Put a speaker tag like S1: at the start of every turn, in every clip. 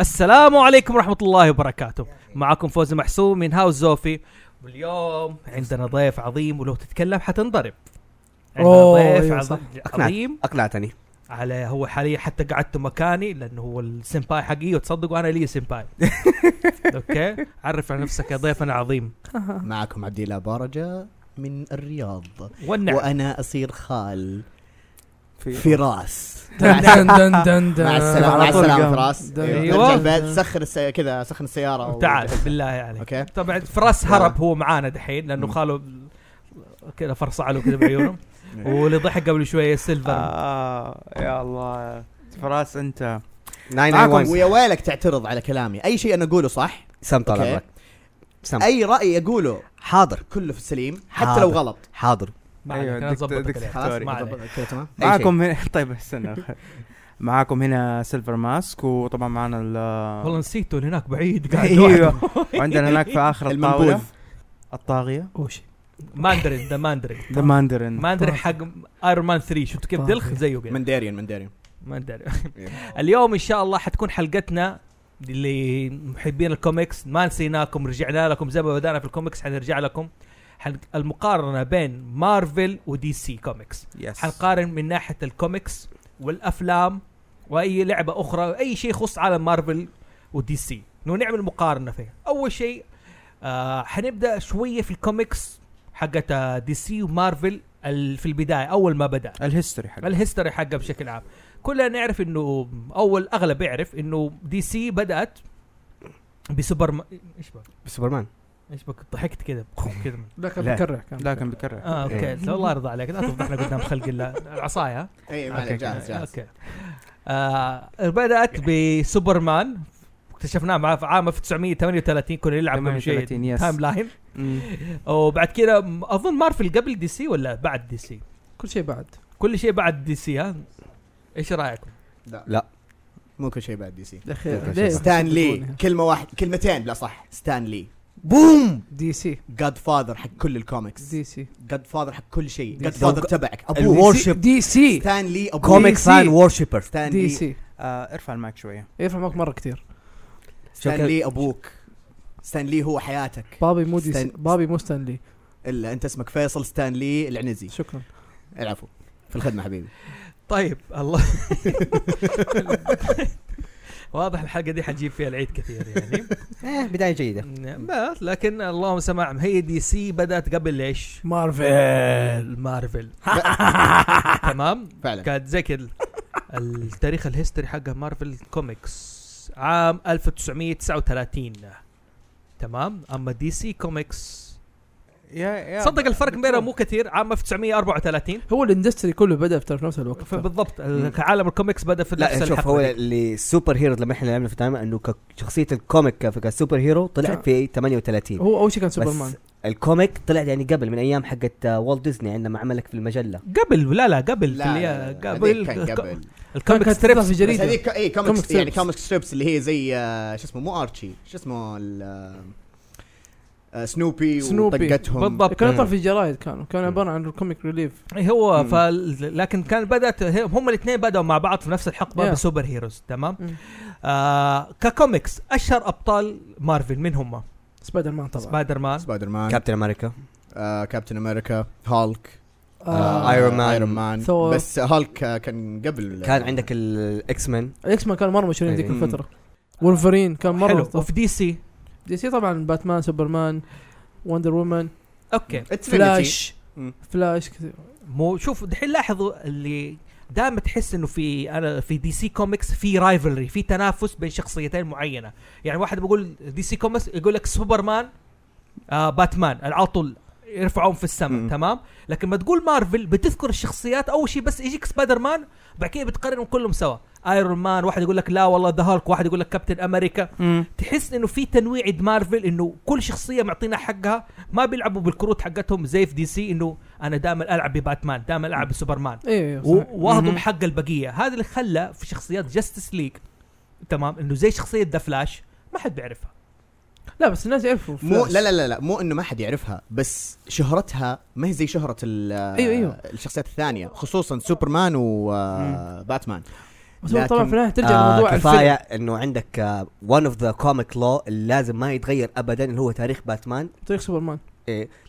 S1: السلام عليكم ورحمة الله وبركاته معكم فوز محسوم من هاوس زوفي واليوم عندنا ضيف عظيم ولو تتكلم حتنضرب عندنا
S2: أوه،
S1: ضيف
S2: أيوة
S1: عظ-
S2: صح.
S1: عظيم
S3: اقنعتني
S1: على هو حاليا حتى قعدت مكاني لانه هو السمباي حقي وتصدقوا انا لي سمباي اوكي عرف عن نفسك يا ضيفنا عظيم
S3: معكم عبد الله بارجه من الرياض
S1: والنعم
S3: وانا اصير خال
S4: في-
S3: فراس
S2: دن دن دن دن دن
S3: مع السلامه
S4: على
S3: مع
S4: طول
S3: السلامه
S4: قام.
S3: فراس
S1: أيوه.
S3: أيوة. سخر السي... كذا سخن السياره و-
S1: تعال بالله عليك
S3: اوكي
S1: طبعا فراس
S3: يلا.
S1: هرب هو معانا دحين لانه
S3: مم.
S1: خاله كذا فرصع له كذا بعيونه واللي ضحك قبل شويه سيلفر
S4: آه يا الله فراس انت
S3: معكم ويا ويلك تعترض على كلامي اي شيء انا اقوله صح
S5: سم
S3: أوكي.
S5: طلبك سم
S3: اي راي اقوله
S5: حاضر
S3: كله في السليم حتى
S5: حاضر.
S3: لو غلط
S5: حاضر
S1: ما
S4: أيوة،
S1: عليك انا
S4: دكت-
S1: ظبطك
S4: دكتور.
S1: خلاص
S4: سوري.
S1: ما عليك
S3: كذا تمام أي شيء.
S4: معكم هنا طيب استنى معكم هنا سيلفر ماسك وطبعا معنا
S1: والله
S4: ال
S1: نسيته اللي هناك بعيد قاعد
S4: ايوه
S1: لوحده.
S4: وعندنا هناك في اخر الطاوله
S3: المنبوذ
S4: الطاغيه
S2: وش
S1: ماندرين ذا ماندرين
S4: ذا ماندرين
S1: ماندرين حق ايرون مان 3 شفت كيف دلخ زيه قاعد.
S3: منداريان منداريان
S1: ما ادري اليوم ان شاء الله حتكون حلقتنا لمحبين الكوميكس ما نسيناكم رجعنا لكم زي ما بدانا في الكوميكس حنرجع لكم حن- المقارنه بين مارفل ودي سي كوميكس
S4: يس
S1: حنقارن من ناحيه الكوميكس والافلام واي لعبه اخرى اي شيء يخص عالم مارفل ودي سي انه نعمل مقارنه فيها اول شيء آه حنبدا شويه في الكوميكس حقت آه، دي سي ومارفل ال- في البدايه اول ما بدا
S4: الهيستوري حق
S1: الهيستوري حقه بشكل عام كلنا نعرف انه او الاغلب يعرف انه دي سي بدات بسوبر ما... ايش بك
S5: سوبرمان
S1: ايش بك ضحكت كذا كذا
S2: لا كان
S4: لا.
S2: بكرر كان
S4: لكن بكرر
S1: اه اوكي
S5: إيه.
S1: لا، الله يرضى عليك لا تفضحنا قدام خلق الله العصايه ها؟
S3: اي
S1: أوكي،
S3: معلش إيه،
S1: أوكي.
S3: جاهز جاهز
S1: اوكي آه بدات بسوبرمان اكتشفناه معاه في عام 1938 كنا نلعب قبل شوي
S4: 38 يس
S1: تايم لاين
S4: مم.
S1: وبعد كذا اظن مارفل قبل دي سي ولا بعد دي سي
S2: كل شيء بعد
S1: كل شيء بعد دي سي ها ايش رايكم
S5: لا.
S3: مو كل شيء بعد دي سي
S2: يا اخي
S5: أوكي،
S2: ليه
S3: ستان لي
S2: تقولونها؟
S3: كلمه واحد كلمتين لا صح ستان لي بوم
S2: دي سي
S3: جاد فاذر حق كل الكوميكس
S2: دي سي
S3: جاد فاذر حق كل شيء
S2: دي
S3: جاد
S2: سي.
S3: فاذر تبعك ابوه
S5: الورشيب
S2: دي سي
S3: ستان لي ابوه
S5: كوميك
S2: سي.
S5: فان وورشيبر
S3: ستان
S2: دي
S3: لي
S2: سي
S4: آه، ارفع المايك شويه
S2: يرفع معك مره كثير
S3: ستان لي ابوك ستان لي هو حياتك
S2: بابي مو دي سي
S3: ستان-
S2: بابي مو ستانلي
S3: الا انت اسمك فيصل ستان لي العنزي
S2: شكرا
S3: العفو في الخدمه حبيبي
S1: طيب الله واضح الحلقه دي حتجيب فيها العيد كثير يعني
S5: إيه، بدايه جيده
S1: ما لكن اللهم سمعهم هي دي سي بدات قبل ايش؟
S2: مارفل
S1: المارفل تمام
S3: فعلا
S1: كانت زي كده التاريخ الهيستوري حقها مارفل كوميكس عام 1939 تمام اما دي سي كوميكس
S4: يا يا
S1: صدق الفرق
S4: دكتور.
S1: بينهم مو كثير عام 1934
S2: هو الاندستري كله بدا في ترى في نفس الوقت
S1: فبالضبط عالم الكوميكس بدا في نفس
S5: لا شوف
S1: الحقبة
S5: هو
S1: دي.
S5: السوبر هيرو لما احنا لعبنا في تايم انه ك- شخصيه الكوميك ك- كسوبر هيرو طلعت في 38
S2: هو اول شيء كان سوبرمان
S5: بس الكوميك طلعت يعني قبل من ايام حقت آه، والت ديزني عندما عملك في المجله
S1: قبل لا لا قبل
S3: لا،
S1: في اللي-
S3: لا، لا، هذيك كان قبل
S1: الكوميك
S2: كانت
S1: ستريبس
S2: تطلع في
S3: بس
S2: جريدة.
S1: بس-
S3: هذيك اي
S2: كوميك
S3: كوميك
S2: ستريبس.
S3: يعني كوميك ستريبس اللي هي زي آه، شو اسمه مو ارشي شو اسمه ال- آه، آه، سنوبي
S2: سنوبي.
S3: وطقتهم
S1: بالضبط
S2: كان يطلع في الجرايد كانوا كان عباره عن الكوميك ريليف
S1: إيه، هو
S4: مم.
S1: فال... لكن كان بدات هي- هم الاثنين بداوا مع بعض في نفس الحقبه
S2: Yeah.
S1: بسوبر هيروز تمام
S2: مم.
S1: آه ككوميكس اشهر ابطال مارفل من هم
S2: سبايدر مان طبعا
S1: سبايدر مان
S3: سبايدر مان
S5: كابتن امريكا
S3: آه، كابتن امريكا هالك
S5: آه،
S2: آه،
S5: Iron Man.
S3: ايرون مان
S2: ثور.
S3: بس هالك آه، كان قبل
S5: كان عندك الاكس مان
S2: الاكس مان كانوا مره مشهورين
S3: إيه.
S2: ذيك
S5: مم.
S2: الفتره وولفرين كان مره
S1: حلو
S2: طف-
S1: وفي دي سي
S2: دي سي طبعا باتمان سوبرمان وندر وومن
S1: اوكي
S3: فلاش
S2: فلاش
S4: مم.
S2: فلاش كثير
S1: مو شوف دحين لاحظوا اللي دائما تحس انه في انا في دي سي كوميكس في رايفلري في تنافس بين شخصيتين معينه يعني واحد بيقول دي سي كوميكس يقول لك سوبرمان آه باتمان على طول يرفعون في السماء
S4: مم.
S1: تمام لكن ما تقول مارفل بتذكر الشخصيات اول شيء بس يجيك سبايدر مان بعد كده بتقارنهم كلهم سوا ايرون مان واحد يقول لك لا والله ذا هالك واحد يقول لك كابتن امريكا
S4: مم.
S1: تحس انه في تنويع عند مارفل انه كل شخصيه معطينا حقها ما بيلعبوا بالكروت حقتهم زي في دي سي انه انا دائما العب بباتمان دائما العب بسوبرمان
S2: ايوه
S1: و-
S2: صحيح.
S1: واهضم
S4: مهم.
S1: حق البقيه هذا اللي خلى في شخصيات جاستس ليج تمام انه زي شخصيه ذا فلاش ما حد بيعرفها
S2: لا بس الناس يعرفوا
S3: مو
S2: Flash.
S3: لا لا لا لا مو انه ما حد يعرفها بس شهرتها ما هي زي شهره ال-
S2: أيوة، أيوة.
S3: الشخصيات الثانيه خصوصا سوبرمان وباتمان
S2: بس هو طبعا
S3: لكن-
S2: في النهايه ترجع
S5: آه
S2: لموضوع
S5: كفايه
S2: الفيلم
S5: انه عندك آه، ون اوف ذا كوميك لو اللي لازم ما يتغير ابدا اللي هو تاريخ باتمان
S2: تاريخ سوبرمان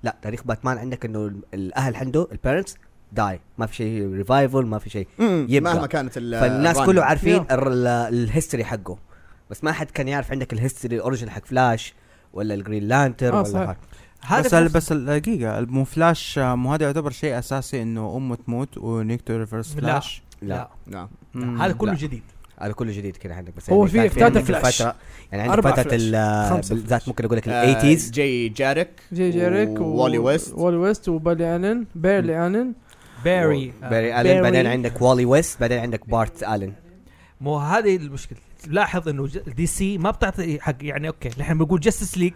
S5: لا تاريخ باتمان عندك انه ال- الاهل عنده البيرنتس داي ما في شيء ريفايفل ما في شيء
S3: مم،
S5: يبقى.
S3: مهما كانت ال-
S5: فالناس
S3: الرن.
S5: كله عارفين
S2: Yeah.
S5: ال- ال- الهيستوري حقه بس ما حد كان يعرف عندك الهيستوري الاوريجن حق فلاش ولا الجرين لانتر
S2: آه،
S5: ولا
S2: صحيح.
S5: حاجة.
S4: بس ال-
S1: هذا
S4: بس الدقيقة مو فلاش آه، مو هذا يعتبر شيء اساسي انه امه تموت ونيكتو ريفرس
S1: لا.
S4: فلاش
S5: لا
S1: لا
S3: نعم
S4: مم.
S1: هذا كله
S5: لا.
S1: جديد
S5: هذا كله جديد كده عندك بس
S2: هو
S5: يعني
S2: في
S5: كان
S2: فترة
S5: عندك
S2: فلاش.
S5: فترة- يعني عندك
S2: أربع
S5: فتره
S2: فلاش.
S5: ال-
S2: خمسة
S5: بالذات
S2: فلاش.
S5: ممكن اقول لك
S3: آه،
S5: الايتيز
S3: جي جاريك
S2: جي جيريك
S3: وولي ويست.
S2: والي ويست وبالي الن بيرلي الن
S1: باري
S5: باري
S1: آه،
S5: الن بعدين
S2: باري.
S5: عندك والي ويست بعدين عندك بارت الن
S1: مو هذه المشكله لاحظ انه ج- دي سي ما بتعطي حق يعني اوكي نحن بنقول جاستس ليج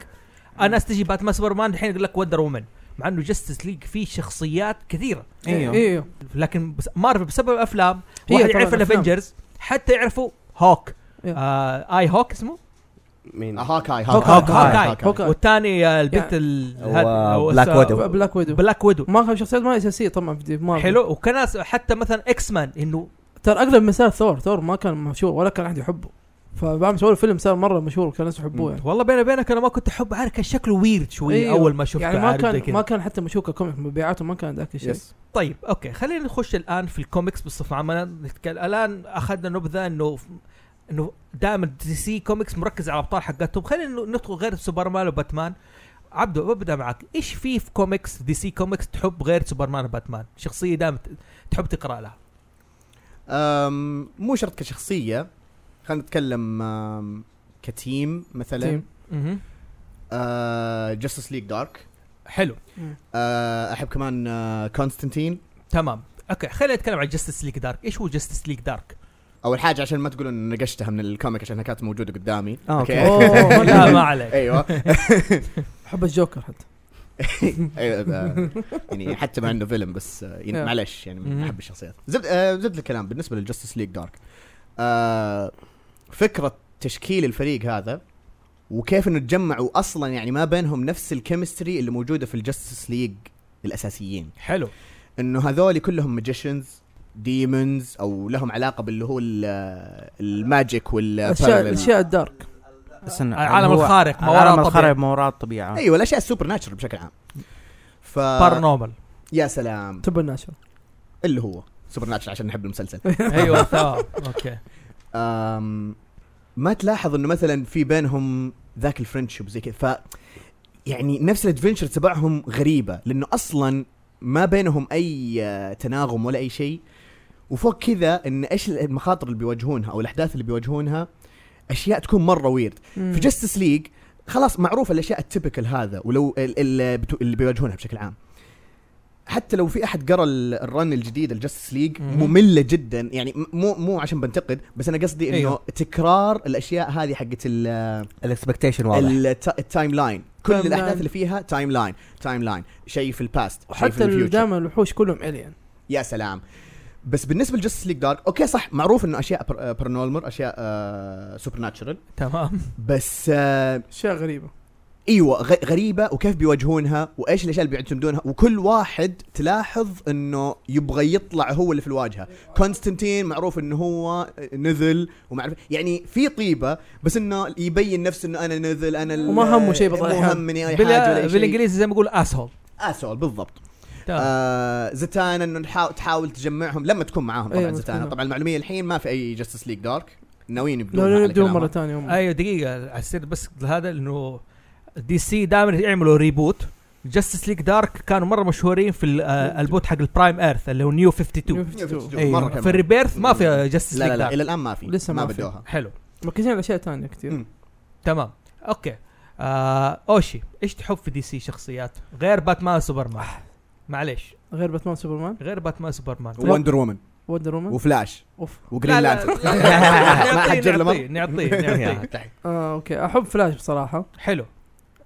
S1: انا استجي باتمان سوبرمان الحين يقول لك وندر وومن مع انه جاستس ليج فيه شخصيات كثيره
S3: إيه،
S4: ايوه
S2: ايوه
S1: لكن بس مارفل بسبب الافلام
S2: هي
S1: واحد
S2: طبعاً
S1: يعرف
S2: أفلام.
S1: الافنجرز حتى يعرفوا هوك
S2: إيه.
S1: آه اي هوك اسمه
S5: مين
S3: هوكاي
S1: هوكاي.
S2: هوكاي.
S1: والثاني آه، البنت
S2: يعني-
S1: ال-
S5: هو
S1: هاد- أو
S5: بلاك
S1: اس-
S5: ويدو.
S2: بلاك ويدو
S1: بلاك ويدو
S2: ما كان شخصيات ما اساسيه طبعا في مارفل
S1: حلو وكان أس- حتى مثلا اكس مان انه
S2: ترى اغلب مثال ثور ثور ما كان مشهور ولا كان احد يحبه فبعد ما سووا الفيلم صار مره مشهور وكان الناس يحبوه يعني
S1: والله بيني وبينك انا ما كنت احب عارف كان شكله ويرد شوي
S2: أيوه.
S1: أيوه. اول ما شفته
S2: يعني ما
S1: عارف زي
S2: كان
S1: كده.
S2: ما كان حتى مشهور ككوميك مبيعاته ما كان ذاك الشيء
S3: يس
S1: طيب اوكي خلينا نخش الان في الكوميكس بصفه عامه نتكلم الان اخذنا نبذه انه انه دائما دي سي كوميكس مركز على الابطال حقتهم خلينا ندخل غير سوبرمان وباتمان عبدو ببدا معك ايش في في كوميكس دي سي كوميكس تحب غير سوبرمان وباتمان شخصيه دائما ت- تحب تقرا لها
S3: أم، مو شرط كشخصيه خلينا نتكلم أم، كتيم مثلا
S2: تيم.
S1: اها
S3: جاستس ليج دارك
S1: حلو
S3: احب كمان آه، كونستانتين
S1: تمام اوكي خلينا نتكلم عن جاستس ليك دارك ايش هو جاستس ليك دارك
S3: اول حاجه عشان ما تقولوا اني نقشتها من الكوميك عشانها كانت موجوده قدامي
S2: Oh,
S5: آه، أوكي.
S2: أوه،
S1: لا ما عليك
S3: ايوه
S2: حب الجوكر حتى
S3: أيوة، آه، يعني حتى ما عنده فيلم بس آه، يعني
S2: Yeah. Mm-hmm.
S3: معلش يعني
S1: مهم.
S3: ما احب الشخصيات زبد آه، زبد الكلام بالنسبه للجستس ليج دارك آه، فكره تشكيل الفريق هذا وكيف انه تجمعوا اصلا يعني ما بينهم نفس الكيمستري اللي موجوده في الجستس ليج الاساسيين
S1: حلو
S3: انه هذول كلهم ماجيشنز ديمونز او لهم علاقه باللي هو ال- الماجيك وال
S2: اشياء
S3: parallel.
S2: اشياء الدارك
S4: استنى
S1: العالم
S4: هو-
S1: الخارق ما
S4: العالم
S1: وراء الطبيعه
S4: الخارق ما وراء الطبيعه
S3: ايوه الاشياء السوبر ناتشر بشكل عام ف
S1: بارنورمال
S3: يا سلام
S2: تبر ناشر
S3: اللي هو سوبر ناتشر عشان نحب المسلسل
S1: ايوه تمام اوكي
S3: أم ما تلاحظ انه مثلا في بينهم ذاك الفرنشيب زي كذا ف يعني نفس الادفنشر تبعهم غريبه لانه اصلا ما بينهم اي آه، تناغم ولا اي شيء وفوق كذا ان ايش المخاطر اللي بيواجهونها او الاحداث اللي بيواجهونها اشياء تكون مره ويرد في جستس ليج خلاص معروف الاشياء التبكل هذا ولو ال- ال- بتو- اللي بيواجهونها بشكل عام حتى لو في احد قرا ال- الرن الجديد الجستس ليج
S1: مم.
S3: ممله جدا يعني م- مو مو عشان بنتقد بس انا قصدي انه
S1: أيوه.
S3: تكرار الاشياء هذه حقت ال-
S5: الاكسبكتيشن واضح
S3: الت- التايم لاين كل
S2: تايم
S3: الاحداث
S2: لاين.
S3: اللي فيها تايم لاين تايم لاين شيء في الباست شيء في
S2: وحتى
S3: الفيوتشر
S2: دائما الوحوش كلهم الين
S3: يا سلام بس بالنسبه لجستس ليج دارك اوكي صح معروف انه اشياء بر- برنولمر اشياء آه سوبر ناتشرال
S1: تمام
S3: بس آه
S2: اشياء غريبه
S3: ايوه غ- غريبه وكيف بيواجهونها وايش الاشياء اللي بيعتمدونها وكل واحد تلاحظ انه يبغى يطلع هو اللي في الواجهه كونستانتين معروف انه هو نذل وما اعرف يعني في طيبه بس انه يبين نفسه انه انا نذل انا ال-
S2: وما همه شيء بطبيعة
S3: مو
S2: الحال.
S3: همني اي حاجه ولا
S1: بال-
S3: أي شيء
S1: بالانجليزي زي ما يقول اسهول
S3: اسول بالضبط
S1: تمام
S3: آه زتانا انه نحاول تحاول تجمعهم لما تكون معاهم طبعا
S2: أيوة،
S3: زتانا
S2: تكون.
S3: طبعا المعلوميه الحين ما في اي جاستس ليج دارك ناويين
S2: لو
S3: يبدون
S2: لو يبدون مره ثانيه هم
S1: ايوه دقيقه حسيت بس هذا انه دي سي دائما يعملوا ريبوت جاستس ليج دارك كانوا مره مشهورين في ال- آه، البوت حق البرايم ايرث اللي هو نيو 52
S3: مرة
S1: أيوة. في
S3: كمان.
S1: الريبيرث ما في جاستس
S3: لا لا
S1: ليج
S3: لا
S1: دارك
S3: الى الان ما في
S2: لسه
S3: ما
S2: ما في.
S3: بدوها
S1: حلو
S2: مركزين على اشياء ثانيه كثير
S3: مم.
S1: تمام اوكي آه اوشي ايش تحب في دي سي شخصيات غير باتمان وسوبرمان
S3: آه.
S1: معليش
S2: غير باتمان سوبرمان
S1: غير باتمان وسوبرمان
S3: وندر وومن
S2: وندر وومن
S3: وفلاش
S2: اوف
S1: لا،
S3: وجرين
S1: لا،
S3: لانترن
S1: لا، لا،
S3: ما حد جاب له
S1: نعطيه
S3: مرة.
S1: نعطيه نعطيه
S5: طيب.
S2: آه اوكي احب فلاش بصراحه
S1: حلو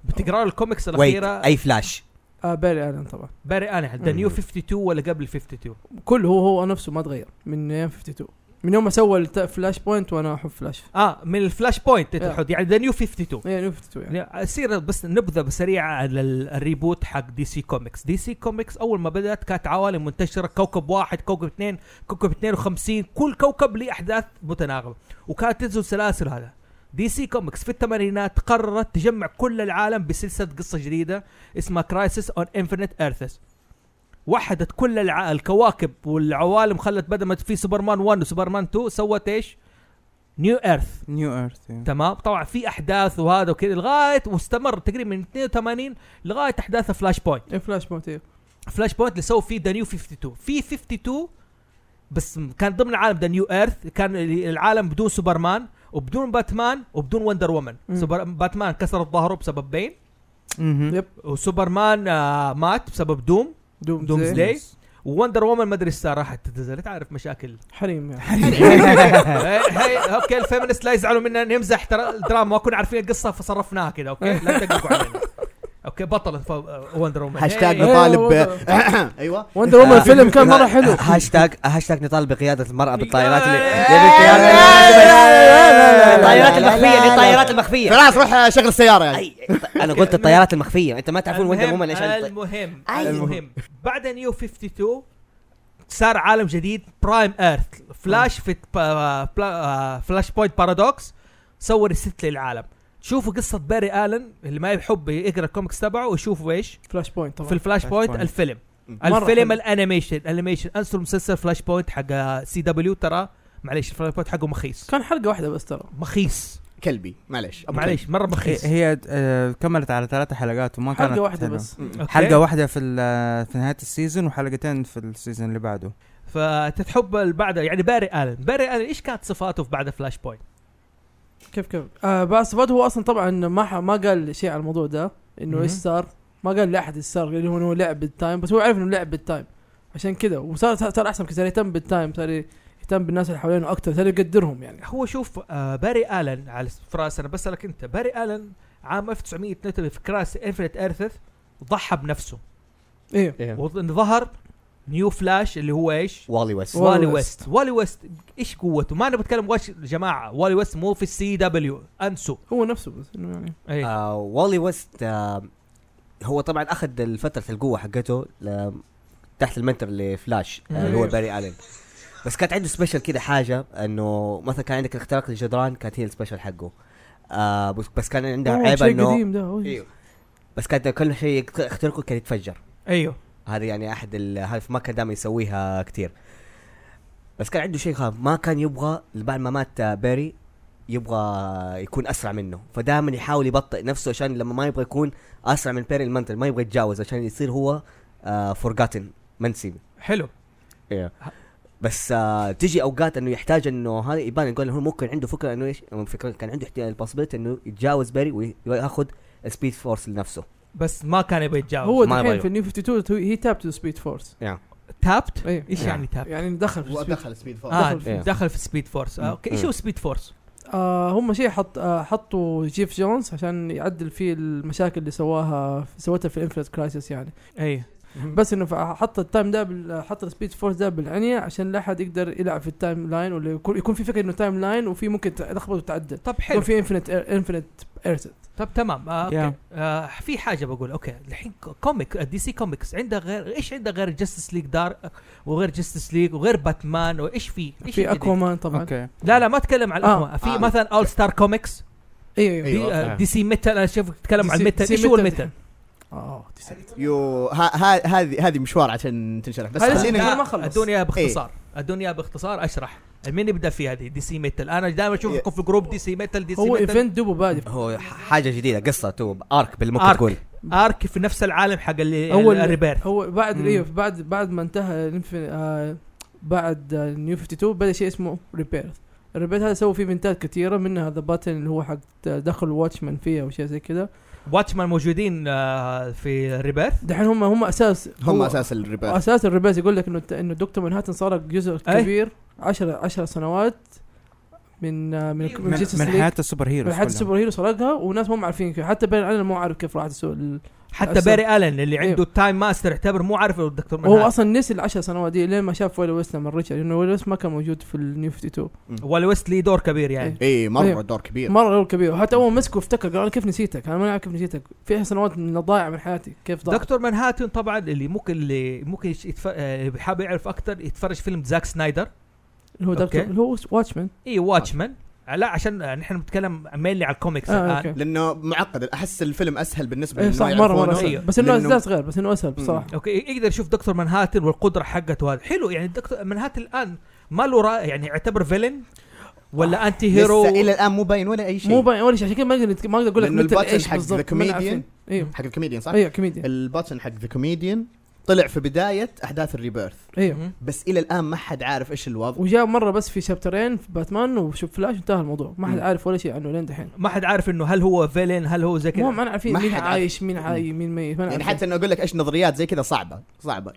S1: بتقرا الكوميكس
S5: ويت
S1: الاخيره
S5: اي فلاش
S2: آه باري الن طبعا
S1: باري انا ذا نيو 52 ولا قبل 52
S2: كله هو هو نفسه ما تغير من 52 من يوم ما سوى الت- فلاش بوينت وانا احب فلاش
S1: اه من الفلاش بوينت
S2: Yeah.
S1: تحط يعني ذا نيو 52
S2: ايه نفت يعني
S1: يعني اصير بس نبذه سريعه على ال- الريبوت حق دي سي كوميكس دي سي كوميكس اول ما بدات كانت عوالم منتشره كوكب واحد كوكب اثنين كوكب 52 كل كوكب له احداث متناغمه وكانت تنزل سلاسل هذا دي سي كوميكس في الثمانينات قررت تجمع كل العالم بسلسله قصه جديده اسمها كرايسيس اون انفينيت ايرثس وحدت كل الع... الكواكب والعوالم خلت بدل ما في سوبرمان 1 وسوبرمان 2 سوت ايش؟ نيو ايرث
S4: نيو ايرث يعني.
S1: تمام طبعا في احداث وهذا وكذا لغايه واستمر تقريبا من 82 لغايه احداث فلاش بوينت
S2: ايه فلاش بوينت ايه
S1: فلاش بوينت اللي سووا فيه ذا نيو 52 في 52 بس م- كان ضمن عالم ذا نيو ايرث كان ال- العالم بدون سوبرمان وبدون باتمان وبدون وندر وومن
S2: مم.
S1: سوبر باتمان كسرت ظهره بسببين
S4: مهم.
S2: يب
S1: وسوبرمان آه مات بسبب دوم
S2: دوم
S1: دومز
S2: زي.
S1: داي. ليه؟ ووندر وومن ما ادري ايش صار راحت نزلت عارف مشاكل
S2: حريم يعني
S1: هي هي اوكي الفيمنست لا يزعلوا منا نمزح ترى الدراما وكنا عارفين القصه فصرفناها كذا اوكي لا تدققوا علينا اوكي بطلت وندر وومن
S3: هاشتاج
S2: إيه،
S3: نطالب
S1: أيوة.
S2: والله.
S5: أيوة.
S3: ايوه
S2: وندر وومن الفيلم كان مره حلو
S5: هاشتاج هاشتاج نطالب بقياده المراه بالطائرات اللي
S1: إيه.
S5: الطائرات المخفيه دي الطائرات المخفيه
S3: خلاص روح شغل السياره يعني
S5: أي- انا قلت الطيارات المخفيه انت ما تعرفون وندر
S1: المهم
S5: وومن ايش عن-
S1: المهم
S5: أي.
S1: المهم بعد نيو 52 صار عالم جديد برايم ايرث فلاش في با- بلا- فلاش بوينت بارادوكس آه، صور الست للعالم شوفوا قصه باري الن اللي ما يحب يقرا الكوميكس تبعه ويشوفوا ايش
S2: فلاش بوينت
S1: في
S2: طبعا
S1: الفلاش
S4: Flash
S1: بوينت
S4: Point.
S1: الفيلم
S2: مرة
S1: الفيلم
S2: حلو.
S1: الانيميشن الانيميشن انسوا المسلسل فلاش بوينت حق سي دبليو ترى معليش الفلاش بوينت حقه مخيس
S2: كان حلقه واحده بس ترى
S1: مخيس
S3: كلبي معلش أبو
S1: معليش مره مخيس
S4: هي- هي آه، كملت على ثلاثة حلقات وما كانت
S2: حلقه واحده
S4: حلوة.
S2: بس
S3: كلب.
S1: أوكي؟
S4: حلقة واحدة في ال- في نهاية السيزون وحلقتين في السيزون اللي بعده
S1: فتتحب اللي بعده يعني باري الن باري الن ايش كانت صفاته في بعد فلاش بوينت
S2: كيف كيف آه بس بعد هو اصلا طبعا ما ح... ما قال شيء على الموضوع ده انه
S1: مهم.
S2: ايش صار ما قال لاحد ايش صار قال انه هو لعب بالتايم بس هو عرف انه لعب بالتايم عشان كذا وصار صار صار احسن صار يهتم بالتايم صار يهتم بالناس اللي حوالينه اكثر صار يقدرهم يعني
S1: هو شوف آه باري الن على س- فراس انا بسالك انت باري الن عام 1982 في كراس انفنت ايرث ضحى بنفسه
S2: ايه
S1: وظهر نيو فلاش اللي هو ايش؟
S5: والي ويست
S2: والي
S1: والي
S2: ويست.
S1: ويست والي ويست ايش قوته؟ ما انا بتكلم وش يا جماعه والي ويست مو في السي دبليو انسوا
S2: هو نفسه بس انه يعني
S1: ايه
S5: آه، والي ويست آه، هو طبعا اخذ فتره القوه حقته ل- تحت المنتر لفلاش آه، اللي هو
S2: أيوه.
S5: باري الين بس كانت عنده سبيشل كده حاجه انه مثلا كان عندك الاختراق للجدران كانت هي السبيشل حقه آه بس- بس كان عنده
S2: هو
S5: عيب
S2: شيء
S5: انه
S2: قديم ده هو
S3: إيه. إيوه.
S5: ايوه بس كان كل شيء يخت- يخترقه كان يتفجر
S1: ايوه
S5: هذا يعني احد ال- هاي ما كان دائما يسويها كثير بس كان عنده شيء خاف ما كان يبغى بعد ما مات آه، بيري يبغى يكون اسرع منه فدائما يحاول يبطئ نفسه عشان لما ما يبغى يكون اسرع من بيري المنتل ما يبغى يتجاوز عشان يصير هو آه، فورغاتن منسي
S1: حلو
S3: إيه.
S5: بس آه تجي اوقات انه يحتاج انه هذا يبان يقول هو ممكن عنده فكره انه ايش فكره كان عنده البوسيبيلتي انه يتجاوز بيري وياخذ السبيد فورس لنفسه
S1: بس ما كان يبي يتجاوز
S2: هو
S5: ما
S2: الحين
S5: يبغى
S2: في النيو 52 هي تاب تو سبيد فورس
S1: تابت
S2: إيه.
S1: ايش
S5: إيه.
S1: يعني تابت
S2: يعني دخل في speed.
S3: ودخل سبيد فورس
S1: اه
S2: دخل في-
S1: دخل في سبيد فورس آه، اوكي ايش هو سبيد فورس
S2: آه هم شيء حط آه حطوا جيف جونز عشان يعدل فيه المشاكل اللي سواها سوتها في الانفلت كرايسيس يعني
S1: اي
S2: بس انه ف- حط التايم ده بال- حط السبيد فورس ده بالعنية عشان لا احد يقدر يلعب في التايم لاين ولا يكون, يكون في فكره انه تايم لاين وفي ممكن تلخبط وتعدل
S1: طب
S2: يكون
S1: حلو
S2: في انفنت انفنت ايرث
S1: طب تمام آه اوكي
S4: Yeah.
S1: آه في حاجه بقول اوكي الحين آه، كو- كوميك دي سي كوميكس عندها غير ايش عندها غير جاستس ليج دار آه، وغير جاستس ليج وغير باتمان وايش في ايش
S2: في
S1: الجديد؟
S2: اكوامان طبعا
S4: اوكي
S1: لا لا ما اتكلم عن
S2: آه.
S1: اكوامان في
S3: آه.
S1: مثلا اول ستار كوميكس
S2: ايوه ايوه
S3: أيوه.
S1: دي, آه.
S3: آه.
S1: دي سي ميتال انا شايف تتكلم عن
S2: دي سي-
S1: ميتال
S2: دي سي
S1: ايش هو
S2: ميتال
S1: الميتال؟
S2: اه دي سي-
S3: يو ها- ها- هذه هذه مشوار عشان تنشرح بس
S2: هذا
S3: خلينا
S2: سنة.
S1: لا،
S2: ما خلص.
S1: الدنيا باختصار الدنيا باختصار اشرح مين يبدا في هذه دي سي ميتال انا دائما
S2: إيه.
S1: اشوفكم في جروب دي سي ميتال دي سي
S2: هو
S1: ميتال
S2: ايفنت دوبه بادي
S5: هو ح- حاجه جديده قصه تو ارك بالممكن
S1: آرك.
S5: تكون
S1: ارك في نفس العالم حق اللي
S2: هو
S1: هو
S2: ال-
S1: الريبيرث
S2: هو بعد
S4: يعني مم.
S2: ايوه بعد بعد ما انتهى الانف- آه بعد نيو 52 بدا شيء اسمه ريبيرث الريبيرث هذا سووا فيه ايفنتات كثيره منها ذا باتن اللي هو حق دخل واتشمان فيها وشيء زي كذا
S1: واتشمان موجودين آه، في الريبيرث
S2: دحين هم هم اساس
S3: هم
S2: هو-
S3: اساس الربا
S2: اساس الريبيرث يقول لك انه انه دكتور منهاتن صار جزء
S1: أي.
S2: كبير 10 10 سنوات من آه، من
S4: أيوه. من,
S2: من جيسس
S4: من
S2: ليج.
S4: حياه السوبر هيرو
S2: من حياة السوبر هيرو سرقها وناس ما معرفين كيف حتى بين انا مو عارف كيف راح تسوق ال-
S1: حتى
S2: أصلاً-
S1: باري الن اللي
S2: أيوه.
S1: عنده التايم ماستر يعتبر مو عارف لو الدكتور
S2: هو
S1: منهاتن
S2: اصلا نسي العشر سنوات دي لين ما شاف ويلي ويست لما رجع لانه ويلي ويست ما كان موجود في النيو 52
S1: ولا ويست لي دور كبير يعني
S2: إيه.
S3: اي مره
S2: إيه.
S3: دور كبير
S2: مره دور كبير وحتى اول ما مسكه افتكر قال انا كيف نسيتك انا ما عارف كيف نسيتك في سنوات من ضايعه من حياتي كيف ضاع
S1: دكتور منهاتن طبعا اللي ممكن اللي ممكن يتف... آه، اللي حابب يعرف اكثر يتفرج فيلم زاك سنايدر
S2: اللي هو
S1: أوكي.
S2: دكتور اللي هو واتشمان آه،
S1: اي واتشمان إيه، لا عشان آه، نحن بنتكلم مينلي على الكوميكس
S2: آه
S1: الان
S2: اوكي
S3: لانه معقد احس الفيلم اسهل بالنسبه
S2: ايه
S3: لنا
S2: صح مره مره
S1: أيوه.
S2: أسهل. بس انه
S3: لأنه-
S2: ذات غير بس انه اسهل بصراحه
S1: اوكي إيه، يقدر يشوف دكتور منهاتن والقدره حقته هذا حلو يعني الدكتور منهاتن الان ما له رأي يعني يعتبر فيلن
S2: آه،
S1: ولا انتي هيرو
S3: لسه الى الان مو باين ولا اي شيء
S2: مو باين ولا شيء عشان كذا ما اقدر نتك- ما اقدر اقول لك
S3: لأنه
S2: متى
S3: الباترن
S2: ايش
S3: حق
S2: بالضبط
S3: The
S2: ما أنا
S3: Comedian.
S2: عارفين. ايوه
S3: حق الكوميديان صح؟
S2: ايوه كوميديا
S3: الباتن حق ذا كوميديان طلع في بدايه احداث الريبيرث
S2: ايوه
S1: مم.
S3: بس الى الان ما حد عارف ايش الوضع
S2: وجاء مره بس في شابترين في باتمان وشوف فلاش انتهى الموضوع ما حد
S3: مم.
S2: عارف ولا شيء عنه لين دحين
S1: ما حد عارف انه هل هو فيلن هل هو زي
S2: مو
S1: كذا
S2: ما أنا عارفين
S3: ما
S2: مين
S3: حد عارف.
S2: عايش مين عاي مين ميت ما أنا
S3: يعني
S2: عارفين.
S3: حتى انه اقول لك ايش نظريات زي كذا صعبه صعبه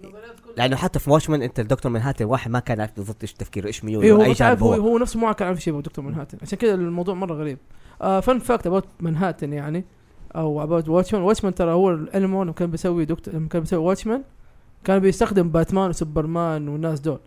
S5: لانه حتى في واتشمان انت الدكتور منهاتن واحد ما كان عارف بالضبط ايش تفكيره ايش ميوله
S2: ايه هو
S5: اي
S2: مش عارف
S5: جانب
S2: هو,
S5: هو
S2: هو نفسه ما كان عارف شيء هو دكتور منهاتن عشان كذا الموضوع مره غريب آه، فن فاكت اباوت منهاتن يعني او اباوت واتشمان واتشمان ترى هو الانمو لما كان بيسوي دكتور لما كان بيسوي واتشمان كان بيستخدم باتمان وسوبرمان والناس دول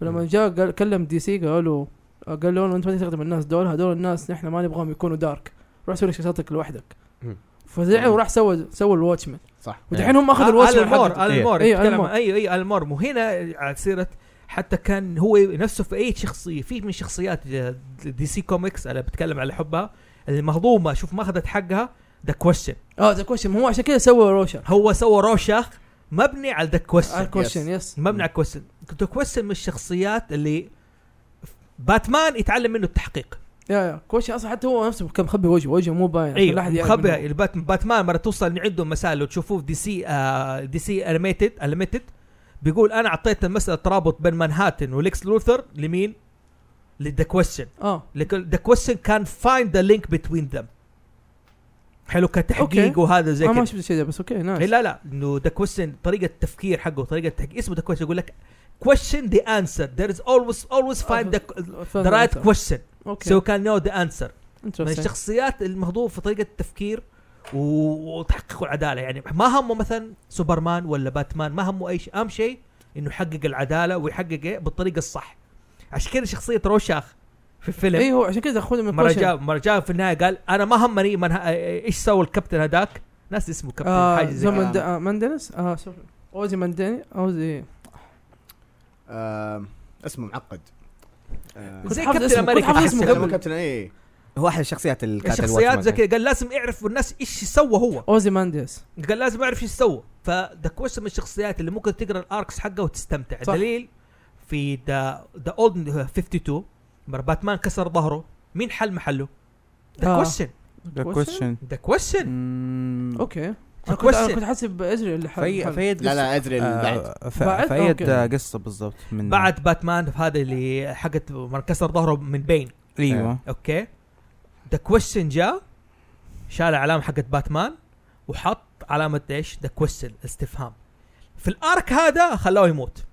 S2: فلما جاء قال كلم دي سي قالوا له قال له انت ما تستخدم الناس دول هذول الناس نحن ما نبغاهم يكونوا دارك روح سوي لك شخصيتك لوحدك
S5: مم. إيه. آه،
S2: فزعل وراح سوى سوى الواتشمان
S3: صح
S2: ودحين هم اخذوا
S1: الوصف
S2: الواتشمان حقه.
S1: المور المور
S2: إيه،
S1: ايوه
S2: آل مور.
S1: ايوه المور مو هنا على سيره حتى كان هو نفسه في اي شخصيه في من شخصيات دي سي كوميكس انا بتكلم على حبها المهضومه شوف ما اخذت حقها ذا كويشن
S5: آه،
S2: اه ذا كويشن هو عشان كذا سوى روشن
S1: هو سوى روشاخ مبني على ذا
S5: آه،
S1: كويشن
S2: كويشن يس
S1: مبني على كويشن ذا كويشن من الشخصيات اللي باتمان يتعلم منه التحقيق
S2: يا يا كوشي اصلا حتى هو نفسه كان مخبي وجهه وجهه مو باين عشان لا
S1: ايوه
S2: أحد يعني يعرف
S1: مخبي
S2: منه.
S1: البات- باتمان مره توصل عندهم مسائل لو تشوفوه في دي سي آه دي سي انيميتد انيميتد بيقول انا اعطيت المساله ترابط بين مانهاتن وليكس لوثر لمين؟ لذا كويشن
S2: اه
S1: ذا كويشن كان فايند ذا لينك بتوين ذم حلو كتحقيق
S2: أوكي.
S1: وهذا زي
S2: انا ما
S1: كذا
S2: شفت الشيء ده بس اوكي
S1: إيه
S2: نايس
S1: لا لا انه ذا كويشن طريقه التفكير حقه طريقه التحقيق اسمه ذا كويشن يقول لك question the answer there is always always find the, the right question
S2: اوكي
S1: so you can know the answer من
S2: Interesting.
S1: الشخصيات المهضومه في طريقه التفكير و- وتحقق العداله يعني ما همه مثلا سوبرمان ولا باتمان ما همه اي شيء اهم شيء انه يحقق العداله ويحقق إيه بالطريقه الصح عشان كذا شخصيه روشاخ في الفيلم
S2: اي إيه، هو عشان كذا اخذ من
S1: مرة
S2: كوشن
S1: جاء مرة جاء في النهاية قال أنا ما همني من ه- إيش سوى الكابتن هذاك ناس اسمه كابتن
S2: آه
S1: حاجة زي
S3: زمن-
S2: زمن آه ماندنس اه سوري اوزي ماندني اوزي
S3: آه اسمه معقد آه
S1: زي
S2: حافظ
S1: كابتن
S2: اسمه، كنت
S1: أمريكا
S2: حافظ
S1: تحس
S2: اسمه
S1: كده.
S3: أنا مو
S2: قبل
S3: كابتن إيه. اي
S5: هو احد الشخصيات اللي كانت
S1: الشخصيات زي
S5: الواتشمان.
S1: كذا قال لازم يعرف الناس إيش سوى هو
S2: اوزي مانديس
S1: قال لازم اعرف ايش سوى فذا كويس من الشخصيات اللي ممكن تقرا الاركس حقه وتستمتع
S2: صح.
S1: دليل في ذا ذا اولد 52 مرة باتمان كسر ظهره مين حل محله؟ ذا
S2: آه.
S1: كويشن
S4: ذا كويشن
S1: ذا كويشن
S2: اوكي
S1: The
S2: أنا كنت أنا
S1: question.
S2: كنت حاسب ازري اللي حل
S4: في
S2: حل.
S4: فايد آه،
S3: لا لا ادري
S2: آه،
S3: اللي بعد
S2: بعد؟
S4: فايد
S2: أوكي.
S4: قصه بالضبط من
S1: بعد باتمان في هذا اللي حقت مرة كسر ظهره من بين
S4: ايوه
S1: اوكي ذا كويشن جاء شال العلامه حقت باتمان وحط علامه ايش؟ ذا كويشن استفهام في الارك هذا خلاه يموت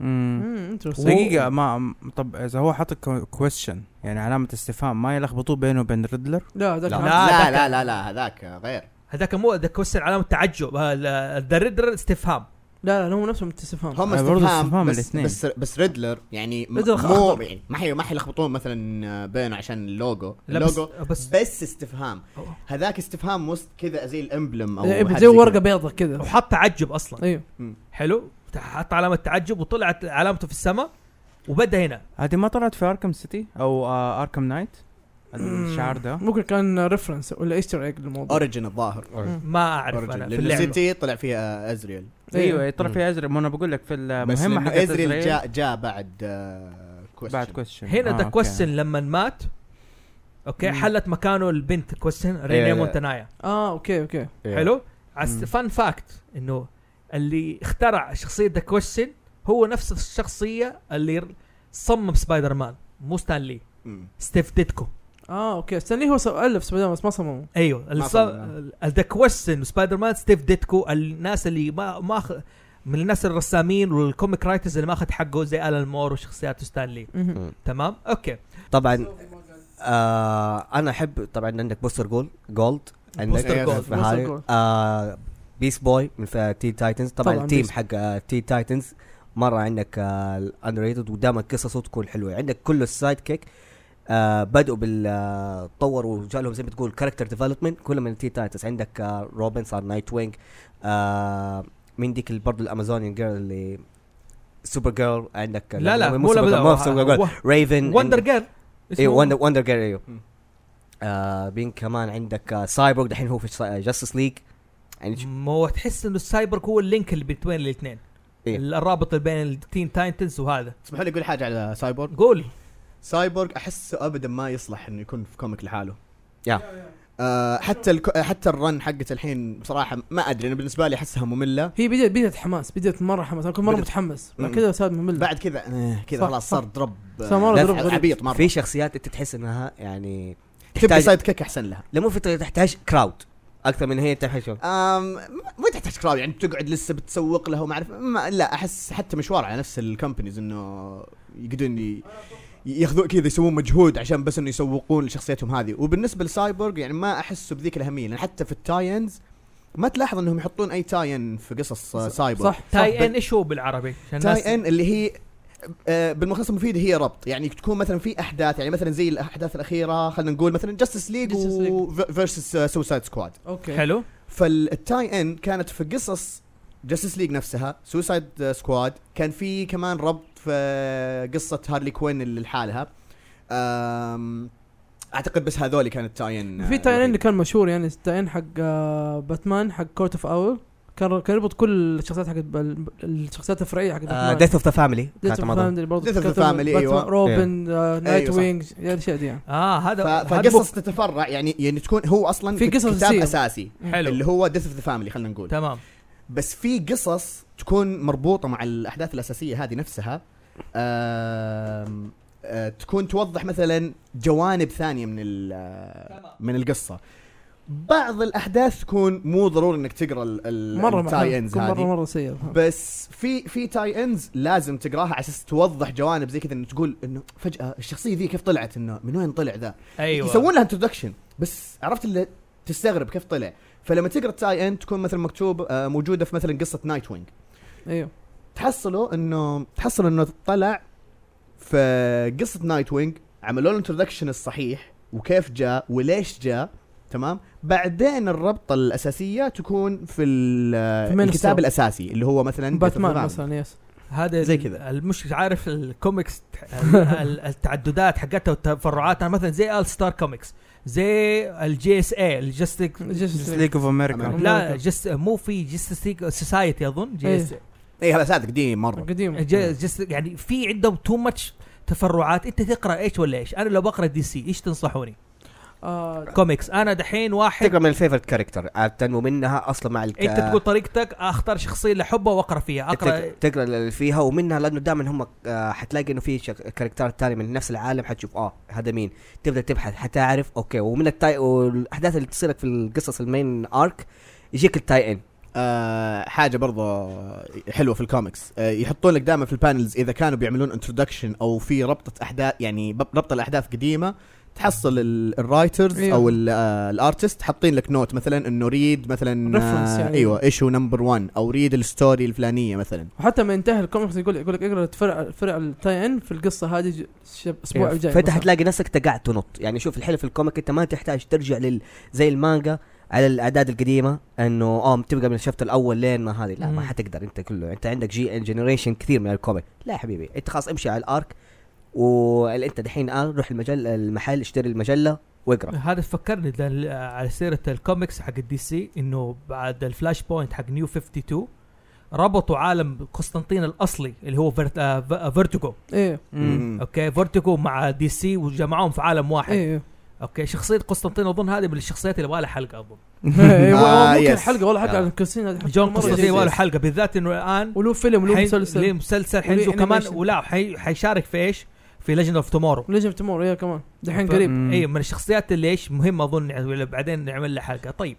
S4: مم.
S2: امم interesting.
S4: دقيقة ما م- طب إذا هو حط كويشن يعني علامة استفهام ما يلخبطوه بينه وبين ريدلر
S2: لا ذاك
S3: لا
S2: لا
S3: لا
S1: ذاك-
S3: لا لا, لا هذاك غير
S1: هذاك مو ذا كويشن علامه تعجب آه، ذا ريدر استفهام
S2: لا لا هو نفسه متسفهم
S3: هم
S4: آه، برضو استفهام
S3: استفهام بس,
S4: الاثنين.
S3: بس بس ريدلر يعني م-
S2: ريدلر
S3: مو
S2: خطر.
S3: يعني ما حي ما حيلخبطون مثلا بينه عشان اللوجو
S1: لا بس
S3: اللوجو
S1: بس
S3: بس استفهام
S1: أوه.
S3: هذاك استفهام وسط كذا زي الامبلم او حاجة
S2: إيه، زي ورقه
S3: كذا.
S2: بيضة كذا
S1: وحط تعجب اصلا
S2: ايوه
S1: حلو حط علامه تعجب وطلعت علامته في السماء وبدا هنا
S4: هذه ما طلعت في اركم سيتي او آه اركم نايت الشعار ده
S2: ممكن كان ريفرنس ولا ايستر ايج للموضوع
S3: اوريجن الظاهر
S1: ما اعرف
S3: اوريجن
S1: انا في
S3: لانه
S1: اللعبه
S3: سيتي طلع فيها ازريل
S2: إيه.
S4: ايوه طلع في ازرق ما انا بقول لك في
S3: بس
S4: المهمة
S3: لانه
S4: آه، حقت
S3: ازريل
S4: ازريل
S3: جاء جاء بعد آه،
S4: بعد آه،
S3: question.
S4: كويشن
S1: هنا ذا كويشن لما مات اوكي
S4: مم.
S1: حلت مكانه البنت كويشن
S5: إيه.
S1: رينيا مونتنايا
S2: اه اوكي اوكي
S1: حلو
S4: مم.
S1: فان فاكت انه اللي اخترع شخصيه ذا كويشن هو نفس الشخصيه اللي صمم سبايدر مان مو ستانلي
S3: مم.
S1: ستيف ديتكو
S2: اه اوكي استني هو سو- الف سبايدر مان بس ما صمموا
S1: ايوه
S3: ما
S1: الص...
S3: صمم.
S1: ذا كويشن سبايدر مان ستيف ديتكو الناس اللي ما ما أخ... من الناس الرسامين والكوميك رايترز اللي ما اخذ حقه زي الان مور وشخصيات ستانلي
S2: مهم.
S1: تمام اوكي
S5: طبعا آه انا احب طبعا عندك بوستر جول جولد عندك
S1: بوستر جولد،
S5: في هاي.
S2: بوستر جولد.
S5: آه بيس بوي من تي تايتنز طبعا,
S2: طبعاً
S5: طبعًا التيم
S2: بيس-
S5: حق آه، تي تايتنز مره عندك آه، الاندر ريتد ودائما قصصه تكون حلوه عندك كل السايد كيك آه بدأوا بال آه، طوروا وجاء لهم زي ما تقول كاركتر ديفلوبمنت كلهم من تي تايتنز عندك آه روبن صار نايت وينج آه من ديك برضه الامازونيان جيرل اللي سوبر جيرل عندك
S1: لا لا
S5: مو
S1: مو
S5: سوبر جيرل، ما في سوبر جيرل
S1: لا
S5: ريفن
S1: وندر جير
S5: ايوه وندر وندر جير ايوه
S3: مم.
S5: آه بين كمان عندك آه سايبورغ دحين هو في جاستس ليج يعني ش-
S1: مو تحس انه السايبر هو اللينك اللي بين الاثنين
S5: إيه.
S1: الرابط اللي بين التين تايتنز وهذا
S3: اسمحوا لي اقول حاجه على سايبورغ
S1: قول
S3: سايبورغ احسه ابدا ما يصلح انه يكون في كوميك لحاله
S5: يا.
S3: آه حتى الك... حتى الرن حقت الحين بصراحه ما ادري انا بالنسبه لي احسها ممله
S2: هي بدات بدات حماس بدات مره حماس انا كنت مره
S3: بدأت-
S2: متحمس بعد
S3: مم.
S2: كذا صار ممل
S3: بعد كذا آه كذا
S2: صح،
S3: خلاص
S2: صح.
S3: صار دروب
S2: صار مرة
S3: آه،
S2: دروب غريب.
S3: عبيط مره
S5: في شخصيات انت تحس انها يعني
S3: تبي
S5: تحتاج-
S3: سايد كيك احسن لها
S5: لا مو في تحتاج كراود اكثر من هي تحتاج شو.
S3: أم ما تحتاج كراود يعني بتقعد لسه بتسوق لها وما اعرف ما- لا احس حتى مشوار على نفس الكومبانيز انه يقدرون ي- ياخذون كذا يسوون مجهود عشان بس انه يسوقون لشخصيتهم هذه وبالنسبه لسايبورغ يعني ما احسه بذيك الاهميه لان حتى في التاينز ما تلاحظ انهم يحطون اي تاين في قصص آه، سايبورغ
S2: صح يعني
S1: تاي ان ايش هو بالعربي؟ عشان الناس-
S3: تاي ان اللي هي آه، بالمختصر المفيد هي ربط يعني تكون مثلا في احداث يعني مثلا زي الاحداث الاخيره خلينا نقول مثلا جاستس ليج
S2: Justice League.
S3: وفيرسس سوسايد سكواد
S2: اوكي
S1: حلو
S3: فالتاي ان كانت في قصص جاستس ليج نفسها سوسايد سكواد كان في كمان ربط في قصه هارلي كوين اللي لحالها أم، اعتقد بس هذول كانت تاي آه، ان
S2: في تاين اللي كان مشهور يعني تاين حق آه، باتمان حق كورت اوف اول كان كان يربط كل الشخصيات حقت بال- الشخصيات الفرعيه حقت
S3: آه،
S2: باتمان
S5: ديث اوف ذا فاميلي
S2: ديث اوف فاميلي برضه
S3: Death of the
S2: كانت
S3: Family،
S2: باتمان،
S3: أيوة.
S2: روبن آه، نايت
S3: أيوة، صح.
S2: وينج يعني الاشياء دي يعني
S1: اه هذا هذا
S3: فقصص تتفرع يعني يعني تكون هو اصلا
S2: في قصص
S3: كتاب
S2: تصير.
S3: اساسي
S1: حلو.
S3: اللي هو ديث اوف ذا فاميلي خلينا نقول
S1: تمام
S3: بس في قصص تكون مربوطه مع الاحداث الاساسيه هذه نفسها آم، آه، تكون توضح مثلا جوانب ثانيه من ال- من القصه بعض الاحداث تكون مو ضروري انك تقرا
S2: مره
S3: التاي
S2: محل-
S3: انز
S2: كل مره
S3: هذه
S2: مره سيء
S3: بس في في تاي انز لازم تقراها على اساس توضح جوانب زي كذا انه تقول انه فجاه الشخصيه ذي كيف طلعت انه من وين طلع ذا
S2: أيوة.
S1: ايوه
S3: يسوون لها انترودكشن بس عرفت اللي تستغرب كيف طلع فلما تقرا التاي ان تكون مثلا مكتوب آه، موجوده في مثلا قصه نايت وينج
S2: ايوه
S3: تحصلوا انه تحصلوا انه طلع في قصه نايت وينج عملوا له الانترودكشن الصحيح وكيف جاء وليش جاء تمام بعدين الربطه الاساسيه تكون في, ال-
S2: في مين
S3: الكتاب
S2: ستار.
S3: الاساسي اللي هو مثلا
S2: باتمان
S3: Death of the
S2: مثلا يس
S1: هذا
S3: زي
S1: ال-
S3: كذا.
S1: المش عارف الكوميكس ال- ال- التعددات حقتها والتفرعات انا مثلا زي ال ستار كوميكس زي الجي اس اي الجستيك
S2: جاستس ليج.
S4: ليج اوف امريكا
S3: أمريكا.
S1: لا جست مو في جستس ليج سوسايتي اظن جي اس
S3: اي إيه، هذا صادق دي مره
S2: قديم
S1: جست يعني في عندهم تو ماتش تفرعات انت تقرا ايش ولا ايش انا لو بقرا دي سي ايش تنصحوني
S2: آه،
S1: كوميكس انا دحين واحد
S5: تقرا من الفيفرت كاركتر عاد تنمو منها اصلا مع الك...
S1: انت إيه، تقول طريقتك اختار شخصيه اللي احبها واقرا فيها اقرا
S5: تق- تقرا اللي فيها ومنها لانه دائما هم آه، حتلاقي انه في شك- كاركترات ثانيه من نفس العالم حتشوف اه هذا مين تبدا تبحث حتعرف اوكي ومن التاي والاحداث اللي تصير لك في القصص المين ارك يجيك التاي ان
S3: آه حاجه برضه حلوه في الكوميكس آه يحطون لك دائما في البانلز اذا كانوا بيعملون انترودكشن او في ربطه احداث يعني بب- ربط الاحداث قديمه تحصل ال- الرايترز
S2: أيوه.
S3: او ال- آه، الارتست حاطين لك نوت مثلا انه ريد مثلا
S2: Reference
S3: آه
S2: يعني.
S3: ايوه ايشو نمبر 1 او ريد الستوري الفلانيه مثلا
S2: وحتى ما ينتهي الكوميكس يقول يقول لك اقرا فرع فرع التاي ان في القصه هذه ج- ش-
S3: إيه،
S2: الاسبوع الجاي
S5: فانت
S2: مثلاً.
S5: حتلاقي يعني نفسك تقعد تنط يعني شوف الحلو في الكوميك انت ما تحتاج ترجع لل زي المانجا على الاعداد القديمه انه اه تبقى من الشابتر الاول لين ما هذه لا ما
S1: مم.
S5: حتقدر انت كله انت عندك جي جنريشن كثير من الكوميك لا يا حبيبي انت خلاص امشي على الارك وانت دحين آه روح المجل المحل اشتري المجله واقرا
S1: هذا فكرني ده ال- على سيره الكوميكس حق الدي سي انه بعد الفلاش بوينت حق نيو 52 ربطوا عالم قسطنطين الاصلي اللي هو فيرت- آه، ف- آه، فيرتيجو
S2: ايه
S4: Mm.
S3: مم.
S1: اوكي فيرتيجو مع دي سي وجمعوهم في عالم واحد
S2: ايه
S1: اوكي شخصيه قسطنطين اظن هذه من الشخصيات اللي يبغى حلقه اظن
S2: ايه
S4: Mm-hmm.
S3: آه،
S2: ممكن
S3: يس.
S2: حلقه والله حتى
S5: آه.
S2: على الكرسيين هذه حلقة
S1: جون
S2: مرة
S1: قسطنطين
S2: جديدة.
S1: يبغى حلقه بالذات انه الان
S2: ولو فيلم ولو
S1: حي- ليه
S2: مسلسل
S1: مسلسل
S2: وليه
S1: حينزل كمان
S2: animation.
S1: ولا حي- حيشارك في ايش؟ في ليجند اوف تومورو
S2: ليجن اوف تمور ايه كمان دحين قريب
S1: اي أيوة، من الشخصيات اللي ايش مهمه اظن يعني ولا بعدين نعمل لها حلقه طيب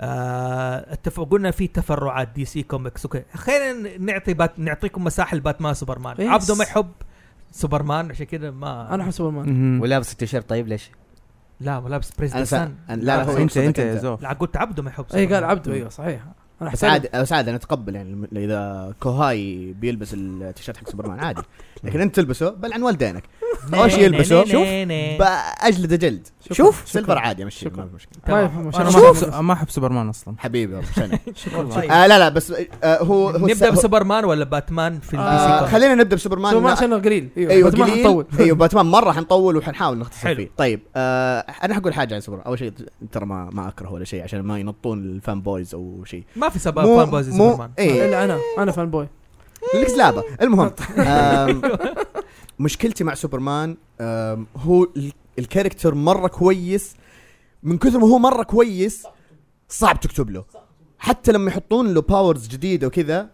S1: آه التف... قلنا في تفرعات دي سي كوميكس اوكي خلينا نعطي بات... نعطيكم مساحه لباتمان سوبرمان
S2: يس.
S1: عبده ما يحب سوبرمان عشان كذا ما
S2: انا احب سوبرمان
S4: مهم.
S5: ولابس التيشيرت طيب ليش؟
S1: لا ما لابس بريس
S3: انا سا...
S1: سان
S3: أنا-
S4: لا
S3: هو
S4: لا انت
S3: يقصدك
S4: انت يا زوف
S1: لا قلت عبده ما يحب
S2: اي
S1: سوبرمان. أيوه.
S2: قال عبده ايوه صحيح انا
S3: بس عادي بس عادي انا اتقبل يعني لما- اذا كوهاي بيلبس التيشيرت حق سوبرمان عادي لكن انت تلبسه بلعن والدينك أول شيء يلبسه. شوف. باجلد جلد
S2: إيه. شوف
S3: سيلفر عادي ماشي
S2: شكراً.
S3: ما في مشكله
S2: ما يفهم
S1: أنا
S4: انا
S2: شوف.
S4: ما أحب- ما احب سوبرمان اصلا
S3: حبيبي والله شنو.
S1: طيب.
S3: آه لا لا بس آه هو هو
S1: نبدا
S3: هو-
S1: بسوبرمان ولا باتمان في البي سي
S3: آه
S1: كوميك؟
S3: خلينا نبدا بسوبرمان
S2: سوبرمان
S3: لا-
S2: عشان قليل ايوه
S3: ايوه
S2: باتمان
S3: قليل
S2: حنطول.
S3: ايوه باتمان مره حنطول وحنحاول نختصر
S1: حلو.
S3: فيه طيب آه انا حقول حاجه عن سوبر اول شيء ترى ما ما اكره ولا شيء عشان ما ينطون الفان بويز او شيء
S1: ما في سبب
S3: مو
S1: فان بويز
S3: مو إيه.
S1: سوبرمان
S3: اي
S2: الا انا انا فان بوي
S3: لك زلابه المهم آم، مشكلتي مع سوبرمان آم، هو ال- الكاركتر مره كويس من كثر ما هو مره كويس صعب تكتب له حتى لما يحطون له باورز جديده وكذا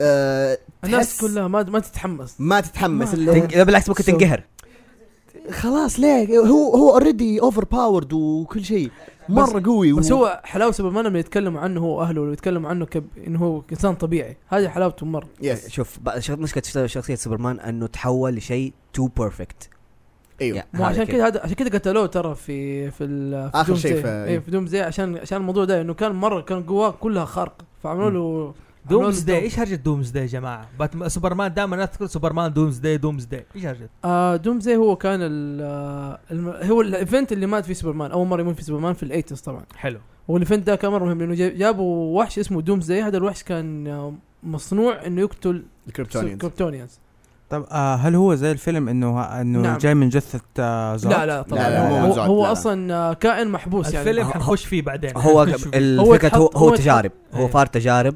S3: آه،
S2: الناس
S3: تحس
S2: كلها ما ما تتحمس
S3: ما تتحمس
S2: ما-
S3: اللي-
S5: تنج- لا بالعكس ممكن
S3: سو-
S5: تنقهر
S3: خلاص ليه هو هو اوريدي اوفر باورد وكل شيء مره قوي
S2: بس
S3: و...
S2: هو حلاوه سوبرمان لما يتكلموا عنه هو واهله ولا يتكلموا عنه كب انه هو انسان طبيعي هذه حلاوته مره
S3: يس
S5: شوف بقى- شوف مشكله شخص- شخصيه سوبرمان انه تحول لشيء تو بيرفكت إيوه.
S3: ايوه
S2: مو عشان كذا هذا عشان كذا قتلوه ترى في في, ال- في
S3: آخر شيء إيه.
S2: Doomsday.
S3: في-
S2: اي في دوم زي عشان عشان الموضوع ده انه كان مره كان قواه كلها خارقه فعملوا له
S1: دومز داي ايش هرجه دومز داي يا جماعه؟ باتمان سوبرمان دائما الناس تقول سوبرمان دومز داي دومز داي ايش هرجه؟
S2: آه، دوم زي هو كان ال آه، الم- هو الايفنت اللي مات فيه سوبرمان اول مره يموت فيه سوبرمان في الايتس طبعا
S1: حلو
S2: والايفنت ده كان مره مهم لانه جاب- جابوا وحش اسمه دوم زي هذا الوحش كان آه، مصنوع انه يقتل
S3: الكريبتونيانز
S2: كريبتونيانز
S4: طب آه هل هو زي الفيلم انه ه- انه
S2: نعم.
S4: نعم. جاي من جثه آه زوف؟
S2: لا لا طبعا
S3: لا، لا،
S2: هو,
S3: لا،
S2: هو,
S3: لا.
S2: هو
S3: لا، لا.
S2: اصلا آه، كائن محبوس يعني
S1: الفيلم
S5: هو-
S1: حنخش فيه بعدين
S5: هو
S1: حنخش فيه.
S2: هو
S5: الفكره هو,
S2: يتحط- هو
S5: هو
S2: يتحط-
S5: تجارب هو
S1: إيه.
S5: فار تجارب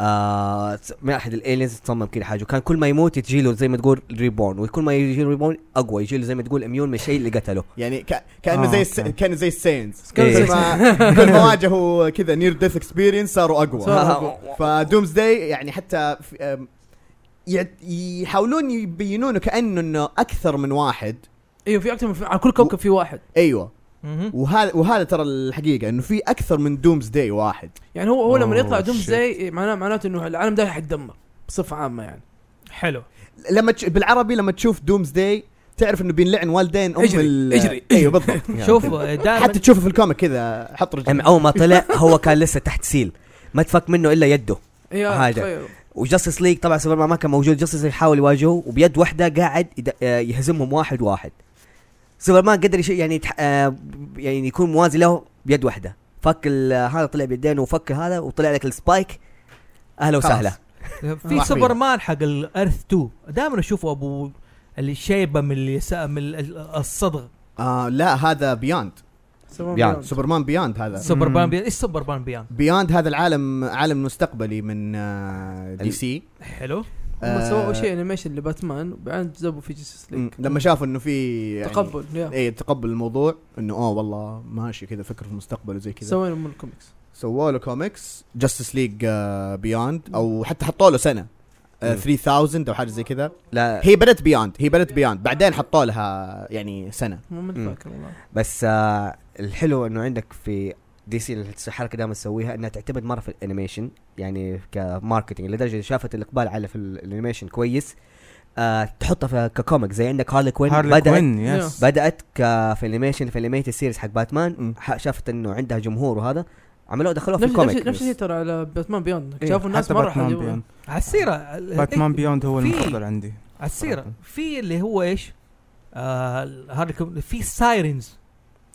S5: آه س- من احد الالينز تصمم كذا حاجه وكان كل ما يموت يجيله زي ما تقول ريبورن وكل ما يجيله ريبورن اقوى يجيله زي ما تقول اميون من الشيء اللي قتله
S3: يعني ك... كانه
S4: آه،
S3: زي الس...
S4: أوكي.
S3: كانوا زي السينز
S2: كان
S5: إيه.
S2: زي-
S3: كل ما كل ما واجهوا كذا نير ديث اكسبيرينس صاروا اقوى
S2: صار-
S3: فدومز داي يعني حتى في... أم، يع- يحاولون يبينونه كانه انه اكثر من واحد
S2: ايوه في اكثر من على كل كوكب في واحد
S3: ايوه
S1: مهم.
S3: وهذا وهذا ترى الحقيقه انه في اكثر من دومز داي واحد
S2: يعني هو هو لما
S3: Oh,
S4: أوه،
S2: يطلع دوم
S4: shit.
S2: زي معناه معناته انه العالم ده حيتدمر بصفه عامه يعني
S1: حلو
S3: لما تش... بالعربي لما تشوف دومز داي تعرف انه بينلعن والدين ام
S2: اجري،
S3: ال...
S2: اجري،
S3: ايوه بالضبط
S1: شوف آه، دائما
S3: حتى تشوفه في الكوميك كذا حط
S5: أم-
S3: رجل
S5: اول ما طلع هو كان لسه تحت سيل ما تفك منه الا يده
S2: ايوه
S5: هذا.
S2: تخيلوا
S5: وجاستس ليج طبعا سوبرمان ما كان موجود جاستس ليج يحاول يواجهه وبيد واحده قاعد يد- آه، يهزمهم واحد واحد سوبرمان قدر يش... يعني يتح... آه، يعني يكون موازي له بيد واحده فك ال- هذا طلع بيدين وفك هذا وطلع لك السبايك اهلا وسهلا
S1: في سوبرمان حق الارث 2 دائما اشوفه ابو اللي شايبه من اللي سا- من ال- الصدغ
S3: آه لا هذا بياند
S2: سوبرمان
S5: يعني
S2: بيوند.
S3: سوبرمان بياند هذا
S1: سوبرمان
S4: مم.
S1: بيان ايش سوبرمان بيان؟
S3: بياند هذا العالم عالم مستقبلي من آه دي
S5: ال-
S3: سي
S1: حلو
S2: هم
S3: آه،
S2: سووا شيء انيميشن لباتمان وبعدين جابوا في جيسس
S3: مم.
S2: ليج
S3: لما شافوا انه في يعني
S2: تقبل يا
S3: اي تقبل الموضوع انه اه والله ماشي كذا فكر في المستقبل وزي كذا
S2: سوينا من الكوميكس
S3: سووا له كوميكس جاستس ليج بياند او آه، حتى حطوا له سنه آه،
S5: مم.
S3: 3000 او حاجه زي كذا
S5: لا
S3: هي بدت بياند هي بدت بياند بعدين حطوا لها يعني سنه
S2: مو من
S5: مم.
S2: فاكر والله
S5: بس آه الحلو انه عندك في دي سي الحركه دائما تسويها انها تعتمد مره في الانيميشن يعني كماركتنج لدرجه إن شافت الاقبال على في الانيميشن كويس آه تحطها في ككوميك زي عندك هارلي كوين
S4: هارلي
S5: بدات
S4: كوين يس
S5: بدات ك- في انيميشن في انيميتد سيريز حق باتمان
S3: مم.
S5: ح- شافت انه عندها جمهور وهذا عملوه دخلوها في
S2: نفس نفس-
S5: الكوميك
S2: نفس الشيء ترى على باتمان بيوند
S4: إيه،
S2: شافوا الناس إيه. مره
S4: حتى باتمان
S2: حلوة.
S4: بيوند
S1: على السيره ال-
S4: باتمان بيوند هو
S1: في-
S4: المفضل عندي
S1: على السيره في اللي هو ايش؟ آه هارلي كوين- في سايرنز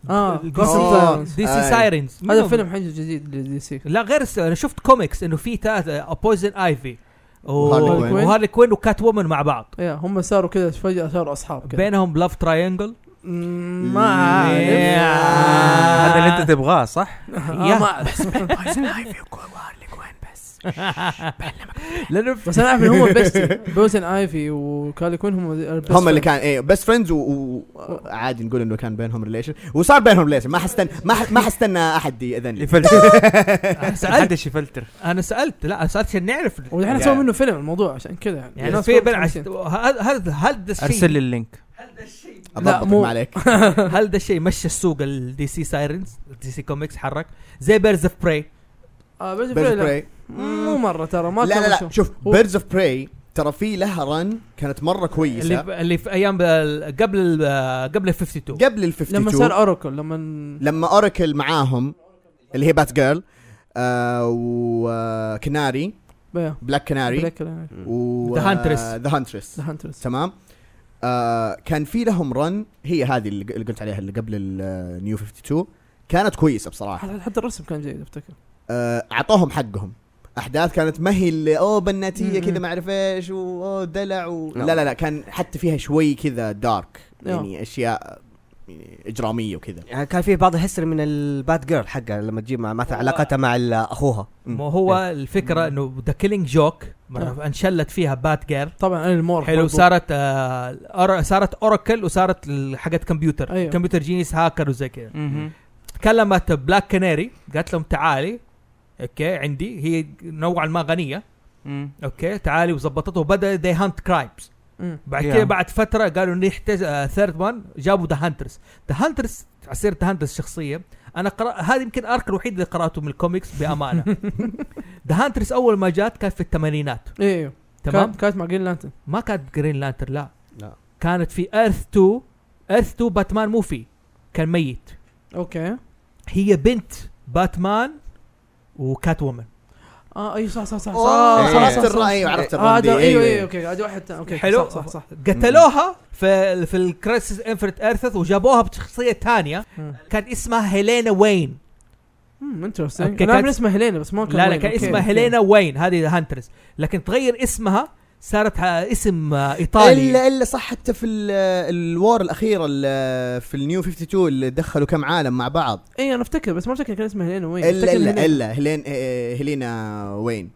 S2: اه
S1: ال-
S2: Gossip
S3: آه.
S2: Sirens.
S1: دي سي
S3: آه.
S1: سايرنز
S2: هذا فيلم حنجي جديد لدي سي
S1: لا غير الس- انا شفت كوميكس انه في آه، ابويزن ايفي
S3: وهارلي كوين.
S1: وهارلي كوين وكات وومن مع بعض
S2: يا هم صاروا كذا فجاه صاروا اصحاب كذا
S1: بينهم لاف تراينجل
S2: مم، ما
S1: إيه.
S2: عارف
S4: هذا اللي انت تبغاه صح؟
S2: آه، ما أعرف.
S1: لانه
S2: بس انا اعرف ان هم بيست بوزن ايفي وكالي كوين هم البيست
S3: هم اللي
S2: friends.
S3: كان ايه بس فريندز وعادي نقول انه كان بينهم ريليشن وصار بينهم ريليشن ما حستنى ما ح- ما حستنى احد ياذني
S1: سالت
S4: محدش يفلتر
S1: انا سالت لا انا سالت عشان نعرف
S2: ودحين سووا منه فيلم الموضوع عشان كذا يعني
S1: يعني
S2: الناس
S1: في
S2: كلها
S1: بين
S2: متحمسين.
S1: هل هل هل ده
S4: ارسل لي
S1: الشيء
S4: اللينك
S3: اضبطك
S2: مو-
S3: ما عليك
S1: هل ده الشيء مشى السوق الدي سي سايرنز دي سي كوميكس حرك زي بيرز اوف براي
S2: آه، بيرز
S3: بيرز
S2: لا.
S3: براي
S2: مو مره ترى ما
S3: لا
S2: كان
S3: لا لا
S2: مشهور.
S3: شوف
S2: هو-
S3: بيردز اوف براي ترى في لها ران كانت مره كويسه
S1: اللي اللي في ايام ال- قبل ال- قبل ال 52
S3: قبل ال 52
S2: لما صار اوراكل لما
S3: لما اوراكل معاهم اللي هي بات جيرل آه وكناري
S2: بيا.
S3: بلاك كناري
S2: بلاك يعني.
S3: و
S1: The Huntress.
S3: ذا هانترس
S2: ذا هانترس
S3: تمام آه كان في لهم رن هي هذه اللي اللي قلت عليها اللي قبل آه، النيو 52 كانت كويسه بصراحه
S2: حتى حتى الرسم كان جيد افتكر
S3: آه اعطوهم حقهم احداث كانت ما هي اللي اوه بناتيه
S2: مم.
S3: كذا ما اعرف ايش واوه دلع و...
S5: لا.
S3: لا لا لا كان حتى فيها شوي كذا دارك
S2: يا.
S3: يعني اشياء يعني اجراميه وكذا
S5: يعني كان في بعض الهستري من الباد جيرل حقها لما تجيب مع مثلا
S1: هو-
S5: علاقتها مع ال- اخوها
S1: ما هو الفكره انه ذا كيلينج جوك انشلت فيها بات جير
S2: طبعا انا المور
S1: حلو
S2: برضو.
S1: صارت آه أر- صارت اوراكل وصارت ال- حقت كمبيوتر
S2: أيوه.
S1: كمبيوتر جينيس هاكر وزي كذا تكلمت بلاك كناري قالت لهم تعالي اوكي عندي هي نوعا ما غنيه اوكي تعالي وظبطته وبدا ذا هانت كرايمز
S2: مم.
S1: بعد
S4: Yeah.
S1: كده بعد فتره قالوا نحتاج ثيرد وان جابوا ذا هانترز ذا هانترز عصير ذا هانترز شخصيه انا قرأ هذا يمكن ارك الوحيد اللي قراته من الكوميكس بامانه ذا هانترز اول ما جات كان في الثمانينات
S2: ايه ايوه
S1: تمام
S2: كانت- كانت مع جرين لانترن
S1: ما كانت جرين لانتر لا
S5: لا.
S1: كانت في ايرث 2 ايرث 2 باتمان مو فيه كان ميت
S2: اوكي
S1: هي بنت باتمان وكات وومن
S2: اه اي صح صح صح صح
S3: أوه،
S2: صح-
S3: عرفت
S2: صح- صح.
S3: الرأي ايوه عرفت
S2: اه
S3: الرأي أيوه.
S2: ده- ايوه ايوه اوكي هذا واحد تا- اوكي
S1: حلو
S2: صح صح صح
S1: قتلوها في في الكريسيس انفرت ايرث وجابوها بشخصيه ثانيه
S2: مم.
S1: كان اسمها هيلينا وين
S2: امم
S1: أوكي،
S2: انترستنج
S1: كانت-
S2: انا عارف اسمها هيلينا بس ما كان
S1: لا لا
S2: وين.
S1: كان
S2: أوكي،
S1: اسمها
S2: أوكي.
S1: هيلينا وين هذه هانترز لكن تغير اسمها صارت ها- اسم آه، ايطالي
S3: الا الا صح حتى في ال- الوار الاخيره ال- في النيو 52 اللي دخلوا كم عالم مع بعض
S2: اي انا افتكر إيه، بس ما افتكر كان اسمها هيلينا وين
S3: الا
S2: أفتكر
S3: الا
S2: هيلينا.
S3: الا هيلين إيه، هيلينا وين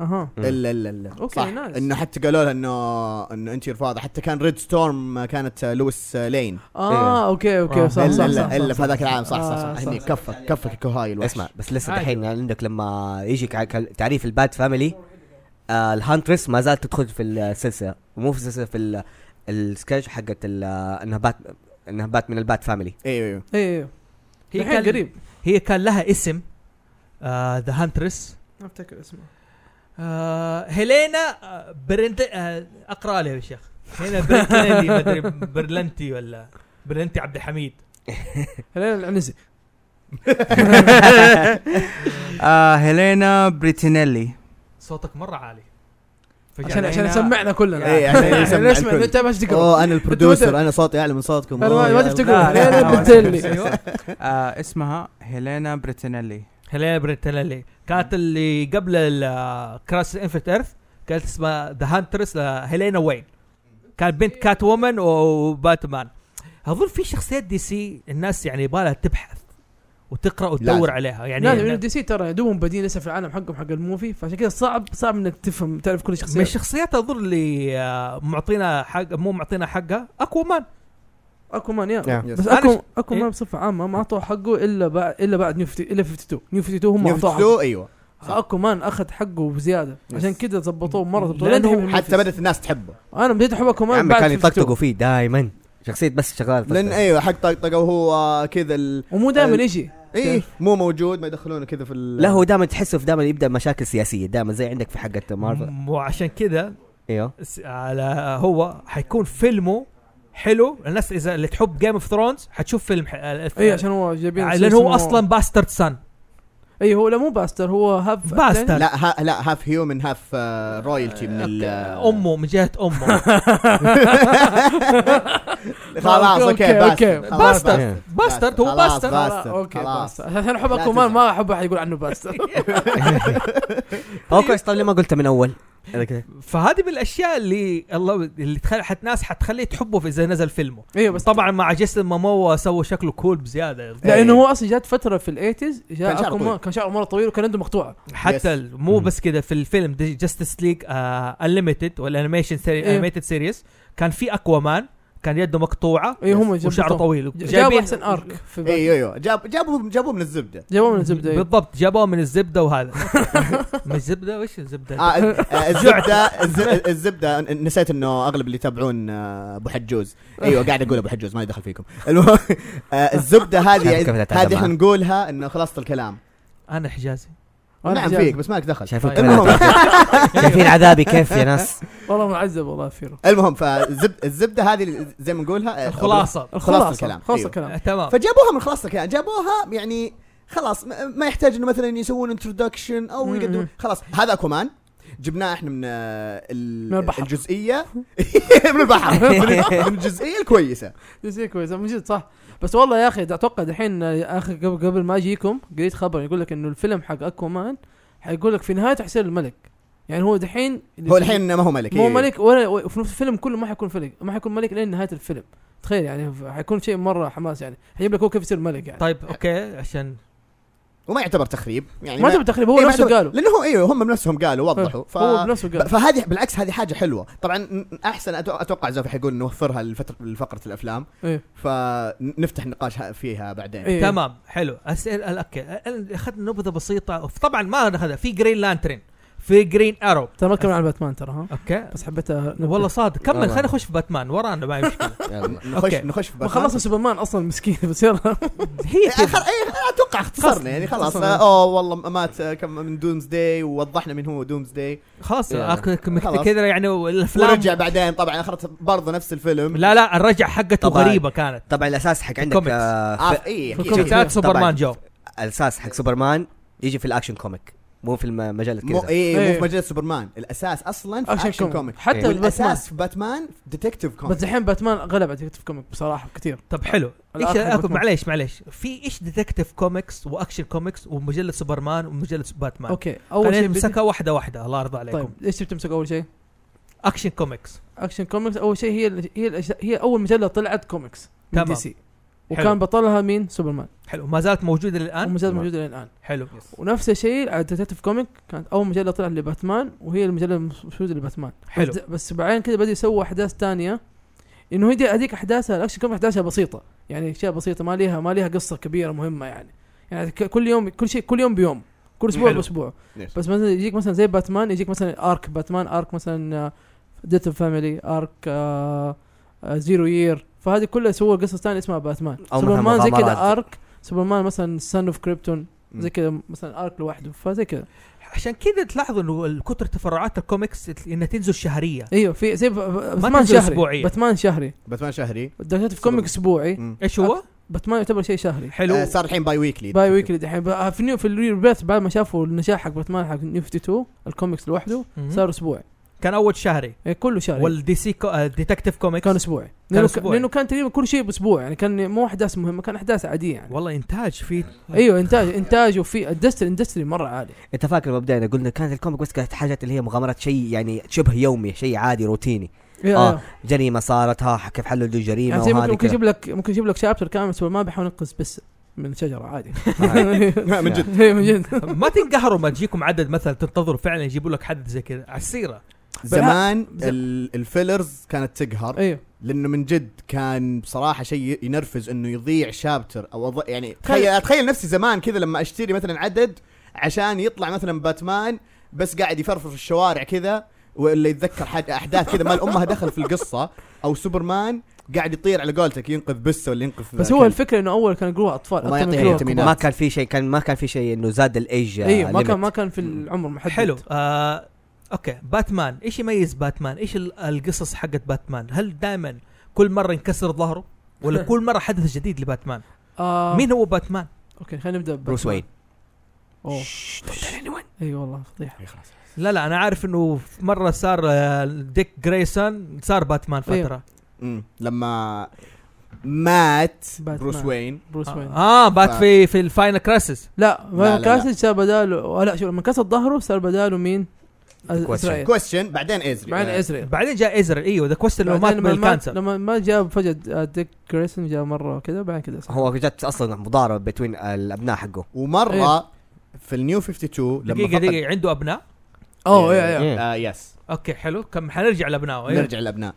S2: اها
S5: مم.
S3: الا الا الا
S2: أوكي،
S3: صح
S2: نايس.
S3: انه حتى قالوا لها انه انه انت رفاضه حتى كان ريد ستورم كانت لويس لين
S2: اه اوكي
S1: آه.
S2: اوكي صح
S3: الا
S2: صح
S3: الا
S2: صح
S3: الا
S2: صح.
S3: في هذاك العام صح صح
S2: آه،
S3: صح
S2: صح،
S3: هني
S2: صح.
S3: كفك كفك الكوهاي الوحش
S5: اسمع بس لسه
S1: عادي.
S5: دحين يعني عندك لما يجيك ع- كال- تعريف الباد فاميلي آه الهانترس ما زالت تدخل في السلسله مو في السلسله في ال- السكتش حقت ال- انها بات انها بات من الباد فاميلي
S3: ايوه ايوه
S2: اي اي
S1: هي
S2: الحين
S1: كان
S2: إيه، قريب
S1: هي كان لها اسم آه، ذا هانترس
S2: ما افتكر اسمه
S1: هيلينا آه، برنت آه، اقرا لي يا شيخ هنا برنتلندي مدري برلنتي ولا برلنتي عبد الحميد
S2: هيلينا العنزي
S4: آه هيلينا بريتينيلي
S1: صوتك مره عالي
S2: عشان
S1: فجأة
S2: عشان
S4: هنا-
S2: يسمعنا كلنا
S3: إيه، عشان يسمع
S2: اسمع
S3: الكل.
S2: انت ماشي تقرا
S3: اوه انا البروديوسر انا صوتي اعلى من صوتكم
S2: أنا ما-
S3: أوه،
S2: ما
S3: يا-
S2: تفتكر.
S4: لا، لا،
S2: هيلينا
S4: لا،
S3: أيوه،
S2: بريتينيلي.
S4: أيوة. آه اسمها هيلينا بريتينيلي
S1: هيلينا برنتلندي كانت اللي قبل كراس انفت ايرث كانت اسمها ذا هانترس هيلينا وين كانت بنت كات وومن وباتمان اظن في شخصيات دي سي الناس يعني يبالها تبحث وتقرا وتدور
S3: لازم.
S1: عليها يعني
S2: لازم لأن دي سي ترى دوبهم بادين لسه في العالم حقهم حق الموفي فعشان كذا صعب صعب انك تفهم تعرف كل
S1: من
S2: شخصيه
S1: الشخصيات اظن اللي آه، معطينا حق مو معطينا حقها اكوامان
S2: اكو مان يا
S3: يس.
S2: بس
S1: أنا
S2: اكو
S1: ش-
S2: اكو
S1: إيه؟
S2: مان بصفه عامه ما اعطوه حقه الا بعد الا بعد نيو 50 الا 52 نيو 52 هم
S3: نيو
S2: اعطوه
S3: فيتو، ايوه
S2: حقه اكو مان اخذ حقه بزياده
S3: يس.
S2: عشان كذا ضبطوه مره ضبطوه
S1: لأنه
S2: لين دحين
S3: حتى
S2: بالموفيز.
S3: بدات الناس تحبه
S2: انا بديت احب اكو
S5: يا
S2: مان
S5: عم
S2: بعد
S5: كانوا
S2: 52.
S5: يطقطقوا فيه دائما شخصيه بس شغاله
S3: لان ايوه حق طقطقه وهو كذا ال...
S2: ومو دائما يجي
S3: ايه مو موجود ما يدخلونه كذا في ال...
S5: لا هو دائما تحسه في دائما يبدا مشاكل سياسيه دائما زي عندك في حقت مارفل
S1: وعشان كذا
S5: ايوه
S1: س- على هو حيكون فيلمه حلو الناس اذا اللي تحب جيم اوف ثرونز حتشوف فيلم ح... الف-
S2: اي إيه، عشان هو جايبين
S1: لان يعني هو اصلا باسترد سان
S2: اي هو لا مو باستر هو هاف
S1: باستر.
S3: لا ها لا هاف هيومن هاف رويالتي آه، من ال...
S1: امه من جهه امه
S3: خلاص اوكي
S2: أوكي، أوكي.
S3: باستر خلاص،
S1: باستر.
S5: إيه.
S1: باسترد هو
S3: خلاص،
S1: باستر
S3: باستر.
S2: لا، اوكي
S3: خلاص.
S2: باستر عشان احب اكو
S3: لا
S2: مان
S3: تزعل.
S2: ما احبه حيقول عنه باستر
S5: هو كويس طب ليه ما طيب، قلت من اول أنا كده.
S1: فهذه من الاشياء اللي الله اللي تخلي حت ناس حتخليه تحبه في اذا نزل فيلمه
S2: ايوه بس
S1: طبعا مع جيسون ماموا سوى شكله كول بزياده
S2: لانه هو اصلا جات فتره في الايتيز
S3: إيه. كان
S2: جاء
S3: شعره
S2: اكو
S3: طويل.
S2: مان كان شعره مره طويل وكان عنده مقطوعه
S3: Yes.
S1: حتى ال- مو
S5: Mm.
S1: بس كده في الفيلم جاستس ليج انليمتد والانيميشن
S2: إيه.
S1: انيميتد سيريس كان في اكوامان كان يده مقطوعه
S3: إيه.
S2: اي هم جابوا-
S1: وشعره طويل
S2: جابوا احسن ارك في باتمان.
S3: ايوه ايوه جاب جابوه جابوه من الزبده
S2: جابوه من الزبده أيوة.
S1: بالضبط جابوه من الزبده وهذا من الزبده وش الزبده؟
S3: آه ال- آه، الزبده الز- الزبده نسيت انه اغلب اللي يتابعون آه، ابو حجوز ايوه قاعد اقول ابو حجوز ما يدخل فيكم المهم آه، الزبده
S5: شايف كيف
S3: هذه
S5: تتعامل
S3: هذه احنا
S5: معاه.
S3: نقولها انه خلاصه الكلام
S1: انا حجازي
S2: وأنا
S3: نعم
S2: حجابي.
S3: فيك بس مالك دخل
S5: شايفين
S1: طيب.
S3: المهم
S5: شايفين عذابي كيف يا ناس
S2: والله معذب والله فيرو
S3: المهم فالزبده هذه اللي زي ما نقولها آه،
S1: الخلاصه
S3: خلاصة الكلام.
S2: خلاص
S3: أيوه.
S1: آه،
S2: الكلام
S1: تمام
S3: فجابوها من خلاصه كذا جابوها يعني خلاص م- ما يحتاج انه مثلا يسوون انتروداكشن او
S2: مم.
S3: يقدمون خلاص هذا اكوامان جبناه احنا من آه، ال-
S2: من البحر.
S3: الجزئيه من البحر من- من الجزئيه الكويسه
S2: جزئية كويسة من جد صح بس والله يا اخي اتوقع دحين يا اخي قبل قبل ما اجيكم قريت خبر يقول لك انه الفيلم حق اكوامان حيقول لك في نهايته حيصير الملك يعني هو دحين
S3: هو الحين ما هو ملك
S2: مو
S3: إيه.
S2: ملك ولا وفي نفس الفيلم كله ما حيكون ملك ما حيكون ملك لين نهايه الفيلم تخيل يعني حيكون شيء مره حماس يعني حيجيب لك هو كيف يصير ملك يعني
S1: طيب اوكي عشان
S3: وما يعتبر تخريب يعني
S2: ما تبي تخريب هو
S3: إيه، ما
S2: نفسه
S3: يعتبر-
S2: قالوا
S3: لانه هو ايوه هم بنفسهم قالوا وضحوا ف...
S2: هو بنفسه
S3: ب-
S2: قال
S3: فهذه بالعكس هذه حاجه حلوه طبعا ن- احسن أتو- اتوقع زوفي حيقول نوفرها لفتره لفقره الافلام
S2: إيه.
S3: فنفتح نقاش ه- فيها بعدين
S2: إيه.
S1: تمام حلو اسئله اوكي أنا اخذنا نبذه بسيطه طبعا ما اخذها في جرين لانترن في جرين ارو
S2: ترى ما تكلم عن باتمان ترى ها
S1: اوكي
S2: بس حبيت أ-
S1: والله صادق كمل
S5: يلا.
S1: خلينا نخش في باتمان ورانا ما هي مشكله
S3: نخش
S1: أوكي.
S3: نخش في
S2: ما
S3: باتمان.
S2: خلصنا سوبرمان اصلا مسكين بس يلا
S1: هي
S3: إيه،
S1: كذا
S3: خل- إيه، اتوقع اختصرنا يعني خلاص
S2: اختصرنا.
S3: آه، اوه والله مات آه، كم من دومز داي ووضحنا من هو دومز داي
S1: خلاص
S5: يلا.
S1: أك- ك-
S3: خلاص.
S1: كذا يعني الافلام
S3: ورجع بعدين طبعا اخرت برضه نفس الفيلم
S1: لا لا الرجعه حقته
S5: طبعاً.
S1: غريبه كانت
S5: طبعا الاساس حق عندك
S1: الكوميكس.
S5: آه، ف-
S3: عارف اي
S2: في الكوميكس.
S1: شخصيات سوبرمان
S5: طبعاً.
S1: جو
S5: الاساس حق سوبرمان يجي في الاكشن كوميك مو في الم- مجله
S3: مو
S5: كذا
S3: اي مو
S2: إيه.
S3: في مجله سوبرمان الاساس اصلا في اكشن كوميك
S2: حتى
S5: إيه.
S2: الباتمان
S3: والاساس في طيب، باتمان ديتكتيف كوميك
S2: طيب، بس الحين باتمان غلب على ديتكتيف كوميك بصراحه كثير
S1: طب حلو
S2: الآن
S1: ايش
S2: حق
S1: أكو-
S2: باتمان.
S1: معليش معليش في ايش ديتكتيف كوميكس واكشن كوميكس ومجله سوبرمان ومجله باتمان
S2: اوكي
S1: اول
S2: اول
S1: شيء
S2: شيء بدي-
S1: نمسكها واحده واحده الله يرضى عليكم
S2: طيب ايش بتمسك اول شيء؟
S1: اكشن كوميكس
S2: اكشن كوميكس اول شيء هي ال- هي الأشياء- هي اول مجله طلعت كوميكس من
S1: تمام.
S2: دي سي
S1: حلو.
S2: وكان بطلها مين؟ سوبرمان
S1: حلو ما زالت موجوده للان
S2: ومازال
S5: تمام.
S2: موجوده لين الان
S1: حلو
S2: ونفس الشيء على ديتكتيف كوميك كانت اول مجله طلعت لباتمان وهي المجله الموجوده لباتمان
S1: حلو
S2: بس- بس بعدين كذا بدأوا يسووا احداث تانية انه هي دي- هذيك احداثها الاكشن كوميك احداثها بسيطه يعني اشياء بسيطه ما ليها ما ليها قصه كبيره مهمه يعني يعني ك- كل يوم كل شيء كل يوم بيوم كل اسبوع
S1: حلو.
S2: باسبوع
S3: Yes.
S2: بس مثلا يجيك مثلا زي باتمان يجيك مثلا ارك باتمان آه، ارك مثلا ديت فاميلي ارك آه، زيرو يير فهذه كلها سووا قصص ثانيه اسمها باتمان
S5: أو مثلاً
S2: سوبرمان زي كذا
S5: مغامرات.
S2: ارك سوبرمان مثلا سان اوف كريبتون زي كذا مثلا ارك لوحده فزي كذا
S1: عشان كذا تلاحظوا انه ال- كثر تفرعات الكوميكس تل- انها تنزل شهريه
S2: ايوه في زي ب- ب- باتمان
S1: تنزل
S2: شهري
S1: أسبوعية.
S2: باتمان شهري
S3: باتمان شهري
S2: دكتور في
S3: سوبر-
S2: كوميك اسبوعي
S3: مم.
S1: ايش هو؟
S2: باتمان يعتبر شيء شهري
S1: حلو
S3: آه، صار الحين باي ويكلي
S2: باي ويكلي دحين بقى- في نيو في الريبيرث بعد ما شافوا النجاح حق باتمان حق نيو 52 الكوميكس لوحده
S1: مهم.
S2: صار اسبوع
S1: كان اول شهري
S2: يعني كله شهري
S1: والدي سي كو... آه، ديتكتيف كوميكس
S2: إيه، كان اسبوعي لانه,
S1: أسبوعي.
S2: أسبوعي. لأنه كان تقريبا كل شيء باسبوع يعني كان مو احداث مهمه كان احداث عاديه يعني
S1: والله انتاج في
S2: ايوه انتاج انتاج وفي اندستري اندستري مره عالي
S5: انت فاكر مبدئيا قلنا كانت الكوميك بس كانت حاجات اللي هي مغامرات شيء يعني شبه يومي شيء عادي روتيني آه. جريمه صارت ها كيف حلوا الجريمه
S2: يعني
S5: يعني
S2: زي ممكن,
S5: وهذه
S2: ممكن
S5: كذا
S2: يجيب لك ممكن يجيب لك شابتر كامل سوبرمان بيحاول ينقذ بس من شجره عادي
S3: من جد
S2: إيه، من جد
S1: ما تنقهروا ما تجيكم عدد مثلا تنتظروا فعلا يجيبوا لك حد زي كذا على السيره
S3: زمان
S2: زم-
S3: ال- الفيلرز كانت تقهر
S2: ايوه
S3: لانه من جد كان بصراحه شيء ينرفز انه يضيع شابتر او أض... يعني تخيل اتخيل نفسي زمان كذا لما اشتري مثلا عدد عشان يطلع مثلا باتمان بس قاعد يفرفر في الشوارع كذا ولا يتذكر حد احداث كذا مال امها دخل في القصه او سوبرمان قاعد يطير على قولتك ينقذ بسه ولا ينقذ
S2: بس هو الفكره انه اول كانوا يقولوها اطفال
S3: وما
S2: أكثر من
S3: يعطيها
S2: يقولوها
S3: فيتامينات.
S5: ما كان في شيء كان ما كان في شيء انه زاد آه، الايج
S2: كبار. ايوه ما كان ما كان في العمر محدد
S1: حلو آه اوكي باتمان ايش يميز باتمان ايش ال- القصص حقت باتمان هل دائما كل مره ينكسر ظهره ولا كل مره حدث جديد لباتمان
S2: آه
S1: مين هو باتمان
S2: اوكي خلينا نبدا
S5: بروس وين
S2: اوه اي إيه، والله فضيحه
S1: لا لا انا عارف انه مره صار آه، ديك جريسون صار باتمان
S2: أيوه،
S1: فتره
S3: مم. لما مات
S2: باتمان.
S3: بروس وين
S2: بروس وين آه.
S1: اه بات
S3: ف-
S1: في في الفاينل كراسس
S2: لا
S3: لا،
S2: ما
S3: لا.
S2: كاسج صار بداله آه، لا شوف لما كسر ظهره صار بداله مين؟
S5: كويسن.
S2: اسرائيل
S3: كويستشن بعدين ازري
S2: بعدين اسرائيل
S1: بعدين جاء ازرائيل ايوه ذا كويستن اللي هو مات
S2: أيوه. بعدين لما مات-
S1: بالكانسر
S2: لما ما آه، جاء فجاه ديك جريسون جاء مره كذا بعدين كذا إسرائيل.
S5: هو جت اصلا مضاربه بين الابناء حقه
S3: ومره
S2: إيه.
S3: في النيو 52 لما
S1: دقيقه
S3: فقد-
S1: دقيقه عنده ابناء
S2: اوه يا يا
S3: آه يس
S1: اوكي حلو كم حنرجع لابنائه أيوة.
S3: نرجع للابناء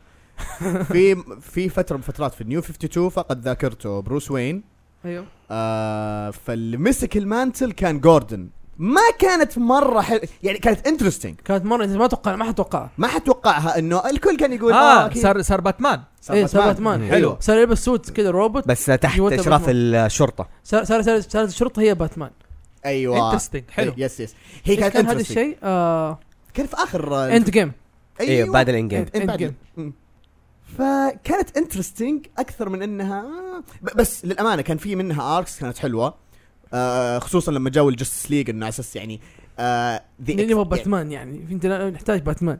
S3: في في فتره من فترات في النيو 52 فقد ذاكرته بروس وين
S2: ايوه
S3: آه فاللي مسك المانتل كان جوردن ما كانت مره حل... يعني كانت انترستنج
S2: كانت مره انت ما توقع ما حد توقعها
S3: ما حتوقعها انه الكل كان يقول آه،
S1: اه
S3: أكيد.
S1: صار صار باتمان
S2: اي آه، إيه، صار باتمان
S3: حلو
S1: حلو.
S3: أيوه.
S2: صار يلبس سوت كذا روبوت
S5: بس تحت
S2: يوتا
S5: اشراف
S2: باتمان.
S5: الشرطه
S2: صار صار صارت الشرطه هي باتمان
S3: ايوه
S1: انترستنج حلو
S3: إيه، يس يس هي كانت
S2: كان هذا
S3: interesting.
S2: الشيء آه
S3: كان في أيوة. اخر
S2: اند جيم أيوة.
S5: ايوه بادل ان جيم
S2: إيه، End-
S3: إيه،
S2: End Game.
S3: جيم فكانت انترستنج اكثر من انها آه، ب- بس للامانه كان في منها اركس كانت حلوه آه خصوصا لما جاوا الجستس ليج انه على اساس يعني آه the ex-
S2: نبغى باتمان يعني في انتنا- نحتاج باتمان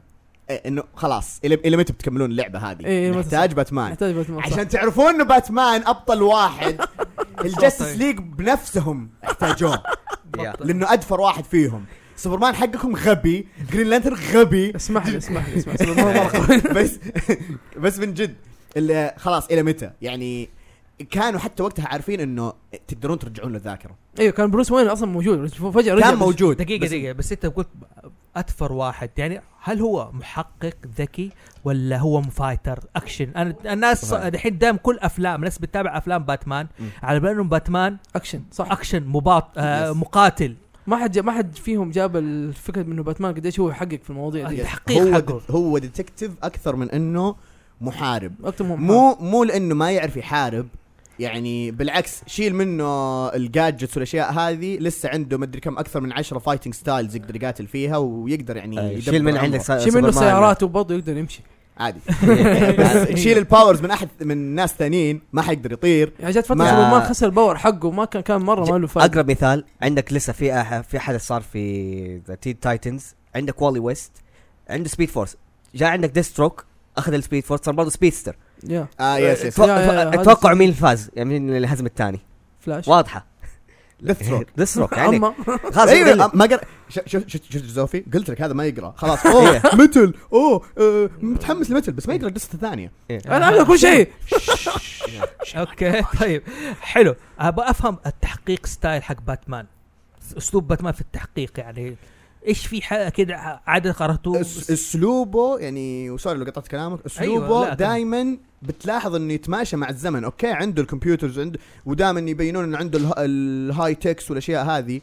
S3: يعني انه خلاص الى الى متى بتكملون اللعبه هذه؟
S2: إيه، متى
S3: نحتاج باتمان
S2: نحتاج باتمان صح.
S3: عشان تعرفون انه باتمان ابطل واحد الجستس ليج بنفسهم احتاجوه لانه ادفر واحد فيهم سوبرمان حقكم غبي جرين لانتر غبي
S2: اسمح لي اسمح لي اسمح لي سوبرمان مرة قوي.
S3: بس بس من جد ال- خلاص الى متى يعني كانوا حتى وقتها عارفين انه تقدرون ترجعون للذاكره
S2: ايوه كان بروس وين اصلا موجود بس فجاه رجع
S3: كان
S2: بس-
S3: موجود
S1: دقيقة
S3: بس-
S1: دقيقة بس انت قلت اتفر واحد يعني هل هو محقق ذكي ولا هو فايتر اكشن انا الناس
S5: صحيح.
S1: الحين دام كل افلام الناس بتتابع افلام باتمان
S3: مم.
S1: على بال انهم باتمان
S2: اكشن صح
S1: اكشن مباط آه
S3: Yes.
S1: مقاتل
S2: ما حد ما حد فيهم جاب الفكره انه باتمان قديش هو يحقق في المواضيع
S3: آه،
S2: دي
S1: التحقيق
S3: هو
S1: حقه.
S3: هو ديتكتيف اكثر من انه محارب
S2: اكتب مو
S3: مو مو لانه ما يعرف يحارب يعني بالعكس شيل منه الجادجتس والاشياء هذه لسه عنده مدري كم اكثر من عشرة فايتنج ستايلز يقدر يقاتل فيها ويقدر يعني
S5: آه،
S3: يدبر
S5: شيل من
S3: أمره.
S5: عندك سا-
S2: شيل منه
S5: سوبرمان.
S3: يعني.
S5: إيه.
S2: سيارات وبرضه يقدر يمشي
S3: عادي بس شيل الباورز من احد من ناس ثانيين ما حيقدر يطير
S2: يعني جت فتره
S5: ما-
S2: سوبرمان خسر الباور حقه ما كان كان مره ما له فائده
S5: اقرب مثال عندك لسه في أح- في حدث صار في ذا تين تايتنز عندك والي ويست عنده سبيد فورس جاء عندك ديستروك اخذ السبيد فورس صار برضه سبيدستر
S2: يا
S3: اه يس يس
S2: يا- يا- يا، هذا
S5: اتوقع
S2: السبيد.
S5: مين اللي فاز يعني مين اللي هزم الثاني
S2: فلاش
S5: واضحه
S3: Deathstroke.
S5: ديستروك يعني
S2: اما
S5: خلاص
S2: أيوة.
S3: ايوه
S5: يقول-
S3: ما إيه. قرا شفت شفت شفت زوفي قلت لك هذا ما يقرا خلاص اوه متل اوه آه، متحمس لمتل بس ما يقرا القصه الثانيه
S2: انا اقدر كل شيء
S1: اوكي طيب حلو ابغى افهم التحقيق ستايل حق باتمان اسلوب باتمان في التحقيق يعني ايش في حاجه كده عاده قرأته
S3: أس- اسلوبه يعني وسوري لو قطعت كلامك اسلوبه
S1: لا،
S3: أيوة
S1: تمام.
S3: دائما بتلاحظ انه يتماشى مع الزمن اوكي عنده الكمبيوترز عنده ودائما يبينون انه عنده اله- الهاي تكس والاشياء هذه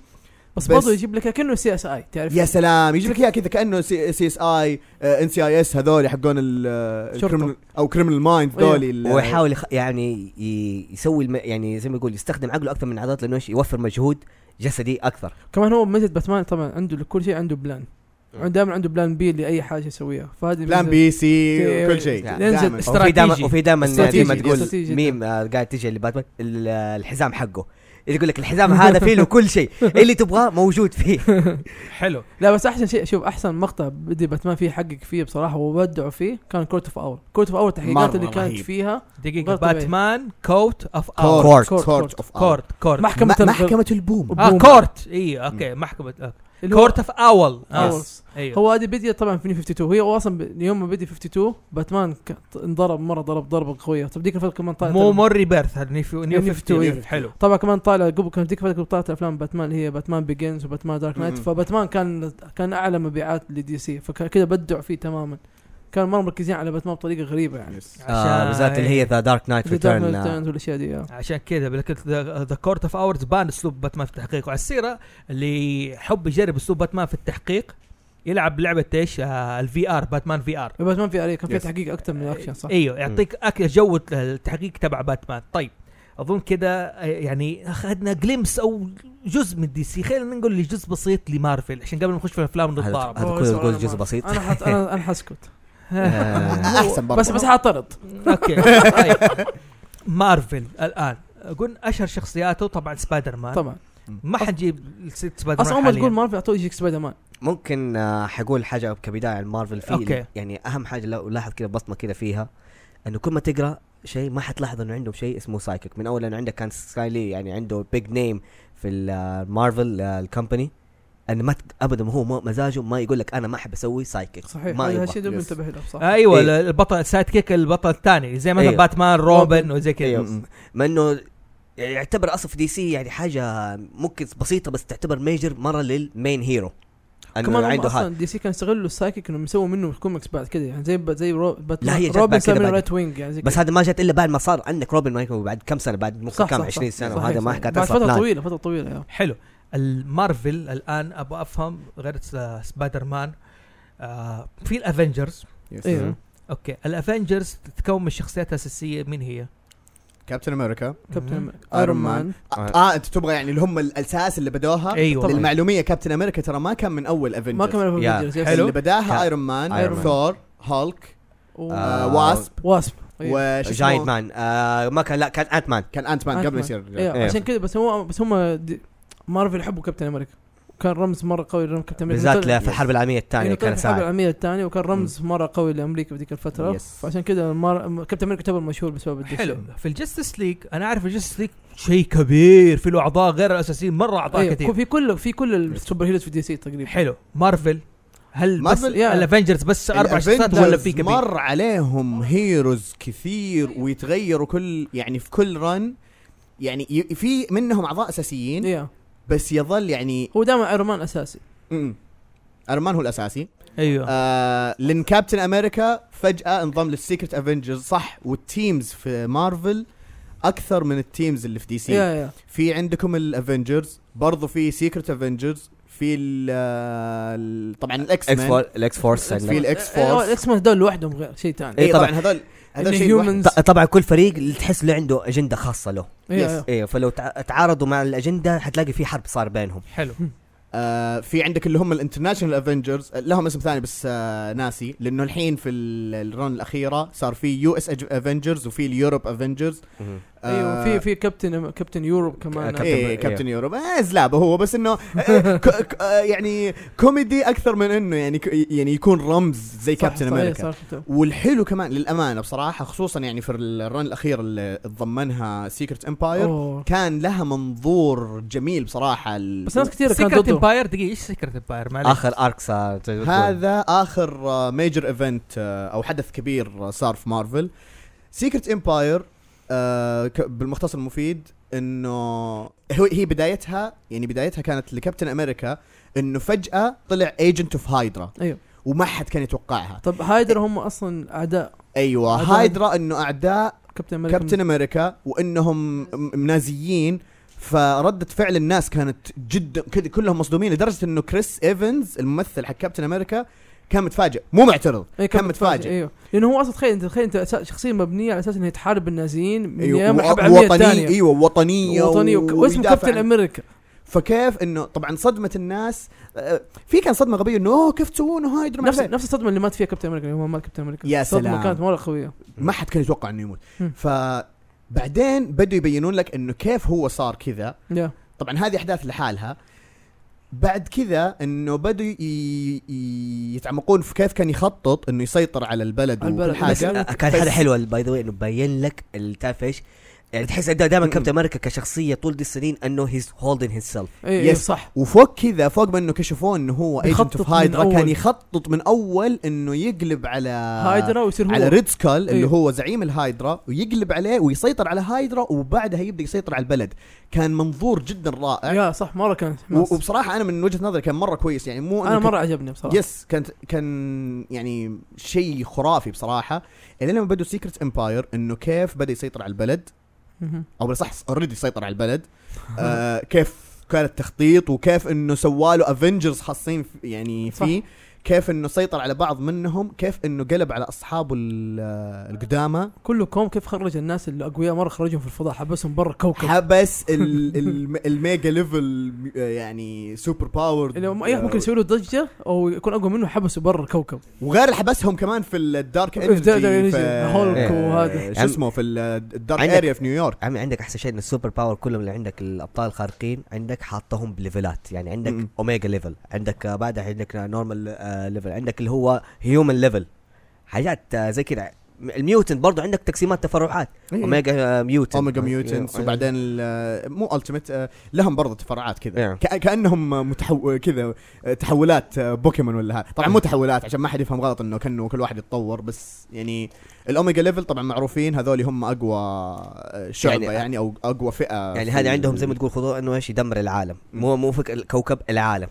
S2: بس
S3: بس-
S2: برضه يجيب لك كانه سي اس اي تعرف
S3: يا سلام يجيب لك اياها كذا كانه سي اس اي ان سي اي اس هذول حقون ال- آه،
S2: شرطة.
S3: الكريمنال- او كريمنال مايند هذول ال-
S5: ويحاول يخ... يعني ي... يسوي الم... يعني زي ما يقول يستخدم عقله اكثر من عضلاته لانه ايش يوفر مجهود جسدي اكثر
S2: كمان هو ميزه باتمان طبعا عنده لكل شيء عنده بلان دائما عنده بلان بي لاي حاجه يسويها فهذه
S3: بلان
S2: ميزة-
S3: بي سي
S2: إيه،
S3: وكل شيء
S5: يعني
S2: ينزل
S3: دائماً.
S2: است-
S5: وفي دائما
S2: استراتيجي.
S5: وفي دائما زي ما
S2: استراتيجي،
S5: تقول
S2: استراتيجي
S5: ميم آه، قاعد تجي لباتمان ال- الحزام حقه يقول لك الحزام هذا فيه له كل شيء اللي تبغاه موجود فيه
S1: حلو
S2: لا بس احسن شيء شوف احسن مقطع بدي باتمان فيه حقق فيه بصراحه وبدعوا فيه كان كورت اوف اور كورت اوف اور التحقيقات
S3: مرة
S2: اللي كانت
S3: رهيب.
S2: فيها
S1: دقيقه
S2: غير طبيعي.
S1: باتمان كوت اوف اور
S3: إيه؟ كورت
S2: كورت.
S3: كورت اوف
S1: كورت كورت
S2: محكمه
S3: م- محكمة آه، البوم
S1: اه
S2: بوم.
S1: كورت اي اوكي محكمه آه.
S2: اللي هو-
S1: كورت اوف اول
S2: أول.
S1: ايوه
S2: هو هذه بديت طبعا في 52 هي هو اصلا ب- يوم ما بدي 52 باتمان ك- انضرب مره ضرب ضربه قويه طب ديك الفتره كمان طالع
S1: مو مور ريبيرث نيو
S2: نيو
S1: 52
S2: 52.
S1: حلو
S2: طبعا كمان طالع قبل كان ديك الفتره طلعت افلام باتمان اللي هي باتمان بيجنز وباتمان دارك نايت
S3: مم.
S2: فباتمان كان كان اعلى مبيعات لدي سي فكذا بدعوا فيه تماما كان مره مركزين على باتمان بطريقه غريبه يعني
S5: آه، بالذات اللي هي ذا دارك نايت
S2: The Dark Knight
S5: ريتيرن
S2: Returns والاشياء دي آه.
S1: عشان كذا لكن ذا كورت اوف اورز بان اسلوب باتمان في التحقيق وعلى السيره اللي يحب يجرب اسلوب باتمان في التحقيق يلعب لعبه ايش آه الفي ار باتمان في ار
S2: باتمان في عليه كان في
S3: Yes.
S2: تحقيق اكثر من الاكشن صح؟
S1: ايوه يعطيك اكل جو التحقيق تبع باتمان طيب اظن كده آه، يعني اخذنا جلمس او جزء من دي سي خلينا نقول لي جزء بسيط لمارفل عشان قبل ما نخش في الافلام نتضارب
S5: هذا
S2: أوه،
S5: كله
S2: سؤال
S5: تقول
S2: ما-
S5: جزء بسيط.
S2: انا حت... انا انا حسكت
S5: آه،
S3: احسن برضه
S2: بس بس حاعترض
S1: اوكي طيب مارفل الان قلنا اشهر شخصياته طبعا سبايدر مان
S2: طبعا
S1: ما حنجيب سلسلة سبايدر
S2: اصلا
S1: مان
S2: اول ما تقول
S1: حاليا
S2: مارفل اعطوه يجيك سبايدر مان
S5: ممكن آه، حقول حاجه كبدايه عن مارفل فيه
S1: أوكي.
S5: يعني اهم حاجه لو لاحظ كذا بصمه كذا فيها انه كل ما تقرا شيء ما حتلاحظ انه عندهم شيء اسمه سايكيك من اول انه عندك كان سكايلي يعني عنده بيج نيم في آه، المارفل الكومباني انه ما تق- ابدا هو ما- مزاجه ما يقول لك انا ما احب اسوي سايكيك
S2: صحيح
S5: ما
S2: هذا
S5: يبغى.
S2: الشيء دوب
S3: Yes.
S2: منتبه له صح
S1: ايوه
S5: إيه.
S1: البطل سايد كيك البطل الثاني زي مثلا
S5: إيه.
S1: باتمان روبن
S2: روبن.
S1: وزي كذا
S2: إيه.
S5: أيوه. ما انه يعتبر اصلا في دي سي يعني حاجه ممكن بسيطه بس تعتبر ميجر مره للمين هيرو
S2: كمان
S5: انه
S2: هم
S5: عنده هذا
S2: اصلا دي سي كان يستغلوا السايكيك انهم يسووا منه كوميكس بعد كده يعني زي زي رو...
S5: لا، هي
S2: باتمان
S5: جت
S2: روبن
S5: بعد
S2: سوى
S5: كده
S2: منه
S5: بعد.
S2: رايت وينج يعني زي
S5: بس
S2: كده.
S5: هذا ما جت الا بعد ما صار عندك روبن مايكل بعد كم سنه بعد ممكن
S2: صح،
S5: كم
S2: صح،
S5: 20
S2: صح.
S5: سنه
S2: صحيح،
S5: وهذا ما
S2: صحيح.
S5: كانت
S2: بعد
S5: اصلا
S2: فتره
S5: بلان.
S2: طويله فتره طويله يا.
S1: حلو المارفل الان ابغى افهم غير س- سبايدر مان آه في الافنجرز
S3: Yes.
S2: ايوه
S1: اوكي الافنجرز تتكون من شخصيات اساسيه مين هي؟
S3: كابتن امريكا
S2: كابتن
S3: ايرون
S5: آه،
S2: ايرون
S3: مان.
S2: مان
S3: اه انت تبغى يعني اللي هم الاساس اللي بدوها
S1: ايوه
S2: أيوة. طبعاً.
S3: للمعلوميه كابتن امريكا ترى ما كان من اول افنجرز
S2: ما كمل في
S5: يا.
S2: Avengers، يس.
S1: حلو.
S3: اللي بداها
S5: كا-
S3: ايرون مان
S5: أيرون
S2: مان.
S3: ثور هولك
S2: و-
S5: آه،
S3: واسب
S2: واسب أيوه.
S3: وش
S5: جاينت
S3: اسمه
S5: مان آه ما كان لا كان انت مان
S3: كان انت مان
S2: أنت
S3: قبل
S2: مان.
S3: يصير
S5: إيه.
S2: ايوه عشان كذا بس هو بس هم دي- مارفل يحبوا كابتن امريكا وكان رمز مره قوي لكابتن كابتن امريكا
S5: بالذات
S2: طلع-
S5: لا في الحرب العالميه الثانيه
S2: يعني طلع
S5: كان
S2: في الحرب
S5: ساعد
S2: العالميه الثانيه وكان رمز مره قوي لامريكا بديك الفتره
S3: Yes.
S2: فعشان كذا مار... كابتن امريكا تعتبر مشهور بسبب الدش
S1: حلو في الجستس ليج انا اعرف الجستس ليج شيء كبير في له اعضاء غير الاساسيين مره اعضاء
S2: أيوه.
S1: أيوة. كثير
S2: في كل في كل السوبر هيروز في دي سي تقريبا
S1: حلو مارفل هل بس
S3: مارفل- آه.
S2: يا.
S1: الافنجرز بس اربع شخصيات
S3: الأفنجرز
S1: ولا في كبير
S3: مر عليهم هيروز كثير ويتغيروا كل يعني في كل رن يعني ي- في منهم اعضاء اساسيين
S2: ايوه
S3: بس يظل يعني
S2: هو دائما ايرون مان اساسي
S3: م- ارمان هو الاساسي
S1: ايوه
S3: آه لان كابتن امريكا فجاه انضم للسيكرت افنجرز صح والتيمز في مارفل اكثر من التيمز اللي في دي سي
S2: يا يا
S3: في عندكم الافنجرز برضو في سيكرت افنجرز في ال- آه، ال طبعا الاكس
S2: طيب،
S5: اكس
S3: مان
S5: فور اكس فورس
S3: في الاكس فورس
S2: الاكس مان دول لوحدهم غير شيء ثاني
S5: إيه.
S3: اي طبعا
S5: طبعاً.
S3: هذول هذول شيء لوحده.
S2: الهيومنز
S5: طبعا كل فريق اللي تحس له عنده اجنده خاصه له
S2: يا
S5: ايوه فلو تع- تعارضوا مع الاجنده حتلاقي في حرب صار بينهم
S1: حلو
S3: آه في عندك اللي هم الانترناشونال افنجرز لهم اسم ثاني بس آه ناسي لانه الحين في ال- الرن الاخيره صار في يو اس افنجرز وفي اليوروب افنجرز
S2: ايوه في في كابتن كابتن يوروب كمان
S5: كابتن-
S3: ايه
S5: إيه.
S3: كابتن يوروب آه زلابه هو بس انه آه ك- ك- آه، يعني كوميدي اكثر من انه يعني ك- يعني يكون رمز زي
S2: صح،
S3: كابتن
S2: صح، إيه،
S3: امريكا
S2: صح، صح.
S3: والحلو كمان للامانه بصراحه خصوصا يعني في الرن الاخير اللي تضمنها سيكرت امباير
S2: أوه.
S3: كان لها منظور جميل بصراحه ال-
S2: بس ناس كثيره كانت
S1: سيكرت
S2: ضده
S1: امباير دقيقه ايش سيكرت امباير
S3: آه.
S1: معلش
S5: اخر ارك صار
S3: هذا آه, اخر ميجر ايفنت او حدث كبير آه، صار في مارفل سيكرت امباير بالمختصر المفيد انه هو هي بدايتها يعني بدايتها كانت لكابتن امريكا انه فجاه طلع ايجنت اوف هايدرا
S2: أيوه.
S3: وما حد كان يتوقعها
S2: طب هايدر هم اصلا اعداء
S3: ايوه
S2: هذا-
S3: هايدرا انه اعداء
S2: كابتن امريكا
S3: كابتن امريكا وانهم م- نازيين فردة فعل الناس كانت جدا كده كلهم مصدومين لدرجه انه كريس ايفنز الممثل حق كابتن امريكا كان متفاجئ مو معترض
S2: إيه،
S3: كان متفاجئ.
S2: ايوه لانه هو اصلا تخيل انت تخيل انت أساس- شخصيه مبنيه على اساس انها تحارب النازيين من
S3: ايوه
S2: ايام الحرب
S3: وط-
S2: العالميه
S3: وطنية
S2: الثانيه
S3: ايوه وطنيه
S2: وطنيه وك- واسمه
S3: ويدافع
S2: كابتن
S3: عن-
S2: امريكا
S3: فكيف انه طبعا صدمه الناس آه، في كان صدمه غبيه انه اوه كيف تسوونه هايدر ما
S2: نفس
S3: عارف إيه.
S2: نفس الصدمه اللي مات فيها كابتن امريكا يوم ما مات كابتن امريكا
S3: يا
S2: الصدمة
S3: سلام.
S2: كانت مره قويه
S3: ما حد كان يتوقع انه يموت
S2: مم.
S3: فبعدين بدوا يبينون لك انه كيف هو صار كذا
S2: يا
S3: طبعا هذه احداث لحالها بعد كذا انه بدوا ي- ي- يتعمقون في كيف كان يخطط انه يسيطر على البلد,
S2: على البلد.
S3: وكل حاجه
S2: بس-
S5: آه، كان
S3: بس-
S5: حاجه حلوه باي ذا واي انه بين لك ال- تعرف ايش يعني تحس دائما
S3: م- م.
S5: كابتن امريكا كشخصيه طول دي السنين انه هيز هولدن هيز سيلف
S2: اي
S3: يس.
S2: يس إيه، صح
S3: وفوق كذا فوق ما انه كشفوه انه هو ايجنت
S2: بيخطط
S3: اوف
S2: من
S3: هايدرا كان
S2: أول.
S3: يخطط من اول انه يقلب على هايدرا
S2: هايدرا ويصير هو
S3: آه، على ريد سكال اللي
S2: أيوه.
S3: هو زعيم الهايدرا ويقلب عليه ويسيطر على هايدرا وبعدها يبدا يسيطر على البلد كان منظور جدا رائع
S2: يا صح مره كانت
S3: و-
S2: حماس
S3: وبصراحه انا من وجهه نظري كان مره كويس يعني مو
S2: انا
S3: إنه
S2: مره عجبني بصراحه
S3: يس كانت كان يعني شيء خرافي بصراحه الين لما بدوا سيكرت امباير انه كيف بدا يسيطر على البلد
S2: مهم.
S3: او بالصح اوريدي سيطر على البلد آه كيف كان التخطيط وكيف انه سواله افنجرز خاصين في- يعني
S2: صح.
S3: فيه كيف انه سيطر على بعض منهم كيف انه قلب على اصحابه ال- القدامى
S2: كله كوم كيف خرج الناس الاقوياء مره خرجهم في الفضاء حبسهم برا كوكب
S3: حبس ال- الم- الميجا ليفل آه، يعني سوبر باور
S2: اللي هم- أيوة، ممكن يسوي له ضجه او يكون اقوى منه حبسوا برا الكوكب
S3: وغير اللي حبسهم كمان في الدارك
S2: في Dark
S3: انرجي
S2: Energy، هولك وهذا.
S3: شو اسمه في الدارك
S5: عندك-
S3: اريا في نيويورك
S5: عمي عندك احسن شيء ان السوبر باور كلهم اللي عندك الابطال الخارقين عندك حاطهم بليفلات يعني عندك
S3: م-م.
S5: اوميجا ليفل عندك آه، بعدها عندك نورمال آه، ليفل عندك اللي هو هيومن ليفل حاجات آه، زي كذا الميوتن برضو عندك تقسيمات تفرعات
S2: إيه.
S5: اوميجا آه، ميوتن
S3: اوميجا ميوتنتس
S5: أيوه.
S3: وبعدين ال- مو التيمت لهم برضه تفرعات كذا
S5: إيه.
S3: كأ- كانهم متحو كذا آه، تحولات آه، بوكيمون ولا هذا طبعا مو تحولات عشان ما حد يفهم غلط انه كانه كل واحد يتطور بس يعني الاوميجا ليفل طبعا معروفين هذول هم اقوى آه، شعبه
S5: يعني-
S3: يعني او اقوى فئه في
S5: يعني هذا عندهم
S3: ال-
S5: زي ما تقول خضوع انه ايش يدمر العالم
S3: م.
S5: مو مو فكر الكوكب العالم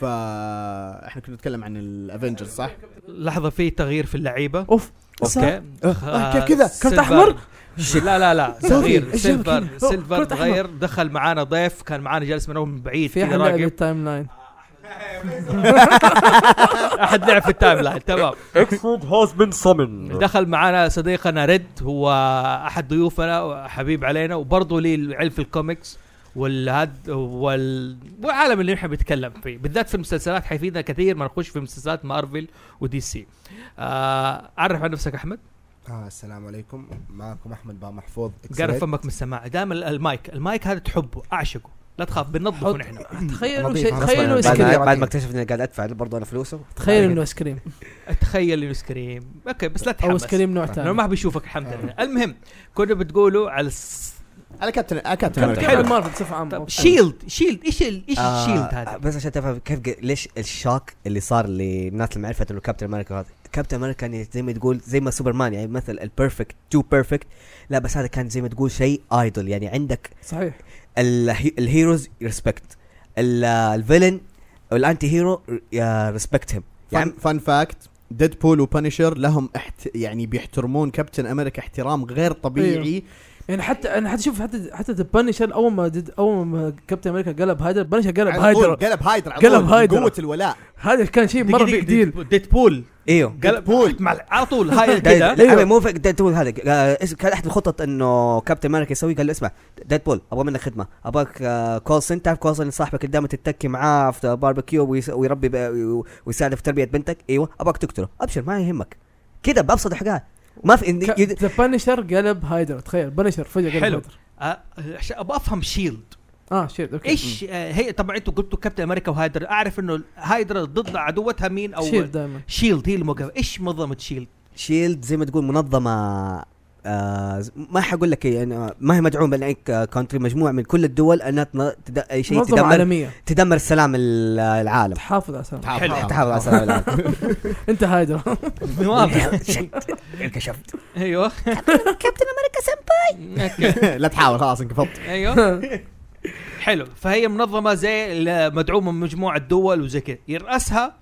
S3: فاحنا كنا نتكلم عن الافنجرز صح؟
S1: لحظه في تغيير في اللعيبه
S2: اوف
S1: اوكي
S3: آه، كيف كذا؟
S2: كرت
S1: سيلفر-
S2: أحمر؟
S1: لا لا لا تغيير
S3: إيش جاب
S1: سيلفر
S2: كذا؟ أوه،
S1: سيلفر
S2: كرت أحمر.
S1: تغير دخل معانا ضيف كان معانا جالس من اول من بعيد
S2: في
S1: كذا
S2: حلقه
S1: راقب
S2: بالتايم لاين
S1: احد لعب في التايم لاين تمام
S5: اكسود هاز بين
S2: نعم.
S5: سمن
S1: دخل معنا صديقنا ريد هو احد ضيوفنا وحبيب علينا وبرضه لي العلم في الكوميكس والهد وال... والعالم اللي نحن بنتكلم فيه بالذات في المسلسلات حيفيدنا كثير ما نخش في مسلسلات مارفل ودي سي آه عرف عن نفسك احمد
S6: آه السلام عليكم معكم احمد با محفوظ
S1: قرب فمك من السماعه دائما المايك المايك هذا تحبه اعشقه لا تخاف بننظفه
S2: حط-
S1: نحن
S2: تخيلوا
S6: نظيف،
S2: شيء
S6: خلاص
S2: تخيلوا
S6: بقى.
S2: ايس
S5: بعد,
S6: إسكريم.
S5: بعد ما اكتشفت اني قاعد ادفع برضه انا فلوسه
S2: تخيل انه ايس كريم
S1: اتخيل ايس كريم اوكي بس لا
S2: او ايس
S1: تحمس
S2: كريم نوع
S1: لانه
S2: ثاني آه.
S1: ما بيشوفك الحمد لله المهم كنا بتقولوا على الس...
S3: على كابتن آه، كابتن
S1: كابتن
S3: أمريكا.
S1: حلو.
S2: كابتن مارفل بصفه عامه
S1: طب شيلد شيلد ايش ال... ايش
S5: آه،
S1: الشيلد هذا؟
S5: بس عشان تفهم كيف ج- ليش الشوك اللي صار للناس اللي عرفت انه كابتن امريكا هذا كابتن امريكا يعني زي ما تقول زي ما سوبرمان يعني مثل البيرفكت تو بيرفكت لا بس هذا كان زي ما تقول شيء ايدول يعني عندك
S2: صحيح
S5: الهي- الهيروز ريسبكت الفيلن او الانتي هيرو ريسبكت هيم يعني
S3: فان فاكت ديدبول وبانشر لهم احت... يعني بيحترمون كابتن امريكا احترام غير طبيعي
S2: يعني حتى انا حتى شوف حتى حتى ذا بانشر اول ما دد اول ما كابتن امريكا قلب هايدر بانشر أيوه. قلب
S3: على طول،
S2: هايدر
S3: قلب هايدر على
S2: قلب
S3: طول، من
S2: هايدر.
S3: قوه الولاء
S2: هذا كان شيء مره بيج ديل
S1: ديت بول
S5: ايوه
S1: قلب مع على طول هاي
S5: دايد-
S1: كذا
S5: أيوة، مو فك ديدبول هذا آه، اسم- كان احد الخطط انه كابتن امريكا يسوي قال له اسمع ديدبول ابغى منك خدمه ابغاك آه، كول سنت تعرف كول سنت صاحبك اللي دائما تتكي معاه في باربيكيو ويس- ويربي ب- وي- ويساعده في تربيه بنتك ايوه ابغاك تقتله ابشر ما يهمك كذا بابسط حاجه ما في إن- يد-
S2: ذا بانشر قلب هايدر تخيل بانشر فجاه قلب
S1: حلو.
S2: هايدر
S1: آه، عشان ابغى افهم شيلد
S2: اه شيلد اوكي
S1: ايش آه، هي طبعا انتم قلتوا كابتن امريكا وهايدر اعرف انه هايدر ضد عدوتها مين او
S2: شيلد دائما
S1: شيلد هي الموقف ايش منظمه شيلد
S5: شيلد زي ما تقول منظمه آه ز- ما حقول لك يعني آه، ما هي مدعومه من اي كونتري مجموعه من كل الدول انها تن- تد- اي شيء
S2: منظمه
S5: تدمر
S2: عالميه
S5: تدمر سلام ال- العالم
S2: تحافظ على سلامتك
S1: حلو.
S5: تحافظ على سلام العالم
S2: انت هايدر
S1: واضح
S5: شت. انكشفت
S1: ايوه
S5: كابتن امريكا سمبا
S1: أوكي.
S3: لا تحاول خلاص انقفضت
S2: آه،
S1: ايوه حلو فهي منظمه زي ال- مدعومه من مجموعه دول وزي كذا يرأسها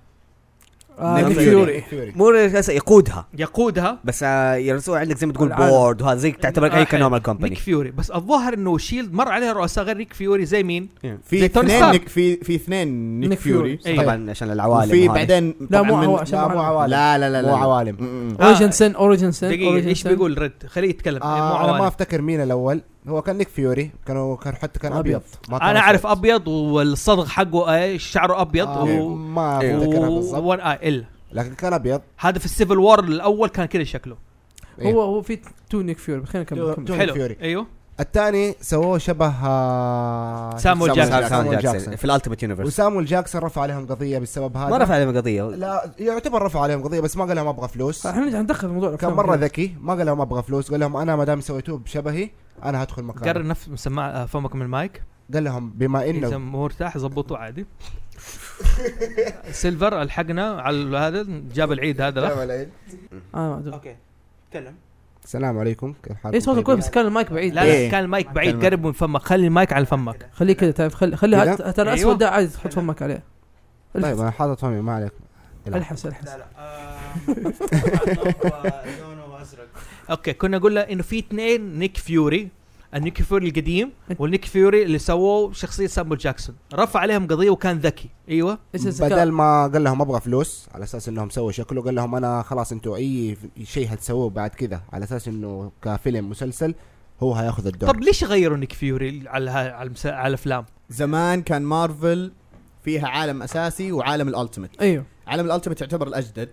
S2: آه،
S3: نيك
S2: نيك
S3: فيوري.
S2: فيوري
S6: فيوري
S5: مو رئيس- يقودها
S1: يقودها
S5: بس آه، يرسوها عندك زي ما تقول
S2: العالم.
S5: بورد وهذا زي تعتبر
S1: آه،
S5: اي
S1: حلو.
S5: كنومال
S1: نيك
S5: كومباني
S1: فيوري بس الظاهر انه شيلد مر عليها رؤساء غير نيك فيوري زي مين؟
S3: في
S1: زي توني
S3: اثنين
S1: ستارك.
S3: نيك في في اثنين نيك
S2: نيك فيوري.
S3: فيوري
S1: أيوة.
S5: طبعا عشان العوالم
S3: وفي
S5: وهذا.
S3: بعدين
S2: أيوه. لا، مو
S3: طبعاً من-
S2: عوالم، عشان
S6: لا
S2: مو
S6: مو عوالم
S3: لا لا لا لا
S6: مو عوالم
S3: م- م.
S2: اوريجن سن اوريجن سن
S1: دقيقه ايش آه. بيقول رد خليه يتكلم مو
S6: آه انا
S1: عوالم.
S6: ما افتكر مين الاول هو كان نيك فيوري كانوا كان حتى كان
S2: أبيض.
S6: ابيض ما كان
S1: انا اعرف
S6: أسود.
S1: ابيض والصدغ حقه آه، شعره ابيض
S6: آه،
S3: أيوه.
S1: و...
S6: ما
S5: إيه.
S6: افتكرها بالضبط
S1: وون اي الا
S6: لكن كان ابيض
S1: هذا في السيفل وور الاول كان كذا شكله
S2: هو هو في تو نيك فيوري خلينا نكمل
S6: تو-
S2: كمل.
S6: تو-
S1: حلو
S6: فيوري.
S1: ايوه
S6: الثاني سووه شبه آه،
S1: سامويل
S5: سام-
S1: جاكسون.
S5: سام جاكسون في الالتيميت يونيفرس
S6: وسامويل جاكسون رفع عليهم قضيه بالسبب هذا
S5: ما رفع عليهم قضيه
S6: لا يعتبر رفع عليهم قضيه بس ما قال لهم ابغى فلوس
S2: احنا نرجع ندخل في موضوع
S6: كان
S2: الأفلام
S6: مره
S2: كده.
S6: ذكي ما قال لهم ابغى فلوس قال لهم انا ما دام سويتوه بشبهي انا هدخل
S1: قرر
S6: مكانه
S1: نفس مسمع آه، فمك من المايك
S6: قال لهم بما
S1: اذا
S6: انه
S1: مو مرتاح ظبطه عادي سيلفر الحقنا على هذا جاب العيد هذا الأخ.
S2: آه، ما أدري.
S1: اوكي تكلم
S6: السلام عليكم كيف حالكم؟
S2: ايه صوتك كويس
S6: طيبين؟
S2: بس كان المايك بعيد
S1: لا
S3: آه، إيه.
S1: لا كان المايك بعيد قرب من فمك خلي المايك على فمك
S2: خليه كذا طيب. تعرف خلي خلي
S6: كده؟
S2: هت- ترى
S1: أيوة.
S2: اسود ده عادي تحط فمك عليه
S6: طيب انا حاطط فمي ما عليك لا. آه،
S2: الحس الحس
S1: اوكي كنا قلنا انه في اثنين نيك فيوري النيك فيوري القديم والنيك فيوري اللي سووه شخصيه سامو جاكسون رفع عليهم قضيه وكان ذكي ايوه
S2: ايش الذكاء؟
S6: بدل ما قال لهم ابغى فلوس على اساس انهم سووا شكله قال لهم انا خلاص انتوا اي ف- شيء هتسووه بعد كذا على اساس انه كفيلم مسلسل هو هياخذ الدور
S1: طب ليش غيروا نيك فيوري على ها- على, المسا- على الافلام
S3: زمان كان مارفل فيها عالم اساسي وعالم الالتيميت
S2: ايوه
S3: عالم الالتيميت يعتبر الاجدد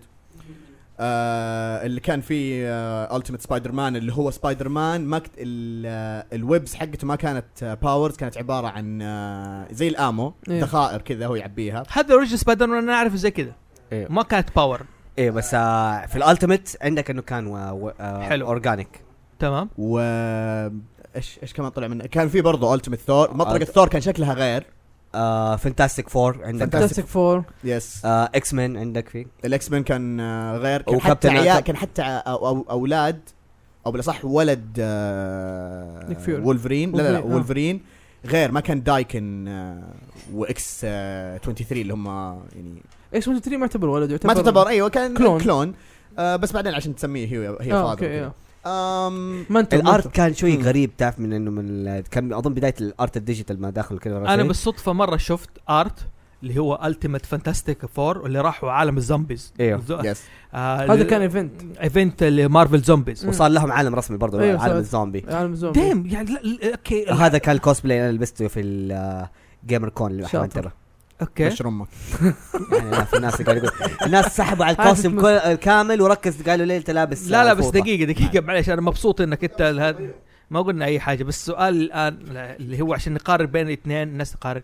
S3: آه اللي كان فيه التيميت سبايدر مان اللي هو سبايدر مان ما كت... ال- آه، الويبز حقته ما كانت باورز كانت عباره عن آه زي الامو
S2: إيه.
S3: ذخائر كذا هو يعبيها
S1: هذا اوريجن سبايدر مان انا اعرفه زي كذا
S5: إيه.
S1: ما كانت باور
S5: ايه بس آه، في الالتيميت عندك انه كان آه،
S1: حلو.
S5: حلو اورجانيك
S1: تمام
S3: و ايش ايش كمان طلع منه كان في برضه التيميت ثور مطرقه
S5: Ultimate.
S3: ثور كان شكلها غير
S5: فانتاستيك فور آه، عندك
S2: فانتاستيك فور
S3: يس
S5: اكس مان عندك فيه
S3: الاكس مان كان آه، غير كان حتى
S5: وكابتن
S3: عيال
S5: آتم.
S3: كان حتى آه، أو أو اولاد او بالاصح ولد آه
S2: نيك فيوري.
S3: وولفرين لا لا, لا
S2: وولفرين، آه.
S3: وولفرين غير ما كان دايكن آه واكس آه 23 اللي هم يعني
S2: ايش 1 3 ما يعتبر ولد يعتبر
S3: ما تعتبر ايوه كان كلون,
S2: كلون.
S3: كلون آه بس بعدين عشان تسميه هي هي
S2: آه،
S3: فاضل
S2: اوكي إيه. منتور
S5: الارت
S2: الارت
S5: كان شوي
S3: مم.
S5: غريب تعرف من انه من ال- كان اظن بدايه الارت الديجيتال ما داخل كذا
S1: انا بالصدفه مره شفت ارت اللي هو التيمت فانتاستيك فور اللي راحوا عالم الزومبيز
S5: ايوه
S1: الزو-
S6: يس
S1: آه
S2: هذا كان ايفنت
S1: ايفنت لمارفل زومبيز
S2: مم.
S5: وصار لهم عالم رسمي برضه
S2: أيوة،
S5: عالم
S2: صار.
S5: الزومبي
S2: عالم زومبي
S1: ديم يعني لا- لا اوكي
S5: هذا كان الكوسبلاي اللي أنا لبسته في الجيمر كون اللي
S2: شاطر.
S5: احنا ترى
S1: اوكي
S3: بشر امك
S5: يعني لا، في ناس قاعد يقول الناس سحبوا على
S2: عارف
S5: الكوستم كل- كامل وركز قالوا ليه انت لابس
S1: لا لا
S5: آه،
S1: بس
S5: فوطة.
S1: دقيقة دقيقة معلش أنا مبسوط إنك أنت هذا ما قلنا أي حاجة بس السؤال الآن اللي هو عشان نقارن بين الاثنين الناس تقارن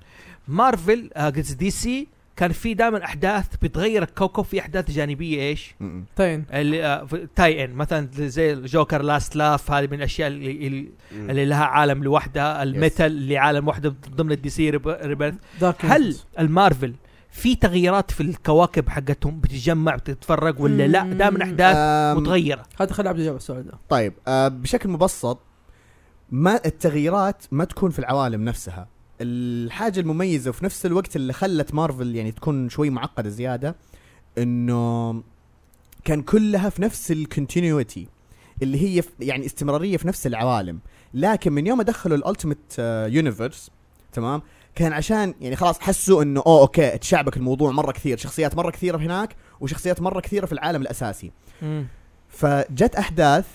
S1: مارفل آه، قصدي دي سي كان في دائما أحداث بتغير الكوكب في أحداث جانبية إيش؟
S3: م-م.
S2: تاين
S1: اللي آه، في- تاي إن مثلا زي الجوكر لاست لاف هذه من الأشياء اللي, اللي-
S5: مم.
S1: اللي لها عالم لوحدها الميتال اللي عالم وحده ضمن الدي سي ريبيرث
S2: دارك
S1: هل المارفل في تغييرات في الكواكب حقتهم بتتجمع بتتفرق ولا لا دائما أحداث
S3: آم،
S1: متغيرة
S2: هذا خلي عبد يجاوب على السؤال ده
S3: طيب آه بشكل مبسط ما التغييرات ما تكون في العوالم نفسها الحاجة المميزة وفي نفس الوقت اللي خلت مارفل يعني تكون شوي معقدة زيادة انه كان كلها في نفس الكونتينيوتي اللي هي في- يعني استمرارية في نفس العوالم لكن من يوم دخلوا الالتيميت يونيفرس تمام كان عشان يعني خلاص حسوا انه اوه اوكي تشعبك الموضوع مرة كثير شخصيات مرة كثيرة هناك وشخصيات مرة كثيرة في العالم الاساسي فجت احداث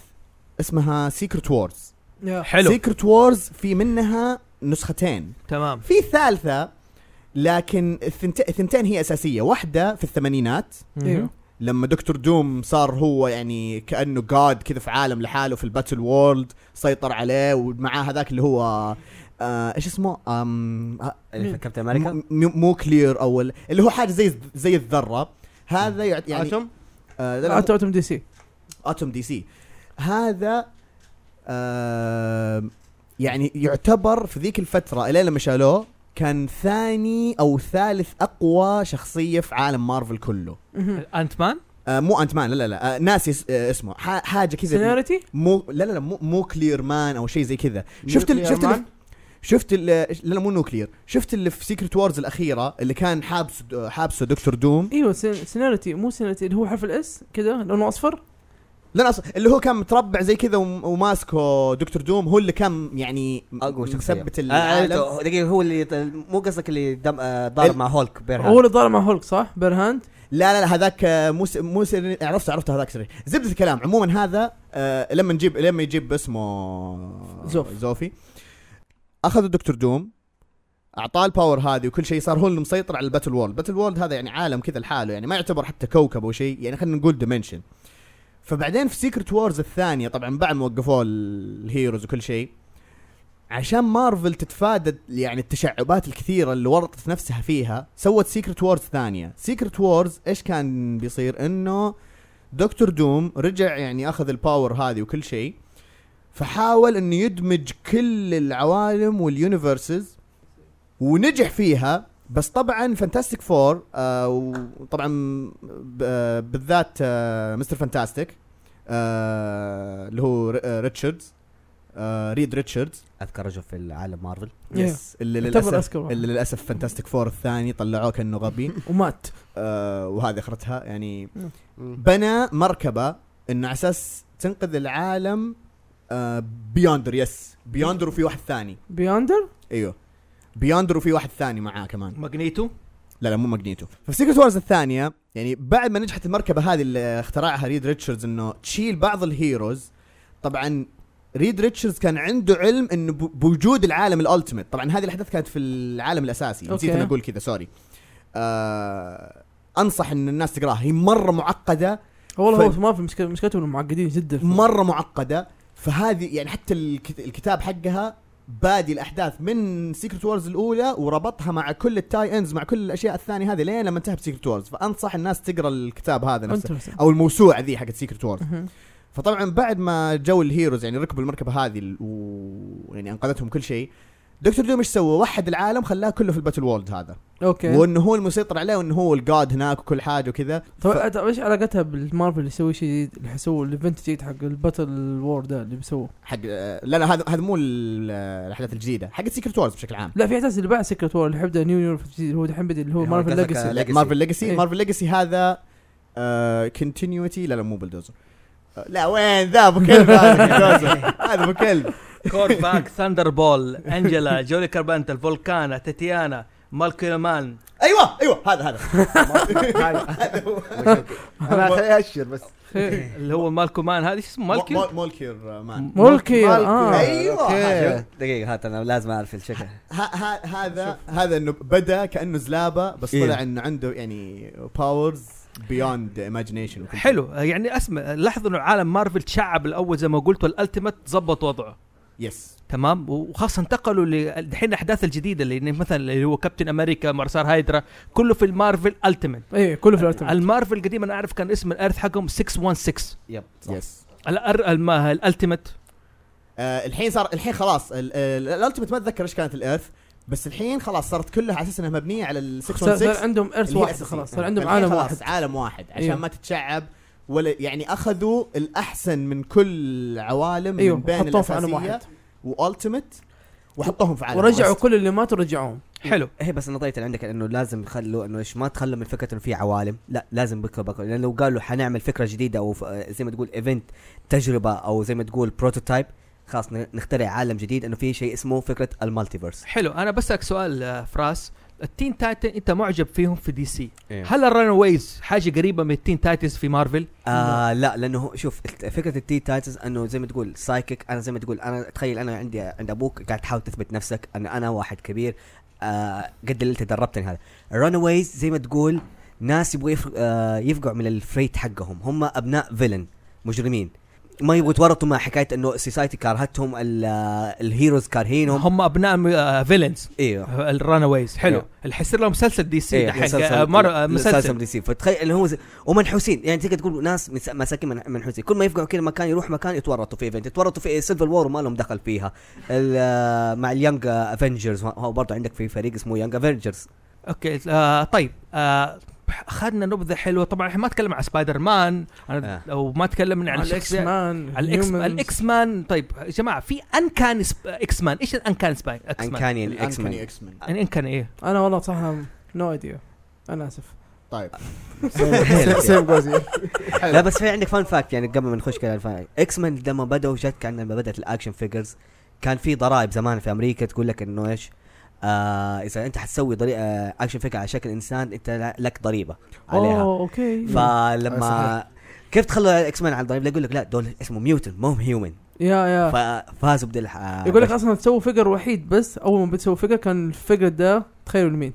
S3: اسمها سيكرت وورز
S2: يا.
S1: حلو
S3: سيكرت وورز في منها نسختين
S1: تمام
S3: في ثالثه لكن الثنت- الثنتين هي اساسيه واحده في الثمانينات
S1: إيوه.
S2: ايوه
S3: لما دكتور دوم صار هو يعني كانه جاد كذا في عالم لحاله في الباتل وورلد سيطر عليه ومعاه هذاك اللي هو آه ايش اسمه آم آه،
S5: اللي في كابتن امريكا
S3: م- مو مو كلير او ال- اللي هو حاجه زي زي الذره هذا يعت- يعني
S6: اتوم
S3: آه لا، لا، مو-
S2: انت دي سي
S3: اتوم دي سي هذا آه يعني يعتبر في ذيك الفتره الين لما شالوه كان ثاني او ثالث اقوى شخصيه في عالم مارفل كله
S2: مهم.
S1: انت مان
S3: آه مو انت مان لا لا لا آه ناسي اس- آه اسمه ح- حاجه كذا
S2: سيناريتي
S3: مو لا لا لا مو, مو كلير مان او شيء زي كذا شفت ال
S6: Nuclear
S3: شفت ال
S6: Man؟
S3: شفت ال لا لا مو نوكلير شفت اللي في سيكرت وورز الاخيره اللي كان حابس حابسه دكتور دوم
S2: ايوه سين- سيناريتي مو سيناريتي اللي هو حرف الاس كذا لونه اصفر
S3: لا لا أص- اللي هو كان متربع زي كذا وم- وماسكه دكتور دوم هو اللي كان يعني م-
S5: اقوى شخصيه
S3: مثبت
S5: آه، عرفته.
S3: العالم
S5: هو- دقيقه هو اللي مو قصدك اللي دم- آه، ضارب
S3: ال-
S5: مع هولك بير
S2: هو اللي ضارب مع هولك صح بيرهاند
S3: لا لا لا هذاك آه، مو س- مو سر- عرفت عرفت هذاك سري زبده الكلام عموما هذا آه، لما نجيب لما يجيب اسمه
S2: زوف.
S3: زوفي اخذ الدكتور دوم اعطاه الباور هذه وكل شيء صار هو اللي مسيطر على الباتل وورلد باتل وورلد هذا يعني عالم كذا لحاله يعني ما يعتبر حتى كوكب او شيء يعني خلينا نقول ديمنشن فبعدين في سيكرت وورز الثانيه طبعا بعد ما وقفوه ال- الهيروز وكل شيء عشان مارفل تتفادى يعني التشعبات الكثيره اللي ورطت نفسها فيها سوت سيكرت وورز ثانيه سيكرت وورز ايش كان بيصير انه دكتور دوم رجع يعني اخذ الباور هذه وكل شيء فحاول انه يدمج كل العوالم واليونيفرسز ونجح فيها بس طبعا فانتاستيك فور آه وطبعا ب- آه بالذات آه مستر فانتاستيك آه اللي هو ر- آه، ريتشاردز آه ريد ريتشاردز
S5: اذكر رجل في العالم مارفل
S3: يس اللي
S2: إيه. يعتبر
S3: للاسف
S2: اذكى واحد.
S3: اللي للاسف فانتاستيك فور الثاني طلعوه كانه غبي
S2: ومات
S3: آه وهذه اخرتها يعني
S2: نعم.
S3: بنى مركبه انه على اساس تنقذ العالم آه بياندر يس بياندر وفي واحد ثاني
S2: بياندر
S3: ايوه بياندر وفي واحد ثاني معاه كمان
S1: ماجنيتو
S3: لا لا مو ماجنيتو ففي سيكرت وارز الثانيه يعني بعد ما نجحت المركبه هذه اللي اخترعها ريد ريتشاردز انه تشيل بعض الهيروز طبعا ريد ريتشاردز كان عنده علم انه ب- بوجود العالم الالتيميت طبعا هذه الاحداث كانت في العالم الاساسي
S2: أوكي.
S3: نسيت انا اقول كذا سوري آه انصح ان الناس تقراها هي مره معقده
S2: والله
S3: ف-
S2: هو ما في مشكله مشكلته انهم معقدين جدا في-
S3: مره معقده فهذه يعني حتى الكت- الكتاب حقها بادي الاحداث من سيكرت وورز الاولى وربطها مع كل التاي انز مع كل الاشياء الثانيه هذه لين لما انتهى بسيكرت وورز فانصح الناس تقرا الكتاب هذا نفسه
S2: Interesting.
S3: او الموسوعه ذي حقت سيكرت وورز
S2: مهم.
S3: فطبعا بعد ما جو الهيروز يعني ركبوا المركبه هذه ال- و يعني انقذتهم كل شيء دكتور دوم ايش سوى؟ وحد العالم خلاه كله في الباتل وورلد هذا
S2: اوكي
S3: وانه هو المسيطر عليه وانه هو الجاد هناك وكل حاجه وكذا
S2: طب أت- ايش علاقتها بالمارفل اللي يسوي شيء جديد اللي حيسووا الايفنت الجديد حق الباتل وور ده اللي بيسووه
S3: حق آه، لا لا هذا هذا مو ال- آه، الاحداث الجديده حقت سيكرت وورز بشكل عام
S2: لا في احداث اللي بعد سيكرت وور اللي حيبدا نيو يورف جديد هو الحين بدا اللي هو
S5: يعني
S2: مارفل
S5: قصدك
S2: ليجاسي
S5: Legacy.
S3: مارفل ليجاسي
S2: إيه.
S3: مارفل ليجاسي هذا كونتينيوتي لا لا مو بلدوزر آه، لا وين ذا ابو كلب هذا بلدوزر. هذا ابو كلب
S1: كورفاك ثاندر بول انجلا جولي كاربانتل فولكانا تاتيانا مالكولا مان
S3: ايوه ايوه هذا هذا
S6: انا خليني اشر بس
S1: اللي هو مالكو مان هذا شو اسمه مالكو
S3: مول- مولكير مان
S2: مولكي
S6: مالكي.
S2: اه
S3: أيوة.
S6: أوكي.
S5: دقيقة هات انا لازم اعرف الشكل
S3: ه- ه- هذا هذا انه بدا كانه زلابه بس
S4: إيه.
S3: طلع انه عنده يعني باورز بيوند ايماجينيشن
S1: حلو يعني اسمع لاحظوا انه عالم مارفل تشعب الاول زي ما قلت والالتيميت ظبط وضعه
S3: يس
S1: تمام وخاصه انتقلوا ل- دحين الاحداث الجديده اللي يعني مثلا اللي هو كابتن امريكا مرصار هايدرا كله في المارفل التيميت
S2: اي كله في الالتيميت
S1: المارفل القديم انا اعرف كان اسم الارث حقهم 616
S5: يب
S6: يس
S1: الأر... الم... الالتيميت
S3: آه الحين صار الحين خلاص الالتيميت ما اتذكر ايش كانت الارث بس الحين خلاص صارت كلها على اساس انها مبنيه على ال
S2: صار
S3: 616
S2: صار عندهم ارث
S3: اللي هي
S2: واحد
S3: الأساسية.
S2: خلاص صار عندهم
S3: فالحين
S2: عالم
S3: خلاص
S2: واحد
S3: عالم واحد عشان
S2: أيوه.
S3: ما تتشعب ولا يعني اخذوا الاحسن من كل عوالم
S2: ايوه
S3: من بين
S2: حطوهم في عالم
S3: الاساسيه
S2: واحد
S3: والتيميت وحطوهم في عالم
S2: ورجعوا
S3: واحد.
S2: كل اللي ماتوا رجعوهم
S1: حلو
S5: هي إيه، بس النظريه اللي عندك انه لازم يخلوا انه ايش ما تخلوا من فكره انه في عوالم لا لازم بكره بكره لان لو قالوا حنعمل فكره جديده او ف- زي ما تقول ايفنت تجربه او زي ما تقول بروتوتايب خلاص ن- نخترع عالم جديد انه في شيء اسمه فكره المالتيفيرس
S1: حلو انا بسالك سؤال آه، فراس التين تايتن انت معجب فيهم في دي سي
S5: إيه.
S1: هل الرانويز حاجه قريبه من التين تايتنز في مارفل
S5: آه لا لانه هو- شوف الت- فكره التي تايتنز انه زي ما تقول سايكيك انا زي ما تقول انا اتخيل انا عندي عند ابوك قاعد تحاول تثبت نفسك ان انا واحد كبير آه قد اللي انت دربتني هذا الرانويز زي ما تقول ناس يبغوا يف... آه يفقعوا من الفريت حقهم هم ابناء فيلن مجرمين ما يبغوا يتورطوا مع حكايه انه السوسايتي كرهتهم ال- آه، الهيروز كارهينهم
S1: هم ابناء فيلنز
S5: ايوه
S1: الرانويز حلو
S5: إيه.
S1: اللي حيصير له مسلسل دي سي
S5: إيه،
S1: دحين
S5: مسلسل-
S1: آه، مر- آه،
S5: مسلسل
S1: مسلسل
S5: دي سي فتخيل اللي هو زي- ومنحوسين يعني تقدر تقول ناس مس- ماساكين من- منحوسين كل ما يفقعوا كذا مكان يروح مكان يتورطوا في ايفنت يتورطوا في سيلفر وور وما لهم دخل فيها ال- آه، مع اليانج افنجرز هو برضه عندك في فريق اسمه يانج افنجرز
S1: اوكي آه طيب آه اخذنا نبذه حلوه طبعا احنا ما تكلمنا عن سبايدر مان انا
S5: آه.
S1: او ما تكلمنا عن
S2: على الاكس
S1: الشخصيات
S2: مان
S1: على الاكس
S2: Humans.
S1: الاكس مان طيب يا جماعه في انكان سب... اكس مان ايش الانكان سباي اكس مان
S5: انكاني الاكس
S3: الأنكوني
S5: مان
S3: اكس مان
S1: يعني انكان ايه
S2: انا والله صراحه نو ايديا انا اسف
S3: طيب
S6: سيم جوزي
S5: لا بس في عندك فان فاكت يعني قبل ما نخش كذا اكس مان لما بدأوا جت كان لما بدأت الاكشن فيجرز كان في ضرائب زمان في امريكا تقول لك انه ايش آه اذا انت حتسوي ضري... آه اكشن فيجر على شكل انسان انت ل- لك ضريبه عليها
S2: اوه اوكي
S5: فلما
S6: صحيح.
S5: كيف تخلوا الاكس مان على الضريب لا يقول لك لا دول اسمه ميوتن مو هم هيومن
S2: يا يا
S5: ففازوا بدل
S2: آه. يقول لك اصلا تسوي فيجر وحيد بس اول ما بتسوي فيجر كان الفيجر ده تخيلوا لمين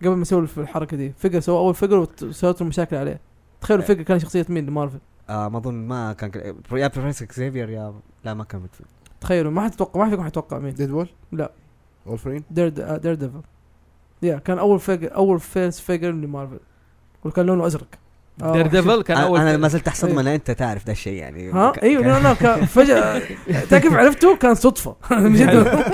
S2: قبل ما يسووا الحركه دي فيجر سووا اول فيجر وسوت مشاكل عليه تخيلوا الفيجر كان شخصيه مين لمارفل
S5: آه ما اظن ما كان كده- يا بروفيسور اكزيفير يا لا ما كان متفق.
S2: تخيلوا ما حد يتوقع ما حد فيكم حيتوقع مين
S6: ديدبول
S2: لا.
S6: وولفرين
S2: دير دير ديفل يا uh, كان اول فيجر اول فيرس فيجر لمارفل وكان لونه ازرق آه،
S1: دير ديفل كان اول
S5: انا ما زلت احسب
S2: أيوة.
S5: ما انت تعرف ده الشيء يعني
S2: ها
S5: ك-
S2: ايوه
S5: كان-
S2: لا لا كان فجاه تعرف عرفته كان صدفه من جد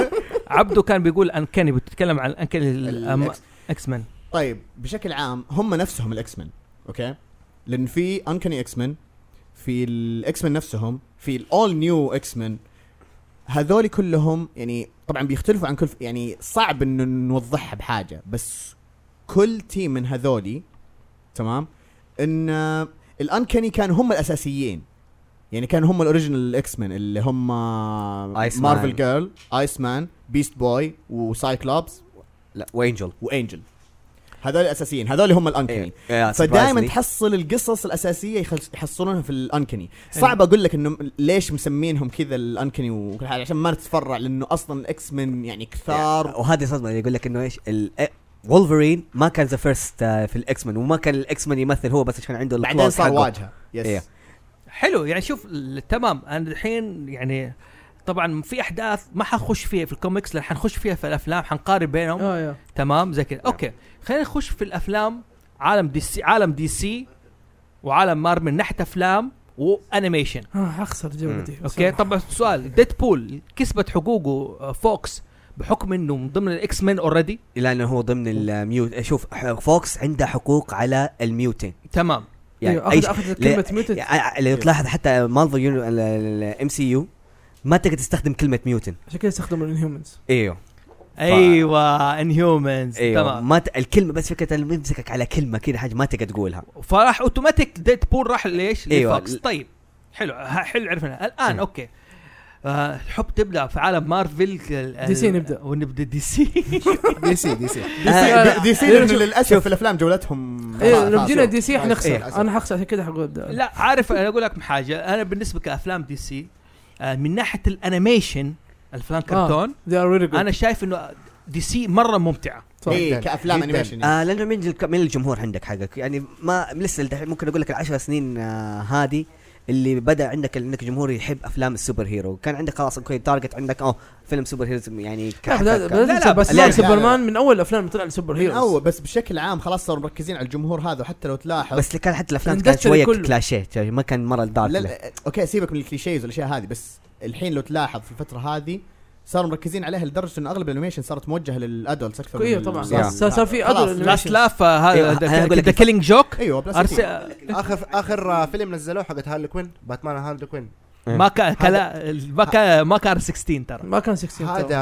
S1: عبده كان بيقول انكاني بتتكلم عن انكاني
S3: الأكس-
S1: اكس مان
S3: طيب بشكل عام هم نفسهم الاكس مان اوكي لان في انكني اكس مان في الاكس مان نفسهم في الاول نيو اكس مان هذول كلهم يعني طبعا بيختلفوا عن كل يعني صعب انه نوضحها بحاجه بس كل تيم من هذولي تمام ان الانكني كانوا هم الاساسيين يعني كانوا هم الاوريجنال اكس مان اللي هم
S5: Iceman.
S3: مارفل جيرل ايس مان بيست بوي وسايكلوبس
S5: لا وانجل
S3: وانجل هذول الاساسيين هذول هم
S5: إيه،
S3: الانكني
S5: آه،
S3: فدائما تحصل القصص الاساسيه يخلص- يحصلونها في الانكني
S5: إيه.
S3: صعب اقول لك انه ليش مسمينهم كذا الانكني وكل حاجه عشان ما نتفرع لانه اصلا الاكس من يعني كثار
S5: وهذه صدمه يقول لك انه ايش وولفرين إيه، ما كان ذا فيرست في الاكس مان وما كان الاكس مان يمثل هو بس عشان عنده
S3: بعدين
S5: الclaws
S3: صار
S5: حقه.
S3: واجهه
S5: إيه.
S3: يس
S1: حلو يعني شوف ال- تمام انا الحين يعني طبعا في احداث ما حنخش فيها في الكوميكس لان حنخش فيها في الافلام حنقارن بينهم
S2: اه يا
S1: تمام زي كذا اوكي خلينا نخش في الافلام عالم دي سي عالم دي سي وعالم مار من ناحيه افلام وانيميشن
S2: آه، حخسر الجوله دي إيه،
S1: اوكي طبعا سؤال ديدبول كسبت حقوقه آه، فوكس بحكم انه من ضمن الاكس مان اوريدي
S5: لانه هو ضمن الميوت شوف ح- فوكس عنده حقوق على الميوتين
S1: تمام
S5: يعني
S2: يعني
S5: اي
S2: اخذ اخذ كلمه ميوتد
S5: يعني اللي تلاحظ حتى مارفل يوني- ال- ال- الام سي يو ما تقدر تستخدم كلمه ميوتن
S2: عشان كذا استخدموا الانهيومنز
S5: ايوه
S1: ايوه انهيومنز
S2: إيوه.
S5: ايوه
S1: تمام
S5: ما ت... الكلمه بس فكره انه يمسكك على كلمه كذا حاجه ما تقدر تقولها
S1: فراح اوتوماتيك ديدبول راح ليش؟
S5: أيوة.
S1: لفوكس طيب حلو ها- حلو عرفنا الان
S5: م.
S1: اوكي آه، الحب تبدا في عالم مارفل ال- ال-
S2: دي سي نبدأ.
S1: ونبدا دي سي
S6: دي سي دي سي
S3: آه، دي آه، سي لأنه
S2: شوف-
S3: للاسف الافلام جولتهم
S2: ايه
S3: خلاص،
S2: لو جينا
S3: شوف.
S2: دي سي
S6: إيه،
S2: حنخسر
S6: أسف.
S2: انا حخسر عشان كذا حقول ابدا
S1: لا عارف انا اقول لكم حاجه انا بالنسبه كافلام دي سي آه، من ناحيه الانيميشن الافلام كرتون
S2: ذي ار ريلي
S1: انا شايف انه دي سي مره ممتعه
S3: إيه،
S6: جداً،
S3: كافلام
S6: جداً.
S3: انيميشن
S2: نعم.
S3: يعني.
S5: آه لانه من الك- من الجمهور عندك حقك يعني ما لسه الدحين ممكن اقول لك العشر سنين آه هذه اللي بدا عندك عندك جمهور يحب افلام السوبر هيرو كان عندك خلاص اوكي تارجت عندك اه فيلم سوبر هيروز يعني
S2: لا
S5: كحكة.
S2: لا لا بس
S5: لا،
S2: لا
S5: لا،
S2: سوبرمان من اول الافلام اللي طلع السوبر
S3: من
S2: هيروز
S3: اول بس بشكل عام خلاص صاروا مركزين على الجمهور هذا وحتى لو تلاحظ
S5: بس اللي كان حتى الافلام كانت
S2: الاندستري
S5: شويه
S2: كله.
S5: كلاشيه يعني ما كان مره الدارك
S3: لا
S5: لا
S3: لا اوكي سيبك من الكليشيز والاشياء هذه بس الحين لو تلاحظ في الفتره هذه صاروا مركزين عليها لدرجه انه اغلب الانيميشن صارت موجهه للادولتس اكثر من
S2: ايوه طبعا
S3: الأطفال.
S2: صار صار في
S3: خلاص،
S2: ادل
S1: لاست لاف آه،
S5: أيوة، أنا
S1: هذا
S5: أقول لك
S1: ذا كيلينج جوك
S3: ايوه بلس
S1: أرسل- آه،
S6: اخر اخر آه، فيلم نزلوه حقت هارلي كوين باتمان هارلي كوين
S1: ما كان كلا ما كان ما كان 16 ترى
S2: ما كان 16 ترى.
S6: هذا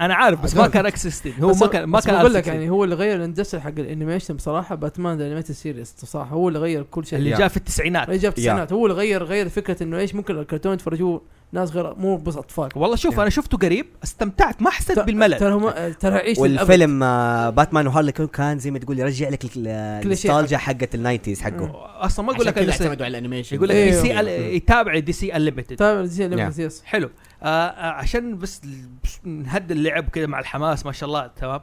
S1: انا عارف بس ما كان اكس 16 هو
S2: بس-
S1: ما كان ما
S2: بس
S1: كان
S2: بقول لك
S1: 16.
S2: يعني هو اللي غير الاندستري حق الانيميشن بصراحه باتمان ذا انيميتد سيريز بصراحه هو اللي غير كل شيء
S1: اللي جاء في التسعينات
S2: اللي جاب التسعينات هو اللي غير غير فكره انه ايش ممكن الكرتون يتفرجوه ناس غير مو بس اطفال
S1: والله شوف انا شفته قريب استمتعت ما حسيت بالملل
S2: ترى هم ترى عيش للأبد.
S5: والفيلم آه باتمان وهارلي كوين كان زي ما تقول يرجع لك ال- النوستالجيا حقت الناينتيز حقه
S1: اصلا ما اقول لك
S3: عشان كذا
S1: أنا-
S3: اعتمدوا على الانيميشن
S1: يقول لك
S2: إيه.
S1: دي سي ال- يتابع دي سي انليمتد
S2: تابع زي اللي يس
S1: حلو آه آه، عشان بس ال- بس نهدي اللعب كذا مع الحماس ما شاء الله تمام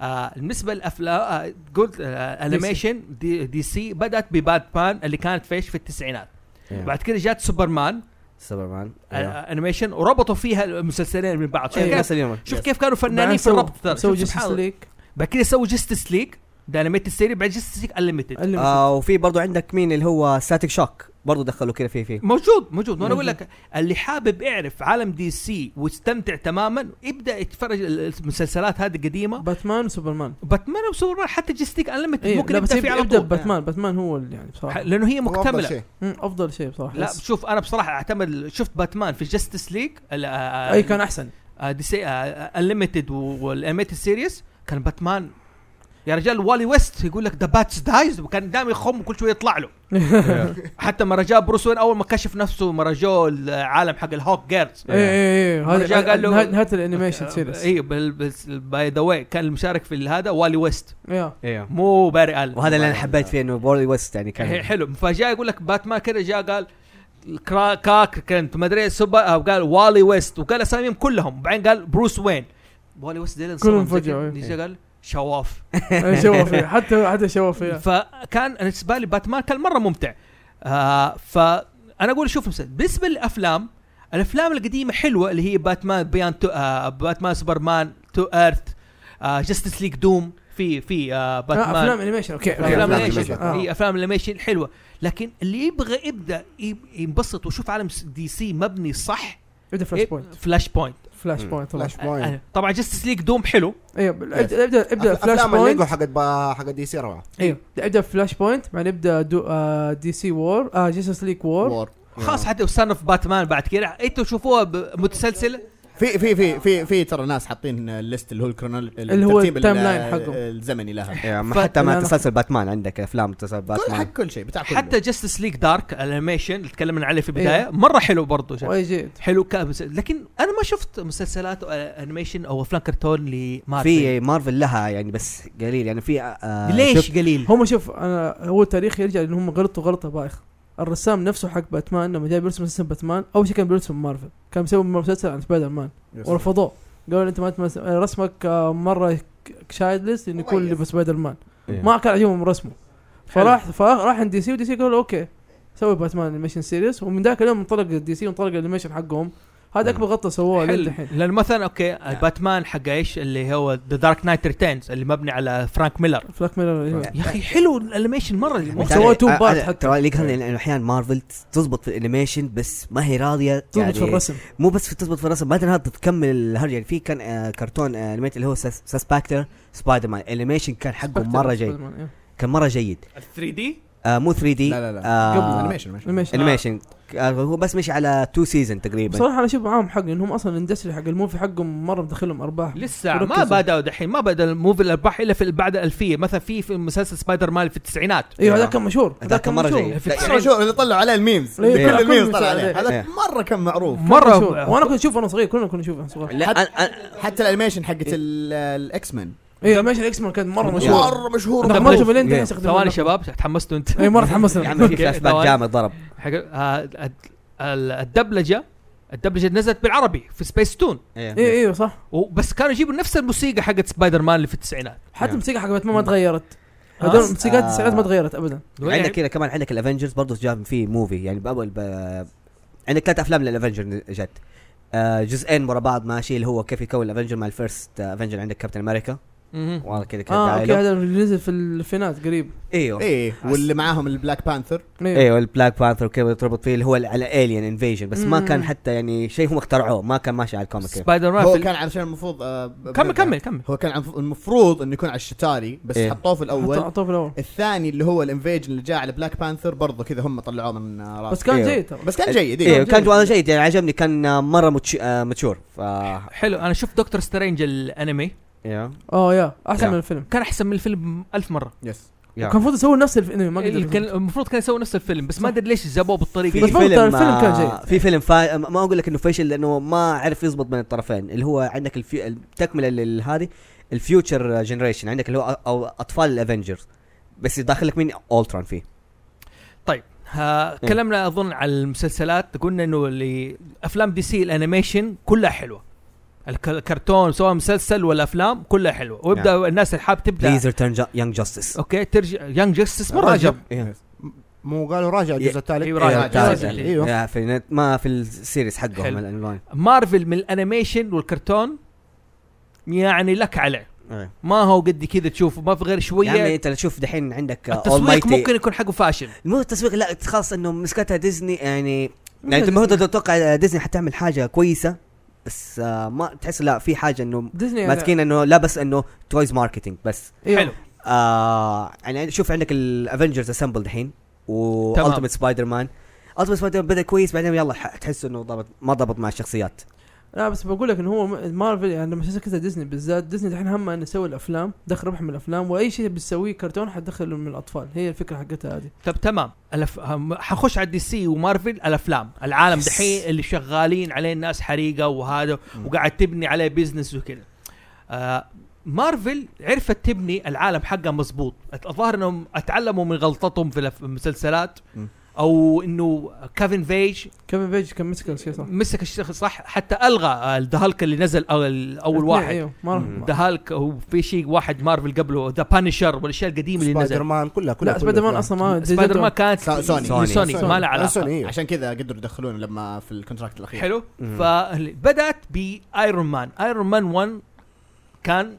S1: آه بالنسبه للافلام آه قلت آه انيميشن دي, دي سي بدات بباتمان اللي كانت فيش في التسعينات بعد كده جات سوبرمان
S5: سوبرمان
S1: آه انيميشن وربطوا فيها المسلسلين من بعض شوف,
S2: أيوة.
S1: كيف, شوف كيف كانوا فنانين في الربط ترى
S2: سووا
S1: شوف
S2: جستس
S1: سبحان الله.
S2: ليج
S1: بعد كده سووا جستس ليج ده انيميتد سيري بعد جستس ليج انليمتد
S5: آه وفي برضو عندك مين اللي هو ساتيك شوك برضو دخلوا كده فيه فيه
S1: موجود موجود وانا
S2: موجود.
S1: اقول لك اللي حابب يعرف عالم دي سي واستمتع تماما يبدا يتفرج ال- المسلسلات هذه القديمه
S2: باتمان وسوبرمان
S1: باتمان وسوبرمان حتى جستيك انليمتد
S2: إيه
S1: ممكن
S2: ممكن بس
S1: يبدا فيه
S2: يبدا
S1: على
S2: يبدا
S1: طول
S2: باتمان باتمان هو اللي يعني
S1: ح-
S2: بصراحه
S1: لانه هي
S6: هو أفضل
S1: مكتمله
S6: شيء.
S2: مم، افضل شيء بصراحه
S1: لا
S2: بس-
S1: شوف انا بصراحه اعتمد شفت باتمان في جستس ليج
S2: اي إيه، كان احسن
S1: دي سي آه، انليمتد والانيميتد سيريس كان باتمان يا رجال والي ويست يقول لك ذا باتس دايز وكان دائما يخم وكل شويه يطلع له
S2: إيه،
S1: حتى مرة جاء بروس وين اول ما كشف نفسه مرة جاء العالم حق الهوك جيرز
S2: اي اي اي
S1: رجع
S2: إيه، هذا
S1: قال له- آه، إيه.
S2: نهاية- نهايه الانيميشن سيريس
S1: اي باي ذا واي كان المشارك في هذا والي ويست
S2: يا
S4: ايوه
S1: مو باري الن
S5: وهذا اللي انا حبيت فيه انه بوري ويست يعني
S1: هي-
S5: كان
S1: حلو فجاء يقول لك باتمان كذا جاء قال كرا- كاك كنت ما ادري سوبر أو قال والي ويست وقال اساميهم كلهم بعدين قال بروس وين والي ويست ديلن
S2: كلهم فجأة، إيه.
S1: قال شواف
S2: إيه، شوه فيه حتى حتى شوه فيه
S1: فكان بالنسبه لي باتمان كان مره ممتع آه فانا اقول شوف مثلا بالنسبه للافلام الافلام القديمه حلوه اللي هي باتمان بيان تو آه باتمان سوبرمان تو ايرث آه جستس ليج دوم في في آه
S2: آه،
S1: باتمان إيه،
S2: افلام انيميشن اوكي
S1: افلام
S6: أفلام
S1: الانيميشن
S6: أنيميشن.
S2: آه.
S1: اي افلام الانيميشن حلوه لكن اللي يبغى يبدا يب- ينبسط ويشوف عالم س- دي سي مبني صح
S2: ابدا
S1: إيه.
S2: فلاش بوينت
S1: فلاش بوينت
S2: فلاش بوينت طبعا
S6: فلاش بوينت
S1: طبعا جستس ليج دوم حلو
S2: ايوه ابدا ابدا ابدا فلاش
S6: افلام الليجو
S2: بوينت
S6: حقت با- حقت دي سي روعه
S2: ايوه ابدا فلاش بوينت بعدين ابدا دو- آه، دي سي وور آه، جيسس ليك وور
S3: وور.
S1: خلاص حتى سان اوف باتمان بعد كده انتوا شوفوها ب- متسلسله
S3: في في في في في ترى ناس حاطين الليست اللي هو الكرونول
S2: اللي هو
S3: الترتيب
S2: التايم
S3: ال-
S2: لاين حقهم.
S3: الزمني لها
S5: إيه، ما
S2: فت-
S5: حتى
S2: لا،
S5: ما
S2: لا.
S5: تسلسل باتمان عندك افلام تسلسل
S3: كل
S5: باتمان
S3: حق كل شيء بتاع كله
S1: حتى جستس ليج دارك الانيميشن اللي تكلمنا عليه في البدايه مره حلو برضه شا-
S2: واي جي
S1: حلو كمس... لكن انا ما شفت مسلسلات أو انيميشن او افلام كرتون لمارفل
S5: في إيه؟ مارفل لها يعني بس قليل يعني في آه
S1: ليش
S5: شوف-
S1: قليل؟
S2: هم شوف انا هو التاريخ يرجع لان هم غلطوا غلطه بايخ الرسام نفسه حق باتمان لما جاء بيرسم مسلسل باتمان اول شيء كان بيرسم مارفل كان مسوي مسلسل عن سبايدر مان ورفضوه قالوا انت ما تمس... رسمك آه، مره شايدلس انه يكون لبس سبايدر مان
S4: إيه.
S2: ما كان عجبهم رسمه فراح فراح عند دي سي ودي سي قالوا له اوكي سوي باتمان انيميشن سيريس ومن ذاك اليوم انطلق دي سي وانطلق الانيميشن حقهم هذا اكبر غلطه سووها
S1: حلو
S2: للحين
S1: لان مثلا اوكي باتمان حق ايش اللي هو ذا دارك نايت ريتيرنز اللي مبني على فرانك ميلر
S2: فلاك ميلر إيه.
S1: يا اخي حلو الانيميشن مره مو-
S5: تعرف-
S2: سووا تو
S5: آه،
S2: بارت
S5: آه،
S2: حتى.
S5: ترى اللي قال إنه احيانا مارفل تزبط في الانيميشن بس ما هي يعني راضيه
S2: تضبط في الرسم
S5: مو بس في تزبط في الرسم بعدين هذا تكمل الهرجه يعني في كان آه كرتون آه انيميت اللي هو ساسباكتر سبايدر مان الانيميشن كان حقه مره جيد
S2: سبايدر مان، إيه.
S5: كان مره جيد
S1: 3 دي
S5: آه مو 3 دي
S6: لا لا لا
S5: آه
S3: قبل انيميشن
S2: Animation.
S5: انيميشن آه هو بس مشي على تو سيزون تقريبا
S2: بصراحه انا اشوف معاهم حق لانهم اصلا الاندستري حق الموفي حقهم مره مدخلهم ارباح
S1: لسه ما
S2: وركزوا.
S1: بدأوا دحين ما بدأ الموفي الارباح الا في بعد الألفية مثلا في في مسلسل سبايدر مان في التسعينات
S2: ايوه هذا كان مشهور
S5: هذاك مرة
S2: مشهور.
S5: جاي
S1: في
S5: لا،
S1: التسعين-
S3: يعني شو اللي طلعوا عليه الميمز
S2: إيه،
S3: كل
S5: كل
S3: الميمز
S2: الميمز
S3: طلع
S2: عليه.
S3: عليه هذا
S5: إيه.
S3: مره كان معروف
S2: كان
S1: مرة
S2: مشهور. وانا كنت اشوفه وانا صغير كلنا كنا نشوفه وانا صغير
S5: لا
S3: حتى-
S5: أنا- أنا-
S3: حتى الانيميشن حقت ال- الاكس مان
S2: اي أيوه، ماشي الاكس مان كان مره مشهور
S3: مره مشهور
S2: انا
S1: طب
S2: مرة
S1: ليش؟
S2: شوف لين
S5: إيه.
S1: ثواني شباب تحمستوا انت
S2: اي مره
S5: يا
S2: تحمسنا
S5: عمي في
S1: أوكي،
S5: فلاش باك
S1: ثواني.
S5: جامد ضرب
S1: حق آه، الد- ال- الدبلجه الدبلجه نزلت بالعربي في سبيس تون
S6: إيه،
S2: اي ايوه صح
S1: بس كانوا يجيبوا نفس الموسيقى حقت سبايدر مان اللي في التسعينات
S2: حتى
S5: نعم.
S2: الموسيقى حق باتمان ما تغيرت
S1: آه.
S2: هذول الموسيقات
S5: آه.
S2: التسعينات ما تغيرت ابدا
S5: يعني
S6: يعني
S5: عندك
S1: يعني-
S5: كذا كمان عندك الافنجرز برضه جاب فيه موفي يعني بأول ب... عندك ثلاث افلام للافنجر جت آه جزئين ورا بعض ماشي اللي هو كيف يكون الافنجر مع الفيرست افنجر عندك كابتن امريكا
S1: مهم.
S5: والله كذا كذا
S6: آه،
S2: اه اوكي
S5: دايلوج.
S2: هذا اللي نزل في الفينات قريب
S5: ايوه
S3: ايه واللي معاهم البلاك بانثر
S2: ايوه
S5: ايوه البلاك بانثر كيف تربط فيه اللي هو على الين انفيجن بس ما
S2: مم.
S5: كان حتى يعني شيء هم اخترعوه ما كان ماشي على الكوميك كيف.
S1: سبايدر مان
S3: هو
S1: في ال-
S3: كان علشان المفروض آه، ب-
S1: كمل
S3: برجع.
S1: كمل كمل
S3: هو كان عن- المفروض انه يكون على الشتاري بس
S5: إيه.
S3: حطوه
S2: حطوا-
S3: في الاول
S2: حطوه في الاول
S3: الثاني اللي هو الانفيجن اللي جاء على بلاك بانثر برضه كذا هم طلعوه من آه، راسه
S2: بس كان
S5: أيوة.
S2: جيد ترى
S3: بس كان جيد
S5: ايوه
S3: إيه.
S5: كان والله جيد يعني عجبني كان آه، مره متش... آه، متشور ف
S1: حلو انا شفت دكتور سترينج الانمي
S5: ايوه
S2: اه يا احسن
S5: يا.
S2: من الفيلم
S1: كان احسن من الفيلم ألف مره
S3: يس
S5: يا.
S2: كان المفروض يسوي نفس الانمي ما
S1: اللي كان
S2: قدر
S1: المفروض كان يسوي نفس الفيلم بس ما ادري ليش جابوه بالطريقه
S5: في
S2: بس
S1: دي.
S2: برضه ترى
S5: فيلم
S2: الفيلم كان
S5: آه، في فيلم فا... ما اقول لك انه فشل لانه ما عرف يزبط بين الطرفين اللي هو عندك الفي... التكمله لل- هذه الفيوتشر جنريشن عندك اللي هو أ- أو اطفال الافنجرز بس يدخلك مين اولتران فيه
S1: ها، تكلمنا اظن على المسلسلات قلنا انه اللي افلام دي سي الانيميشن كلها حلوه الك- الكرتون سواء مسلسل ولا افلام كلها حلوه
S5: نعم.
S1: ويبدا الناس اللي حاب تبدا
S5: بليز ريتيرن يونج جاستس
S1: اوكي ترجع يانج جاستس مره
S6: راجع
S1: عجب
S6: مو قالوا راجع الجزء الثالث
S1: إيه، راجع.
S6: راجع.
S1: راجع.
S6: ايوه
S2: أيوه.
S5: في نت... ما في السيريس حقهم
S1: حلو.
S5: الاونلاين
S1: مارفل من الانيميشن والكرتون يعني لك عليه
S2: أيوه.
S1: ما هو قد كذا تشوفه ما في غير
S5: يا عمي
S1: شويه
S5: يعني انت تشوف دحين عندك
S1: التسويق ممكن يكون حقه فاشل
S5: مو التسويق لا خلاص انه مسكتها ديزني يعني يعني انت
S2: إيه.
S5: المفروض تتوقع ديزني حتعمل حاجه كويسه بس آه ما تحس لا في حاجه انه
S2: ديزني
S5: ماسكين انه لا بس انه تويز ماركتينج بس
S1: حلو
S5: آه يعني شوف عندك الافنجرز اسمبل دحين
S1: تمام.
S5: والتيمت سبايدر مان التيمت سبايدر مان بدا كويس بعدين يلا ح- تحس انه ضبط ما ضبط مع الشخصيات
S2: لا بس بقول لك انه هو م- مارفل يعني لما شفت كذا ديزني بالذات ديزني دحين همها انه يسوي الافلام دخل ربح من الافلام واي شيء بتسويه كرتون حتدخله من الاطفال هي الفكره حقتها هذه
S1: طب تمام الف... هم- حخش على دي سي ومارفل الافلام العالم دحين اللي شغالين عليه الناس حريقه وهذا وقاعد تبني عليه بيزنس وكذا آه مارفل عرفت تبني العالم حقها مزبوط الظاهر انهم اتعلموا من غلطتهم في الأف- في المسلسلات
S3: مم.
S1: او انه كيفن فيج
S2: كيفن فيج كان مسك الشيء صح
S1: مسك الشيخ صح حتى الغى ذا هالك اللي نزل أو- اول
S2: اثنين،
S1: واحد
S2: ايوه ما راح-
S5: مم.
S1: ذا هالك وفي شيء واحد مارفل قبله ذا بانشر والاشياء القديمه اللي
S6: سبايدر
S1: نزل
S6: مان كلها كلها
S2: لا سبايدر مان
S6: كلها.
S2: اصلا ما
S1: سبايدر ما كانت
S3: سوني.
S1: من
S5: سوني.
S1: سوني ما
S6: سوني.
S1: لها علاقه
S6: سوني، إيه.
S3: عشان كذا قدروا يدخلونه لما في الكونتراكت الاخير
S1: حلو
S5: مم.
S1: فبدات بايرون مان ايرون مان 1 كان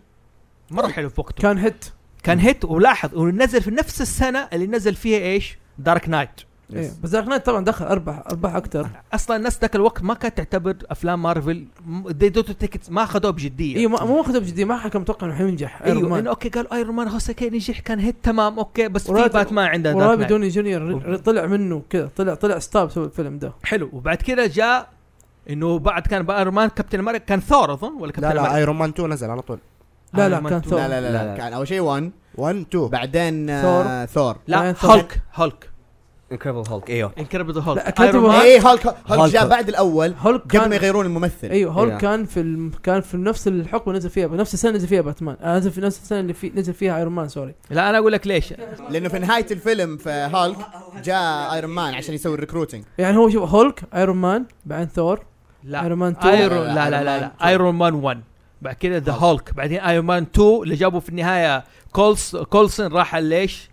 S1: مره حلو في وقته
S2: كان هيت
S1: كان هيت ولاحظ ونزل في نفس السنه اللي نزل فيها ايش دارك نايت
S2: إيه. بس دارك نايت طبعا دخل ارباح ارباح اكثر
S1: اصلا الناس ذاك الوقت ما كانت تعتبر افلام مارفل دي دوت تيكتس ما اخذوه بجديه
S2: ايوه ما- مو اخذه بجديه ما حد كان متوقع انه حينجح
S1: ايوه إنه اوكي قالوا ايرون مان خلاص اوكي نجح كان هيت تمام اوكي بس في
S2: وراد-
S1: باتمان عنده
S2: ورابي
S1: دارك نايت
S2: دوني جونيور ر- طلع منه كذا طلع طلع ستار بسبب الفيلم ده
S1: حلو وبعد كده جاء انه بعد كان ايرون مان كابتن امريكا كان ثور اظن ولا كابتن
S6: لا لا
S1: امريكا
S6: ايرون مان 2 نزل على طول
S2: لا
S1: أيرون
S2: لا
S1: مان
S2: كان
S1: تو.
S2: ثور
S3: لا لا لا,
S5: لا،
S3: لا
S5: لا.
S3: كان اول شيء 1
S6: 1 2
S3: بعدين آه ثور
S1: لا
S2: لا،
S1: هولك هولك
S5: انكريبل هولك ايوه
S1: انكريبل
S2: لا،
S1: هولك
S2: كاتبه
S1: ايرون مان
S3: ايه هولك هولك جاء
S5: هولك.
S3: بعد الاول
S2: هولك
S3: قبل ما
S2: كان
S3: يغيرون الممثل
S2: ايوه هولك
S5: إيه.
S2: كان في الم... كان في نفس الحقبه نزل فيها نفس السنه نزل فيها باتمان آه نزل في نفس السنه اللي في نزل فيها ايرون مان سوري
S1: لا انا اقول لك ليش
S3: لانه في نهايه الفيلم في هالك جاء ايرون مان عشان يسوي الريكروتنج
S2: يعني هو شوف هولك ايرون مان بعدين ثور
S1: لا
S2: ايرون مان 2
S1: ايرون لا لا لا لا ايرون مان 1 بعد كده ذا هولك بعدين ايرون مان 2 اللي جابوا في النهايه كولس كولسن راح على ليش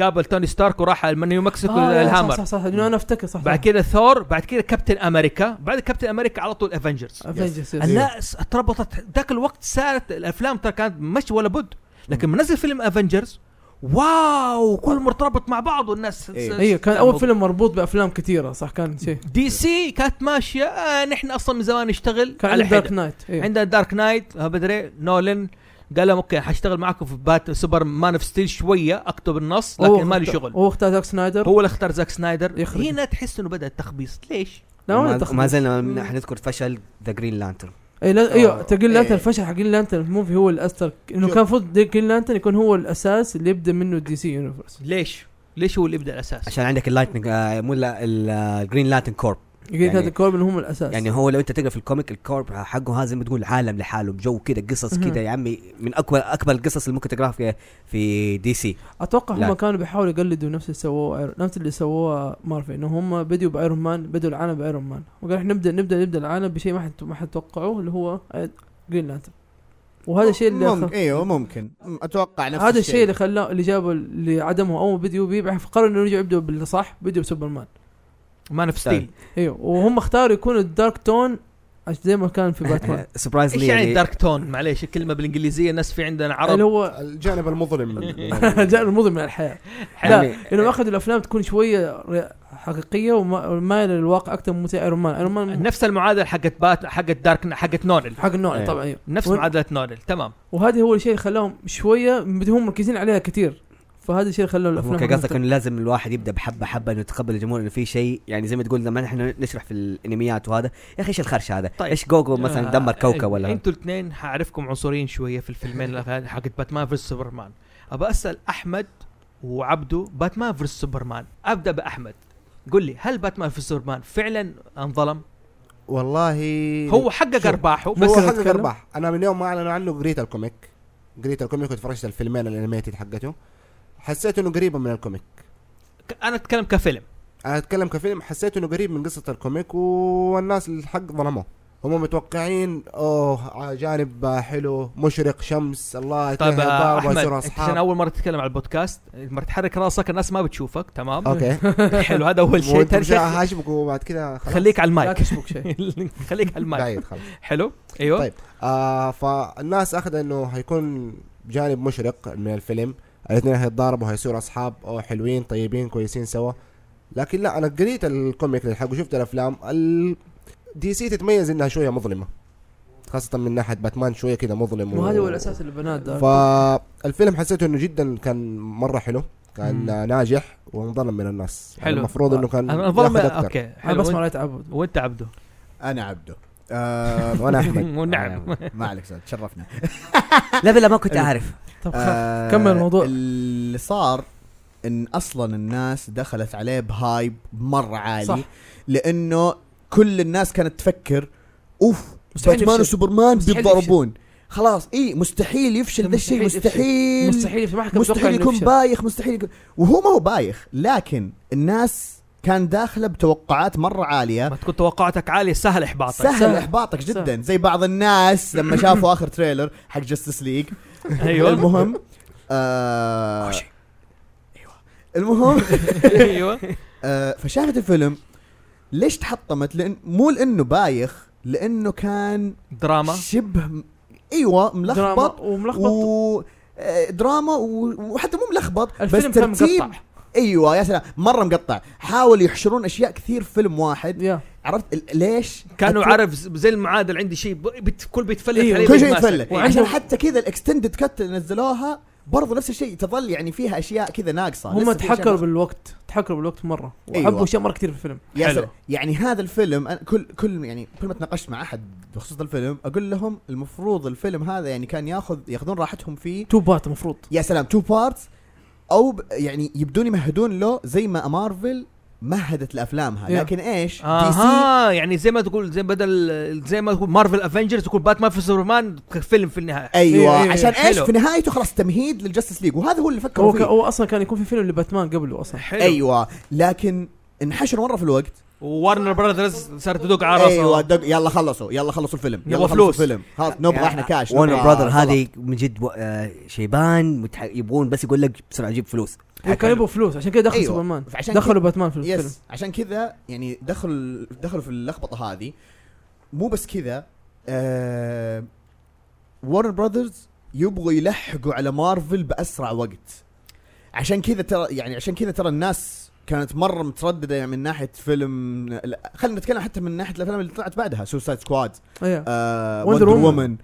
S1: قابل توني ستارك وراح على نيو مكسيكو
S2: آه، لا،
S1: الهامر
S2: صح صح صح لانه انا افتكر صح
S1: بعد كده ثور بعد كده كابتن امريكا بعد كابتن امريكا على طول افنجرز
S2: افنجرز
S1: الناس اتربطت ذاك الوقت صارت الافلام ترى كانت مش ولا بد لكن لما نزل فيلم افنجرز واو كل مرتبط مع بعض والناس
S3: إيه.
S2: ايوه كان اول فيلم مربوط بافلام كثيره صح كان شيء
S1: دي سي كانت ماشيه آه نحن اصلا من زمان نشتغل
S2: كان
S1: على
S2: عندنا
S1: حدة
S2: دارك نايت ايوه
S1: عندنا دارك نايت آه، بدري نولن قال لهم اوكي حاشتغل معكم في بات سوبر مان اوف ستيل شويه اكتب النص لكن مالي شغل
S2: هو اختار زاك سنايدر
S1: هو اللي اختار زاك سنايدر
S2: يخرج.
S1: هنا تحس انه بدا التخبيص ليش؟
S2: لا ولا
S5: وما-
S2: تخ-
S5: وما زلنا من- حنذكر فشل ذا جرين لانترن
S2: اي لا ايوه
S3: آه،
S2: ترى جرين لانترن
S3: إيه.
S2: الفشل حق جرين لانترن في الموفي هو اللي اثر انه
S3: شوف.
S2: كان المفروض جرين لانترن يكون هو الاساس اللي يبدا منه دي سي يونيفرس
S1: ليش؟ ليش هو اللي يبدا الاساس؟
S5: عشان عندك اللايتنج آه، مو آه، الجرين لانترن كورب
S2: جرين
S5: يعني-
S2: لانترن كوربن هم الاساس
S5: يعني هو لو انت تقرا في الكوميك الكورب حقه هذا زي ما تقول عالم لحاله بجو كده قصص
S2: مهم.
S5: كده يا عمي من اكبر اكبر القصص اللي ممكن تقراها في في دي سي
S2: اتوقع هم
S5: لا.
S2: كانوا بيحاولوا يقلدوا نفس اللي سووه ايرون نفس اللي سووه مارفل انه هم بدوا بايرون مان بدوا العالم بايرون مان وقال احنا نبدا نبدا نبدا العالم بشيء ما حد ما حتوقعوه اللي هو جرين لانترن وهذا الشيء اللي
S3: ممكن
S2: خ...
S3: ايوه ممكن م- اتوقع نفس
S2: هذا الشيء اللي خلاه اللي جابه اللي عدمه اول ما بدوا بيه بعد فقرروا انه يرجعوا يبدوا بالصح بدوا بسوبرمان
S1: مان اوف ستيل
S2: ايوه وهم اختاروا يكونوا الدارك تون عش- زي ما كان في باتمان
S5: سبرايزلي
S1: ايش يعني دارك تون؟ معليش الكلمه بالانجليزيه الناس في عندنا عرب
S2: اللي هو
S6: الجانب المظلم
S2: جاء المظلم من الحياه
S1: حلو.
S5: يعني
S2: لا انهم اخذوا الافلام تكون شويه ر- حقيقيه وما- ومايله للواقع اكثر من مثل ايرون مان ايرون مان
S1: نفس المعادله حقت بات حقت دارك حقت نونل
S2: حق النوع
S5: إيه.
S2: طبعا ايوه
S1: نفس
S2: وال-
S1: معادله نونل تمام
S2: وهذا هو الشيء اللي خلاهم شويه هم مركزين عليها كثير فهذا الشيء اللي خلى الافلام
S5: ممكن قصدك انه لازم الواحد يبدا بحبه حبه انه يتقبل الجمهور انه في شيء يعني زي ما تقول لما احنا نشرح في الانميات وهذا يا اخي ايش الخرش هذا؟
S1: طيب.
S5: ايش جوجو مثلا
S1: آه،
S5: دمر كوكب
S1: آه،
S5: ولا
S1: انتوا الاثنين حعرفكم عنصريين شويه في الفيلمين اللي فات- حقت باتمان فيرس سوبرمان ابى اسال احمد وعبده باتمان فيرس سوبرمان ابدا باحمد قل لي هل باتمان فيرس سوبرمان فعلا انظلم؟
S6: والله
S3: إيه،
S1: هو حقق
S6: شوف.
S1: ارباحه
S6: بس
S1: بس
S6: هو
S2: ممكن
S6: حقق
S2: أتكلم؟
S6: ارباح انا من يوم ما اعلنوا عنه قريت الكوميك قريت الكوميك وتفرجت الفيلمين الانيميتد حقته حسيت انه قريبه من الكوميك
S1: ك- انا اتكلم كفيلم
S6: انا اتكلم كفيلم حسيت انه قريب من قصه الكوميك والناس الحق ظلموه هم متوقعين اوه جانب حلو مشرق شمس الله
S1: طيب
S6: يتهب،
S1: آه،
S6: ضربة،
S1: احمد
S6: يصيروا
S1: أنت عشان
S6: اصحاب
S1: اول مره تتكلم على البودكاست لما تحرك راسك الناس ما بتشوفك تمام
S6: اوكي
S1: حلو هذا اول شيء
S6: وانت
S1: ثاني
S6: مش
S1: شيء
S6: هاشبك وبعد كذا خلاص
S1: خليك على
S2: لا
S1: المايك
S2: تشبك شيء
S1: خليك على
S3: طيب.
S1: المايك
S6: بعيد خلاص
S1: حلو ايوه
S6: طيب. آه فالناس اخذ انه هيكون جانب مشرق من الفيلم الاثنين هيتضاربوا هيصيروا اصحاب او حلوين طيبين كويسين سوا لكن لا انا قريت الكوميك للحق وشفت الافلام ال... دي سي تتميز انها شويه مظلمه خاصه من ناحيه باتمان شويه كده مظلم
S2: وهذا هو الاساس اللي بناه الدارك
S6: فالفيلم حسيته انه جدا كان مره حلو كان
S1: مم.
S6: ناجح وانظلم من الناس يعني
S1: حلو
S6: المفروض انه كان
S1: انا انظلم
S6: ياخذ أكتر.
S1: اوكي
S2: انا
S1: حلو
S2: بس
S1: وانت-
S2: ما لا يتعبد
S1: وانت عبده
S3: انا عبده آه
S6: وانا احمد
S1: ونعم
S3: ما عليك سعد تشرفنا
S5: لا بالله ما كنت اعرف
S2: طب خلاص.
S3: آه،
S2: كمل الموضوع.
S3: اللي صار ان اصلا الناس دخلت عليه بهايب مره عالي
S2: صح.
S3: صح. لانه كل الناس كانت تفكر اوف
S2: مستحيل
S3: باتمان
S2: يفشل.
S3: وسوبرمان
S2: مستحيل
S3: بيتضاربون خلاص اي مستحيل يفشل ذا الشيء
S2: مستحيل يفشل.
S3: مستحيل
S2: مستحيل في محكمة
S3: مستحيل يكون بايخ مستحيل يكون وهو ما هو بايخ لكن الناس كان داخله بتوقعات مره عاليه
S1: ما تكون توقعاتك عاليه سهل احباطك
S3: سهل
S2: سهل.
S3: احباطك جدا
S2: سهل.
S3: زي بعض الناس لما شافوا اخر تريلر حق جاستس ليج
S1: ايوه
S3: المهم آه أيوة. المهم
S1: ايوه
S3: آه فشافت الفيلم ليش تحطمت لان مو لانه بايخ لانه كان
S1: دراما
S3: شبه م- ايوه
S2: ملخبط
S3: ملخبط
S2: وملخبط
S3: و آه، دراما و- وحتى مو ملخبط بس
S2: الفيلم كان
S3: ترتيب
S2: مقطع
S3: ايوه يا سلام مره مقطع حاول يحشرون اشياء كثير في فيلم واحد
S2: يا
S3: عرفت ال- ليش
S1: كانوا
S3: أتوقع- أيوه.
S1: عارف زي المعادل عندي شيء ب- بت... كل بيتفلت
S2: أيوة.
S1: عليه
S3: كل شيء
S1: بالماسة.
S3: يتفلت
S2: وعندهم-
S3: عشان حتى كذا الاكستندد كات اللي نزلوها برضو نفس الشيء تظل يعني فيها اشياء كذا ناقصه
S2: هم
S3: لسه في أشياء
S2: تحكروا
S3: ناقصة.
S2: بالوقت تحكروا بالوقت مره
S3: أيوة.
S2: وحبوا اشياء مره كثير في الفيلم
S3: يا
S1: حلو.
S3: سلام. يعني هذا الفيلم أنا كل كل يعني كل ما تناقشت مع احد بخصوص الفيلم اقول لهم المفروض الفيلم هذا يعني كان ياخذ ياخذون راحتهم فيه
S2: تو بارت المفروض
S3: يا سلام تو بارتس او ب- يعني يبدون يمهدون له زي ما مارفل مهدت لافلامها
S2: يا.
S3: لكن ايش؟ دي سي
S1: اها يعني زي ما تقول زي بدل زي ما تقول مارفل افنجرز تقول باتمان في سوبرمان فيلم في النهايه
S3: ايوه
S2: أيوة، أيوة،
S3: عشان ايش؟
S1: إيه، حلو.
S3: في نهايته خلاص تمهيد للجاستس ليج وهذا هو اللي فكروا
S2: هو, ك...
S3: فيه
S2: هو اصلا كان يكون في فيلم لباتمان قبله اصلا
S1: طيب، حلو
S3: ايوه لكن انحشر مره في الوقت
S1: وورنر براذرز صارت تدق على راسه
S3: ايوه دق يلا خلصوا يلا خلصوا الفيلم يلا
S1: نبغى
S3: خلصوا
S1: فلوس.
S3: الفيلم خلاص نبغى احنا كاش آه،
S5: ورنر
S3: نبغى
S5: براذر
S3: خلاص.
S5: هذه من جد و- آه، شيبان متح- يبغون بس يقول لك بسرعه جيب فلوس
S2: وكان يبغوا فلوس عشان كذا دخلوا
S3: أيوة.
S2: سوبرمان
S3: فعشان
S2: دخلوا باتمان في الفيلم
S3: يس عشان كذا يعني دخلوا دخلوا في اللخبطه هذه مو بس كذا آه وارن براذرز يبغوا يلحقوا على مارفل باسرع وقت عشان كذا ترى يعني عشان كذا ترى الناس كانت مره متردده يعني من ناحيه فيلم لا، خلينا نتكلم حتى من ناحيه الافلام اللي طلعت بعدها سوسايد سكواد
S2: ايوه
S3: آه
S2: Wonder
S3: وندر
S2: Woman.
S3: وومن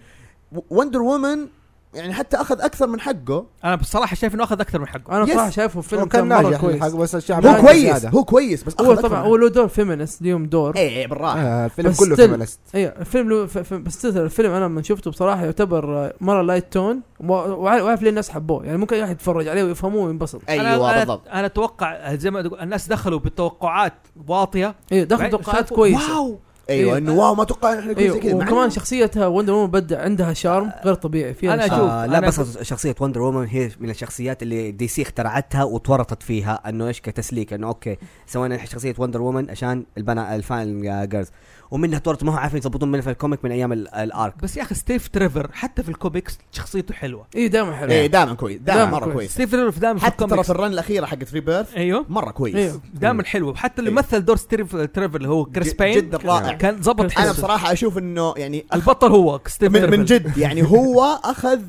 S3: وندر وومن يعني حتى اخذ اكثر من حقه
S1: انا بصراحه شايف انه اخذ اكثر من حقه
S2: انا
S3: يس.
S2: بصراحه شايفه فيلم
S6: هو كان
S2: مره
S6: ناجح
S2: كويس
S6: الحق بس الشعب
S2: لا،
S3: هو
S6: عايز
S3: كويس
S6: زيادة.
S3: هو كويس بس
S2: هو
S3: أخذ
S2: طبعا
S3: أكثر
S2: هو
S3: من
S2: له دور فيمنست ليهم دور
S3: حقه. ايه بالراحه
S6: آه الفيلم
S2: بس
S6: كله
S2: still.
S6: فيمنست
S2: اي الفيلم له ف- ف- بس تظهر الفيلم انا لما شفته بصراحه يعتبر آه، مره لايت تون واعرف ليه الناس حبوه يعني ممكن واحد يتفرج عليه ويفهموه وينبسط
S3: ايوه
S1: أنا-
S3: بالضبط
S1: انا اتوقع زي ما تقول الناس دخلوا بتوقعات واطيه
S2: اي دخل
S1: بعد-
S2: إيه، توقعات
S1: شافوا-
S2: كويسه
S1: واو
S3: ايوه
S2: إيه.
S3: انه واو ما توقع احنا نكون
S2: ايوه
S3: زي كذا آه. مع
S2: وكمان
S3: إنه-
S2: شخصيتها وندر وومن بدع عندها شارم غير طبيعي فيها
S1: أنا
S2: شارم.
S1: أشوف.
S5: آه لا
S1: أنا
S5: بس شخصية وندر وومن هي من الشخصيات اللي دي سي اخترعتها وتورطت فيها انه ايش كتسليك انه اوكي سوينا شخصية وندر وومن عشان البنا الفان جيرلز ومنها تورط ما هو عارفين يظبطون منها في الكوميك من ايام ال- الارك
S1: بس يا اخي ستيف تريفر حتى في الكوميكس شخصيته حلوه
S2: اي دائما إيه، حلو
S5: إيه،
S3: ايه دائما كويس دائما
S2: دايماً
S3: مره
S2: كويس.
S3: كويس
S1: ستيف تريفر في دائما في
S3: حتى ترى في
S1: الكوميكس
S3: الرن الاخيره حقت ريبيرث
S1: ايوه
S3: مره كويس
S2: ايوه
S1: دائما حلوه حتى اللي
S3: إيه.
S1: مثل دور ستيف تريفر اللي هو كريس
S3: جد-
S1: بين
S3: جدا رائع.
S1: كان ظبط
S2: كريس
S3: انا
S1: حلو
S3: بصراحه اشوف انه يعني
S1: البطل هو ستيف
S3: من, من
S1: تريفر
S3: جد يعني هو اخذ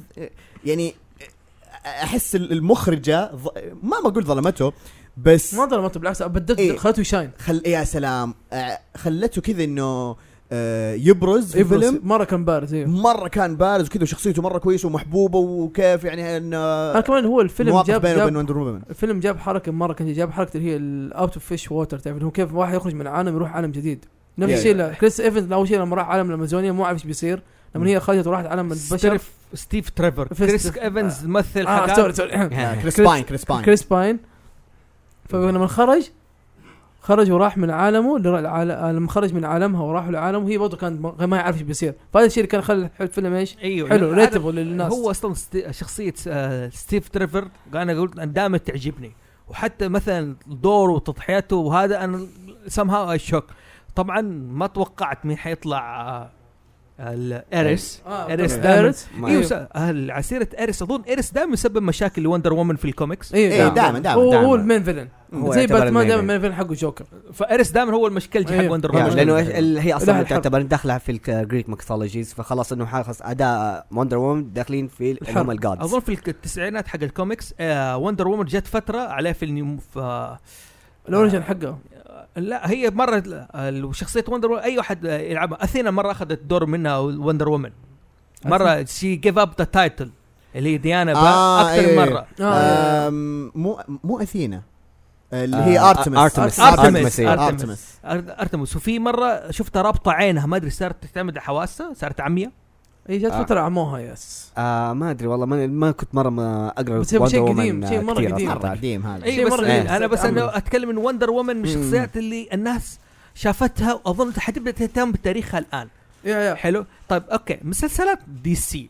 S3: يعني احس المخرجه ظ- ما بقول ظلمته بس
S2: ما ظلمته بالعكس بدلت
S3: إيه.
S2: خلته يشاين
S3: خل يا سلام آه، خلته كذا انه آه، يبرز في
S2: يبرز.
S3: فيلم
S2: مره إيه، كان بارز ايوه
S3: مره كان بارز وكذا وشخصيته مره كويسه ومحبوبه وكيف يعني انه
S2: انا كمان هو الفيلم
S3: مواقف
S2: جاب
S3: بينه وبين
S2: جاب
S3: وندر وومن
S2: الفيلم جاب حركه مره كان جاب حركه اللي هي الاوت اوف فيش ووتر تعرف اللي هو كيف واحد يخرج من عالم يروح عالم جديد نفس
S3: Yeah,
S2: الشيء
S3: yeah.
S2: لا- كريس ايفنز اول شيء لما راح عالم الامازونيه مو عارف ايش بيصير لما هي خرجت وراحت عالم البشر
S1: ستيف- ستيف تريفر
S2: في
S1: كريس
S2: ستيف-
S1: ايفنز مثل
S2: اه
S1: حاجات
S2: سوري سوري
S3: كريس باين كريس باين
S2: كريس باين فلما خرج خرج وراح من عالمه للعال- لما خرج من عالمها وراح لعالمه هي برضه كانت ما- ما يعرف ايش بيصير فهذا الشيء اللي كان خلى الفيلم ايش
S1: ايوه
S2: حلو
S1: لأن
S2: ريتبل للناس
S1: هو اصلا ست- شخصيه آه، ستيف تريفر انا قلت أنا دائما تعجبني وحتى مثلا دوره وتضحياته وهذا انا somehow I shock طبعا ما توقعت مين حيطلع آه، الاريس
S2: آه، إيوه.
S1: إيريس
S2: طبعاً.
S1: دايموند.
S2: إيريس.
S5: ما-
S1: ايوه س- آه، عسيره اريس اظن اريس دائما يسبب مشاكل لوندر وومن في الكوميكس
S2: ايوه
S3: ايه
S5: إيه،
S2: دايموند.
S3: دائما دائما
S2: هو
S5: دايموند.
S2: هو المين فيلن
S5: هو
S2: زي
S5: يعتبر
S2: باتمان
S5: المين
S2: دائما
S5: فيلن.
S2: المين فيلن حقه جوكر
S1: فاريس دائما هو المشكلة حق
S2: أيوه.
S1: وندر
S5: يعني
S1: وومن
S5: لانه إيش- ال- هي
S2: لا،
S5: اصلا
S2: الحرب.
S5: تعتبر داخله في الجريك ميثولوجيز فخلاص انه خلاص اداء وندر وومن داخلين في ال- اللي
S2: الحرب.
S5: هم الجادز
S1: اظن في الك- التسعينات حق الكوميكس آه وندر وومن جت فتره عليه في النيو في آه
S2: الاوريجن حقه
S1: لا هي مره آه، شخصيه وندر وومن اي واحد آه، يلعبها اثينا مره اخذت دور منها وندر وومن مره شي جيف اب ذا تايتل اللي هي ديانا آه
S3: آه،
S1: اكثر
S3: أيوه.
S1: مره
S2: آه.
S3: آم، مو مو اثينا اللي هي ارتمس
S5: ارتمس
S1: أرتمس.
S5: أرتمس، إيه.
S3: ارتمس
S1: أر- ارتمس وفي مره شفتها رابطه عينها ما ادري صارت تعتمد على حواسها صارت عمية
S2: هي جت
S5: آه.
S2: فتره عموها يس
S5: آه ما ادري والله ما, ما كنت مره ما اقرا
S2: بس هو شيء
S5: Wonder
S2: قديم،
S5: Woman
S2: شيء مرة
S5: كثير
S2: قديم.
S5: أصلاً.
S3: مره قديم هذا
S1: اي
S2: شيء
S1: بس
S2: مرة
S1: إيه،
S5: قليل.
S1: انا بس
S2: عمي.
S1: انا اتكلم ان وندر وومن من الشخصيات اللي الناس شافتها واظن حتبدا تهتم بتاريخها الان
S2: يا يا
S1: حلو طيب اوكي مسلسلات دي سي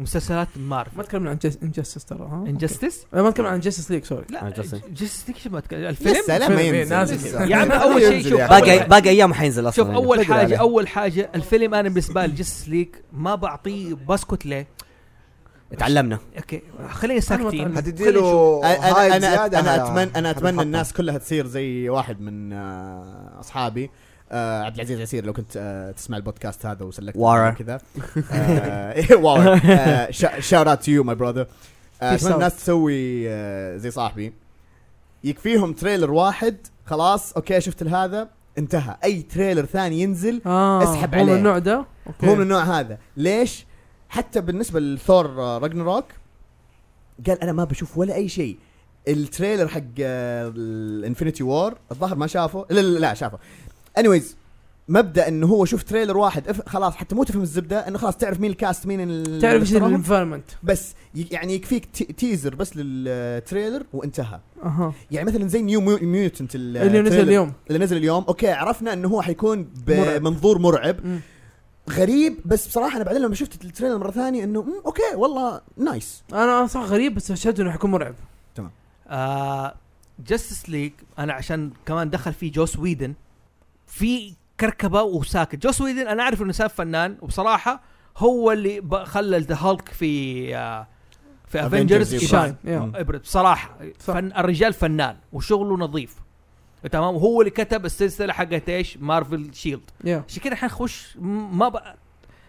S1: مسلسلات
S2: ما
S1: مارفل
S2: تكلمنا عن انجستس ترى ها
S1: انجستس
S2: أوكي. آه، ما تكلمنا عن جستس ليج سوري
S1: لا
S5: آه، Justice.
S1: جستس ما أتكلم. الفيلم
S3: لسه لما
S2: فيلم، إيه،
S3: ينزل
S2: نازل.
S3: لسه.
S1: يا عم اول شيء شوف
S6: يا
S1: أول
S5: باقي
S1: حاجة-
S5: باقي ايام حينزل اصلا
S1: شوف
S5: يعني.
S1: اول
S5: تقدر
S1: حاجه
S5: عليه.
S1: اول حاجه الفيلم انا بالنسبه لي جستس ليج ما بعطيه بسكت ليه
S5: تعلمنا
S1: اوكي خلينا ساكتين
S2: أتعلم.
S1: خلينا نشوف.
S6: حتديله
S3: انا
S6: هايب
S3: انا
S6: زيادة
S3: انا
S6: على-
S3: اتمنى انا اتمنى
S6: هتنحطها.
S3: الناس كلها تصير زي واحد من آه، اصحابي آه، عبد العزيز عسير لو كنت آه، تسمع البودكاست هذا وسلكت
S5: Wara.
S3: كذا آه، إيه، واو شاوت اوت تو يو ماي براذر
S2: Peace
S3: اتمنى
S2: out.
S3: آه، الناس تسوي آه، زي صاحبي يكفيهم تريلر واحد خلاص اوكي شفت هذا انتهى اي تريلر ثاني ينزل
S2: اه
S3: اسحب
S2: هو
S3: عليه.
S2: من النوع ده اوكي
S6: إيه.
S3: هو من النوع هذا ليش حتى بالنسبه لثور راجنروك قال انا ما بشوف ولا اي شيء التريلر حق الانفنتي وور الظاهر ما شافه لا لا, لا شافه انيويز مبدا انه هو شوف تريلر واحد اف- خلاص حتى مو تفهم الزبده انه خلاص تعرف مين الكاست مين ال-
S2: تعرف ايش
S3: اللي اختاروهم.
S2: الانفايرمنت
S3: بس ي- يعني يكفيك تي- تيزر بس للتريلر وانتهى
S2: اها
S3: يعني مثلا زي نيو ميو- ميوتنت ال-
S2: اللي نزل
S3: التريلر
S2: اليوم
S3: اللي نزل اليوم اوكي عرفنا انه هو حيكون
S2: مرعب.
S3: بمنظور مرعب
S2: مم.
S3: غريب بس بصراحه انا بعدين لما شفت التريلر مره ثانيه انه مم، اوكي والله نايس
S2: انا صح غريب بس اشهد انه حيكون مرعب
S1: آه جاستس ليج انا عشان كمان دخل فيه جوس ويدن في كركبه وساكت جوس ويدن انا اعرف انه ساب فنان وبصراحه هو اللي ب- خلى ذا هالك في آه في
S3: Avengers
S1: افنجرز
S3: يبرع.
S1: شاين
S2: شاين يا.
S1: ابرد بصراحه
S2: صح.
S1: فن الرجال فنان وشغله نظيف تمام وهو اللي كتب السلسله حقت ايش مارفل شيلد
S2: يا
S1: عشان كذا حنخش م- ما بقى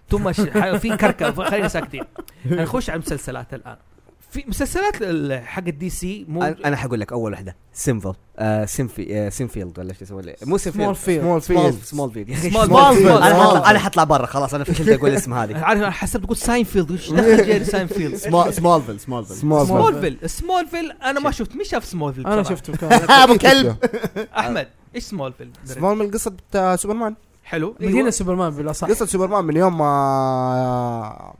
S1: تو ماتش في كركبه خلينا ساكتين حنخش على المسلسلات الان في مسلسلات ال- حق دي سي مو
S5: انا أنا حقول لك اول واحده سيمفل آه سيمفي آه سيمفيلد ولا شو يسموه ليه؟ مو
S2: سمول
S5: سيمفيلد
S2: فيلد
S6: سمول
S5: سمول
S6: فيلد
S5: سمول فيلد يا اخي
S1: Smallville.
S5: Smallville.
S1: Smallville.
S5: انا حط-
S6: Smallville.
S5: انا حطلع برا خلاص انا فشلت اقول اسم هذه
S1: عارف انا حسبت قلت ساينفيلد وش دخل جيري ساينفيلد
S3: إيه. سمولفيل سمولفيل
S6: سمول فيلد
S1: سمولفيل سمولفيل انا ما شفت مين شاف سمولفيل
S2: انا
S1: بصراحة؟
S2: شفته كان
S3: ابو كلب
S1: احمد ايش سمولفيل
S6: سمول من قصه آه، سوبرمان
S1: حلو أيوة.
S2: لقينا سوبرمان بالاصح
S6: قصه سوبرمان من يوم ما آه،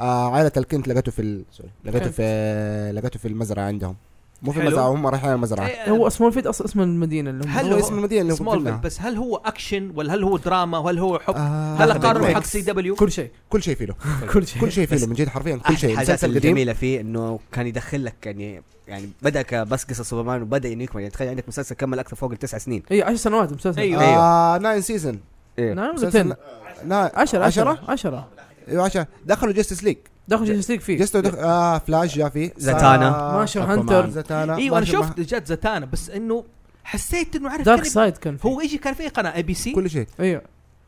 S6: آه، عائله الكنت لقته في ال... سوري لقته
S2: كنت.
S6: في لقته في المزرعه عندهم مو في
S1: حلو.
S6: المزرعه هم رايحين المزرعه
S1: إيه،
S2: هو اسمه فيد اصلا اسم المدينه اللي هم
S1: هل
S6: هو
S1: هو
S6: اسم المدينه اللي هم
S1: سمولفيل
S6: كلها.
S1: بس هل هو اكشن ولا هل هو دراما وهل هو حب
S6: آه،
S1: هل
S6: أخذ
S1: قارنوا
S6: الميكس.
S1: حق سي دبليو
S2: كل شيء
S6: كل شيء فيه له
S2: كل شيء
S6: كل شيء فيه له من جد حرفيا كل
S5: احد
S6: شيء
S5: الحاجات
S6: مسلسل قديم
S5: الجميله فيه انه كان يدخل لك يعني يعني بدا كبس قصه سوبرمان وبدا انه يكمل يعني تخيل عندك مسلسل كمل اكثر فوق التسع سنين
S2: اي 10 سنوات المسلسل
S3: أيوه.
S1: أيوة.
S6: آه ناين سيزون
S2: نعم
S6: مسلسل-
S2: 10
S6: لا
S2: 10
S6: 10
S2: 10
S6: ايوه 10 دخلوا جاستس ليج
S2: دخل جيسس ليج فيه
S6: جاستس دخ... آه فلاش جا فيه
S5: زتانا.
S6: سا-
S2: إيه. ماشي
S3: أكوامان.
S2: هانتر
S6: زتانا
S1: ايوه انا
S6: ماشي مع-
S1: شفت جات زتانا بس انه حسيت انه عارف
S2: دارك
S1: كان-
S2: سايد كان فيه
S1: هو ايش كان في قناه اي بي سي
S6: كل شيء
S2: ايوه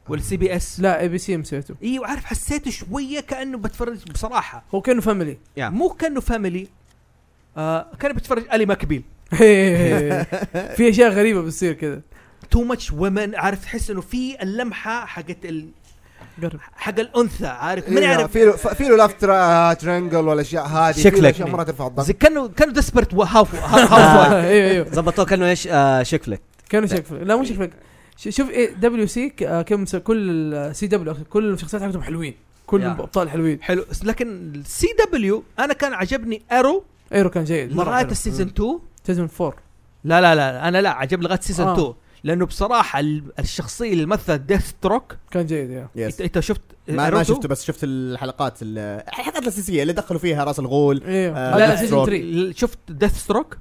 S1: ولا سي بي اس
S2: لا اي بي سي مسويته
S1: ايوه عارف حسيته شويه كانه بتفرج بصراحه
S2: هو كانه فاميلي
S5: نعم.
S1: مو كانه فاميلي آه كان بتفرج الي ماكبيل
S2: في اشياء غريبه بتصير كذا
S1: تو ماتش ومن عارف تحس انه في اللمحه حقت ال...
S2: قرب
S1: حق الانثى عارف من
S6: إيه،
S1: يعرف
S6: في له في له لاف ترانجل والاشياء هذه في له
S5: شكلك.
S6: اشياء مره ترفع الضغط
S1: زي كانوا كانوا ديسبرت وهاف هاف
S5: آه.
S2: ايوه ايوه
S5: ظبطوه كانه ايش آه شكلك
S2: كانوا شيك فليك لا مو شيك فليك
S1: إيه.
S2: ش- شوف ايه دبليو سي ك- آه، كم س- كل سي دبليو كل الشخصيات حقتهم حلوين كل
S1: يا.
S2: الابطال حلوين
S1: حلو لكن سي دبليو انا كان عجبني ارو
S2: ايرو كان جيد
S1: لغايه السيزون 2
S2: سيزون 4
S1: لا لا لا انا لا عجب لغايه سيزون
S2: آه.
S1: 2 لانه بصراحه ال- الشخصيه اللي مثلت ديث تروك
S2: كان جيد يا
S1: انت انت شفت
S3: ما,
S1: أرو
S3: ما
S1: 2؟
S3: شفته بس شفت الحلقات ال- الحلقات الاساسيه اللي دخلوا فيها راس الغول
S2: ايوه
S3: آه،
S2: لا لا
S1: Death
S2: سيزون
S3: Stroke.
S2: 3
S1: ل- شفت ديث ستروك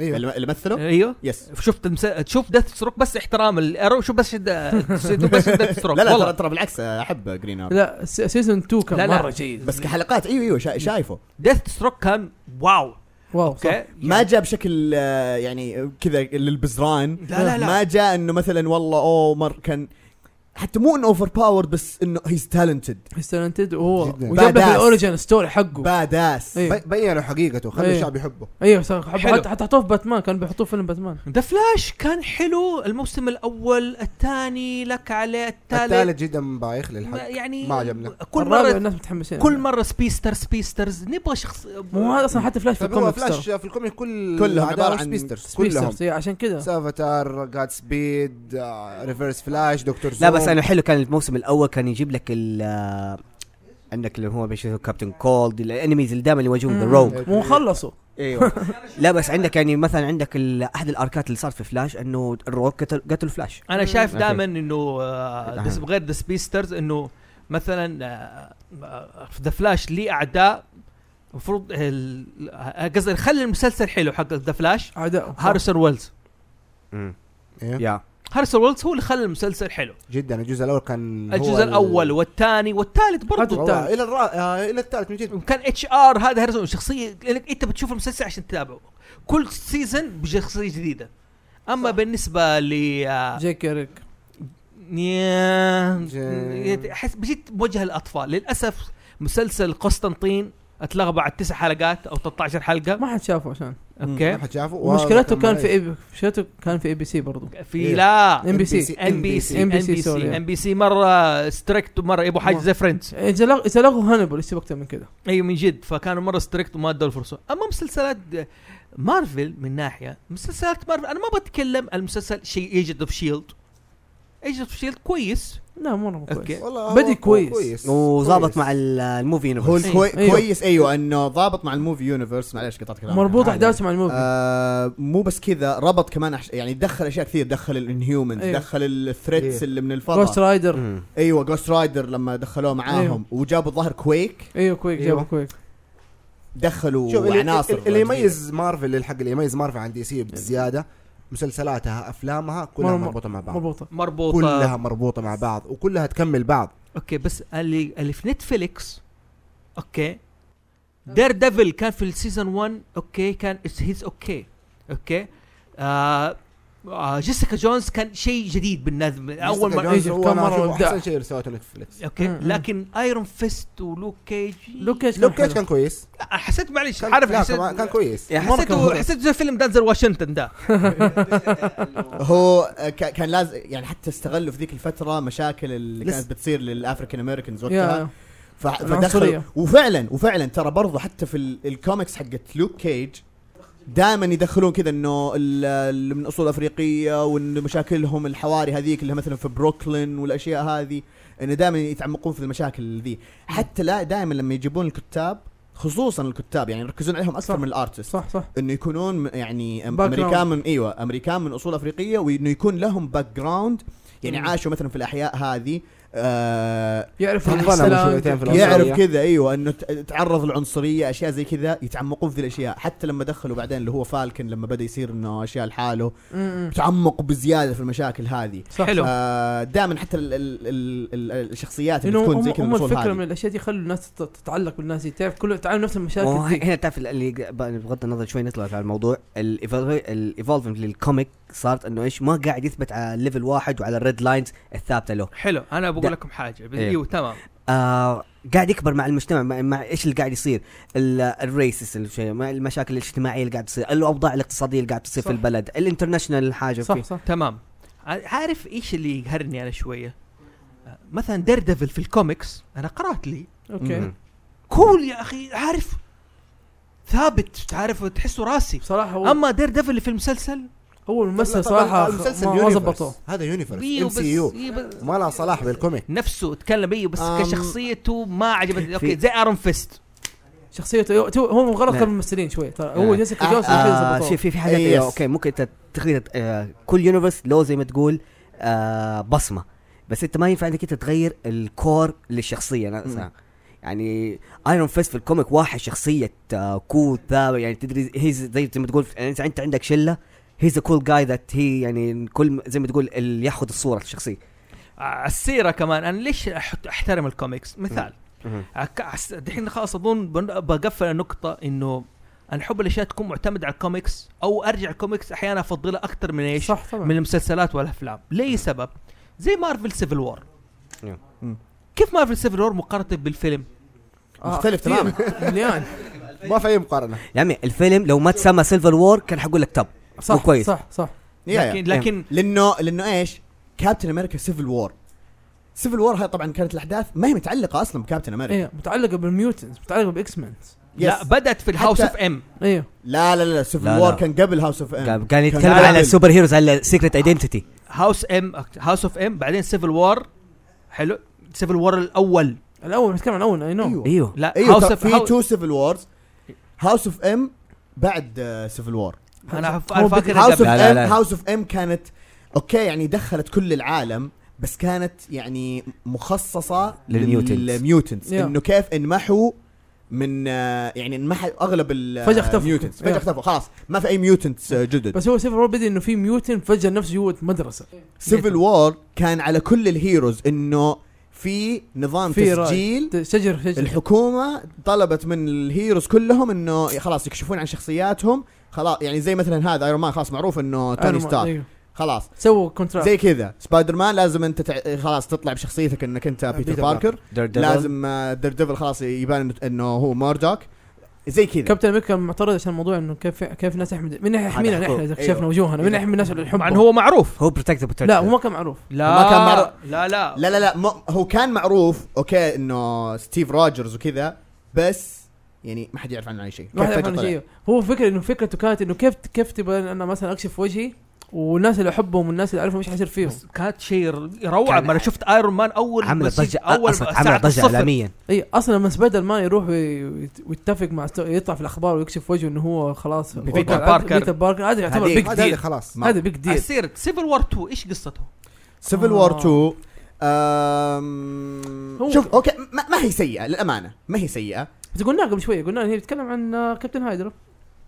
S6: ايوه
S3: اللي اللي مثله
S1: ايوه
S3: يس
S1: شفت المس... شوف ديث ستروك بس احترام الارو شوف بس د- شوف بس ديث ستروك
S3: لا لا ترى
S1: والله
S3: ترى بالعكس احب جرين ارم
S2: لا س- سيزون 2 كان
S1: لا، لا.
S2: مره جيد
S3: بس كحلقات ايوه ايوه
S6: إيه.
S3: شا- شايفه
S1: ديث ستروك كان واو
S2: واو
S1: اوكي
S2: صح
S3: ما جاء بشكل آه، يعني كذا للبزران
S1: لا لا لا.
S3: ما جاء انه مثلا والله اوه مر كان حتى مو انه اوفر باورد بس انه هيز تالنتد
S2: هيستلنتد وهو
S6: جداً.
S2: وجاب لك
S3: Badass.
S2: الاوريجن ستوري حقه
S3: باداس
S2: ايوه
S6: بي- بينوا حقيقته خلوا
S2: إيه.
S6: الشعب يحبه
S2: ايوه صح حب-
S1: حلو.
S2: حتى حتى حطوه في باتمان كان بيحطوه في فيلم باتمان
S1: ذا فلاش كان حلو الموسم الاول الثاني لك عليه الثالث
S6: الثالث جدا بايخ
S1: ما-
S6: للحق
S1: يعني
S6: ما عجبنا.
S1: كل
S2: الرابع
S1: مره
S2: الناس متحمسين
S1: كل مره سبيستر سبيسترز نبغى شخص
S2: مو هذا اصلا حتى فلاش في
S6: طب هو
S2: الكوميكس
S6: فلاش
S2: ترى.
S6: في الكوميك كل
S3: كلهم
S6: أعداء
S3: عبارة عن
S6: سبيسترز كلهم
S2: سبيسترز إيه، عشان كذا
S6: سافاتار جاد سبيد
S3: uh,
S6: ريفرس فلاش دكتور
S5: لا
S6: زوم
S5: بس انا حلو كان الموسم الاول كان يجيب لك ال آه، عندك اللي هو بيشوفوا كابتن كولد الانميز اللي دائما
S1: Mm.
S5: يواجههم ذا روج
S2: مو خلصوا
S3: أيوة.
S5: ايوه لا بس عندك يعني مثلا عندك ال- احد الاركات اللي صار في فلاش انه الروك قتل, قتل فلاش
S1: انا شايف
S5: أوكي.
S1: دائما انه آه،
S5: أها.
S1: دس- غير ذا سبيسترز انه مثلا آه، آه، في ذا فلاش ليه اعداء المفروض ال- آه، قصدي خلي المسلسل حلو حق ذا فلاش
S2: اعدائهم
S1: هاريسون ويلز
S6: إيه.
S5: يا
S1: هاريسون ويلز هو اللي خلى المسلسل حلو
S6: جدا الجزء الاول كان هو
S1: الجزء
S6: ال-
S1: الاول والثاني والثالث برضه
S2: حتى-
S6: والله الى الرا... آه، الى الثالث من جد
S1: وكان اتش ار هذا هاريسون شخصيه لانك انت بتشوف المسلسل عشان تتابعه كل سيزون بشخصيه جديده اما بالنسبه ل آه،
S2: جيك كيريك
S6: جي-
S1: نيا- احس بجد موجه للاطفال للاسف مسلسل قسطنطين اتلغى بعد تسع حلقات او 13 حلقه
S2: ما حد شافه عشان
S1: اوكي
S3: نعم.
S6: حد شافه
S2: ومشكلته كان في إيه مشكلته كان في اي بي سي برضه
S1: في لا
S2: ام بي سي
S1: ام بي سي ام بي
S2: NBC
S1: سي
S2: سوري.
S1: ام بي سي مره ستريكت ومره يبغوا حاجه زي فريندز
S2: اذا لغ- اذا لغوا هانبل ايش يبغى اكثر من كذا
S1: ايوه من جد فكانوا مره ستريكت وما ادوا الفرصه اما مسلسلات د- مارفل من ناحيه مسلسلات مارفل انا ما بتكلم عن مسلسل شيء ايجنت اوف شيلد ايجنت اوف شيلد E كويس
S2: لا مره مو كويس
S1: أوكي.
S6: والله هو-
S2: بدي
S6: هو
S2: كويس.
S5: وظابط
S6: كويس.
S5: مع ال- الموفي
S3: هو
S5: يونيفرس
S3: الكوي...
S2: أيوه.
S3: أيوه. كويس ايوه انه ضابط مع الموفي يونيفرس معلش قطعت كلامك
S2: مربوط
S5: عادي.
S2: احداثه مع الموفي
S3: آه مو بس كذا ربط كمان أحش... يعني دخل اشياء كثير دخل الانهيومنز
S2: أيوه.
S3: أيوه. دخل الثريتس
S6: أيوه.
S3: أيوه. اللي من
S2: جوست
S3: الفضاء
S2: رايدر
S5: مم.
S3: ايوه جوست رايدر لما دخلوه معاهم
S2: أيوه.
S3: أيوه. وجابوا ظهر كويك
S2: ايوه كويك
S6: أيوه.
S2: جابوا كويك
S3: دخلوا
S6: شوف اللي-
S3: عناصر
S6: اللي
S3: جديدة.
S6: يميز مارفل الحق اللي يميز مارفل عن دي سي بزياده مسلسلاتها افلامها كلها
S2: مر- مر-
S6: مربوطه مع بعض
S2: مربوطه
S1: مربوطه
S6: كلها مربوطه مع بعض وكلها تكمل بعض
S1: اوكي بس اللي اللي في نتفليكس اوكي دير ديفل كان في السيزون 1 اوكي كان هيز اوكي اوكي آه آه جيسيكا جونز كان شيء جديد بالنسبه اول مره
S2: جونز. كم
S6: كم
S2: مرة
S6: مره
S2: وإبداع.
S6: احسن شيء اللي سويته نتفلكس
S1: اوكي
S2: مم.
S1: لكن ايرون فيست ولوك كيج
S2: لوك كيج
S6: لوك كيج
S2: حلو.
S6: كان كويس
S1: لا، حسيت معلش
S6: كان
S1: عارف
S6: لا،
S1: حسيت
S6: كان كان كويس
S5: يعني
S2: مرة كان
S1: حسيته
S2: هو-
S1: حسيت زي فيلم دانزر واشنطن ده
S3: هو آه، ك- كان لازم يعني حتى استغلوا في ذيك الفتره مشاكل اللي
S6: لسه.
S3: كانت بتصير للافريكان امريكانز وقتها
S2: يا
S3: ف- فدخلوا
S2: العنصرية.
S3: وفعلا وفعلا ترى برضو حتى في ال- الكوميكس حقت لوك كيج دائما يدخلون كذا انه ال- اللي من اصول افريقيه وان مشاكلهم الحواري هذيك اللي مثلا في بروكلين والاشياء هذه انه دائما يتعمقون في المشاكل ذي حتى لا دائما لما يجيبون الكتاب خصوصا الكتاب يعني يركزون عليهم اكثر
S2: صح.
S3: من الارتست
S2: صح صح
S3: انه يكونون م- يعني أم-
S2: Background.
S3: امريكان من ايوه امريكان من اصول افريقيه وانه يكون لهم باك جراوند يعني
S2: مم.
S3: عاشوا مثلا في الاحياء هذه آه
S2: يعرف
S6: انظلموا
S2: السلام.
S6: شويتين في العنصرية.
S3: يعرف كذا ايوه انه ت- تعرض للعنصريه اشياء زي كذا يتعمقون في ذي الاشياء حتى لما دخلوا بعدين اللي هو فالكن لما بدا يصير انه اشياء لحاله
S2: مم.
S3: تعمق بزياده في المشاكل هذه
S2: صح
S1: حلو.
S2: صح.
S3: آه دائما حتى ال ال ال ال الشخصيات اللي
S2: لانه
S3: تكون
S2: هم
S3: زي كذا
S2: هم
S3: من الأصول
S2: الفكره
S3: هذه.
S2: من الاشياء دي يخلوا الناس تت- تتعلق بالناس دي تعرف كله تعالوا نفس
S5: وهو
S2: المشاكل دي
S5: هنا يعني تعرف اللي ب- بغض النظر شوي نطلع على الموضوع الايفولفنج للكوميك صارت انه ايش ما قاعد يثبت على ليفل واحد وعلى الريد لاينز الثابته له
S1: حلو انا
S5: ده-
S1: بقول لكم حاجه
S5: إيه.
S1: ايوه تمام
S5: آه قاعد يكبر مع المجتمع مع, مع ايش اللي قاعد يصير ال- الريسس الشيء مع المشاكل الاجتماعيه اللي قاعد تصير الاوضاع الاقتصاديه اللي قاعد تصير
S2: صح.
S5: في البلد الانترناشنال حاجه
S2: صح
S5: فيه
S2: صح
S1: تمام ع- عارف ايش اللي يقهرني انا شويه آه، مثلا دير ديفل في الكوميكس انا قرات لي
S2: اوكي
S5: مم.
S1: كول يا اخي عارف ثابت تعرف تحسه راسي
S2: بصراحه هو
S1: اما دير ديفل اللي في المسلسل
S2: هو
S6: لا،
S2: الممثل
S6: طبعاً
S2: صراحه
S6: المسلسل
S2: ما- ما
S6: يونيفرس.
S2: ظبطوه
S6: هذا يونيفرس
S1: إيوه
S6: ام
S1: بس-
S6: سي يو
S1: إيه بس-
S6: ما لها صلاح بالكوميك
S1: نفسه تكلم ايوه بس
S3: أم.
S1: كشخصيته ما عجبتني اوكي زي ارون فيست
S2: شخصيته هو- تو- هم غلط
S5: لا.
S2: كانوا ممثلين شوي ترى هو
S5: آه.
S2: جيسيكا جونز
S5: آه
S2: اللي
S5: شوف في في حاجات
S3: Yes.
S5: إيه اوكي ممكن انت تخلي آه كل يونيفرس له زي ما تقول آه بصمه بس انت ما ينفع انك انت تغير الكور للشخصيه نفسها يعني ايرون فيست في الكوميك واحد شخصيه آه كول ذا يعني تدري هي زي زي ما تقول يعني انت أنت عندك شله هيز ا كول جاي ذات هي يعني كل زي ما تقول اللي ياخذ الصوره الشخصيه
S1: على السيره آه، كمان انا ليش أح- احترم الكوميكس مثال أك- أحس- دحين خلاص اظن بن- بقفل النقطه انه انا احب الاشياء تكون معتمده على الكوميكس او ارجع الكوميكس احيانا افضلها اكثر من ايش
S2: صح طبعا
S1: من المسلسلات والافلام ليه سبب زي مارفل سيفل وور
S5: نعم.
S3: مم.
S1: كيف مارفل سيفل وور مقارنه بالفيلم
S2: آه،
S3: مختلف
S2: كتير.
S3: تماماً.
S2: مليان
S6: ما في اي مقارنه
S5: يا عمي الفيلم لو ما تسمى سيلفر وور كان حقول لك تب مو
S2: صح
S5: كويس.
S2: صح صح
S3: يا- يا.
S1: لكن لكن
S3: لانه لانه ايش؟ كابتن امريكا سيفل وور سيفل وور هاي طبعا كانت الاحداث ما هي متعلقه اصلا بكابتن امريكا
S2: ايوه متعلقه بالميوتنز متعلقه باكس مانز
S1: لا
S3: يس.
S1: بدات في الهاوس اوف
S3: حتى-
S1: ام
S2: ايوه
S3: لا لا لا سيفل
S5: لا،
S3: وور
S5: لا.
S3: كان قبل هاوس اوف ام
S5: قال قال يتكلم
S3: قبل.
S5: على السوبر هيروز على السيكريت ايدنتيتي
S1: هاوس ام هاوس اوف ام بعدين سيفل وور حلو سيفل وور الاول
S2: الاول نتكلم عن الاول اي نو
S3: ايوه
S5: ايوه
S1: لا
S3: ايوه
S1: هاوس
S3: ترى
S1: اوف
S3: في تو سيفل وورز هاوس اوف ام بعد آه، سيفل وور
S1: انا ف-
S2: هو
S1: أنا فاكر
S3: هاوس اوف
S1: قبل.
S5: لا، لا،
S3: ام
S5: لا.
S3: هاوس اوف ام كانت اوكي يعني دخلت كل العالم بس كانت يعني مخصصه
S5: للميوتنتس.
S3: للميوتنتس
S2: Yeah.
S3: انه كيف انمحوا من آه، يعني انمحوا اغلب ال
S2: فجأة اختفوا.
S3: mutants. فجاه
S2: Yeah.
S3: اختفوا خلاص ما في اي ميوتنتس جدد
S2: بس هو سيفر وور بدي انه في ميوتن فجاه نفسه جوه مدرسه
S3: سيفل وور كان على كل الهيروز انه في نظام
S2: في رأي.
S3: تسجيل
S2: شجر شجر
S3: الحكومة طلبت من الهيروز كلهم انه خلاص يكشفون عن شخصياتهم خلاص يعني زي مثلا هذا ايرون مان خلاص معروف انه توني ستارك
S2: أيوه.
S3: خلاص
S2: سووا كونتراكت
S3: زي كذا سبايدر مان لازم انت تع... خلاص تطلع بشخصيتك انك انت
S6: بيتر
S3: بيتر باركر لازم آه، دير ديفل خلاص يبان إنه- انه هو موردوك زي كذا
S2: كابتن امريكا معترض عشان موضوع انه كيف كيف الناس تحمد من ناحيه يحمينا
S3: حقوق.
S2: نحن اذا
S3: أيوه.
S2: كشفنا وجوهنا من ناحيه الناس اللي
S1: مع
S2: نحبهم
S1: انه هو معروف
S5: هو بروتكتد
S2: لا هو ما كان معروف
S1: لا
S3: ما كان معروف.
S1: لا لا
S3: لا لا لا مو... هو كان معروف اوكي انه ستيف روجرز وكذا بس يعني ما حد يعرف عنه اي شيء
S2: ما حد
S3: كيف
S2: يعرف
S3: فجأة
S2: عنه
S1: طيب؟
S3: طلع؟
S2: شيء هو فكره انه فكرته كانت انه كيف كيف تبغى انا مثلا اكشف وجهي والناس اللي احبهم والناس اللي اعرفهم ايش حيصير فيهم
S1: بس كانت شيء روعه
S5: كان-
S1: ما انا شفت ايرون مان اول ما
S5: عملت
S1: سج-
S5: ضجه
S1: اول
S5: اصلا
S1: ما- ساعة
S5: عملت ضجه
S1: الصفر.
S5: اعلاميا
S2: اي اصلا لما سبايدر مان يروح ويت- ويتفق مع ستو- يطلع في الاخبار ويكشف وجهه انه هو خلاص
S3: بيتر
S2: وقع-
S1: باركر.
S2: بيتر باركر هذا يعتبر
S3: هذيك.
S2: بيج
S6: هذا هذا
S2: ديل
S6: خلاص
S3: ما-
S2: هذا بيج ديل
S1: عسير سيفل وور 2 ايش قصته؟
S3: سيفل
S2: آه.
S3: وور 2 أم...
S2: هو-
S3: شوف اوكي ما, ما هي سيئه للامانه ما هي سيئه
S2: بس قلنا قبل شويه قلنا إن هي بتتكلم عن آه، كابتن هايدرا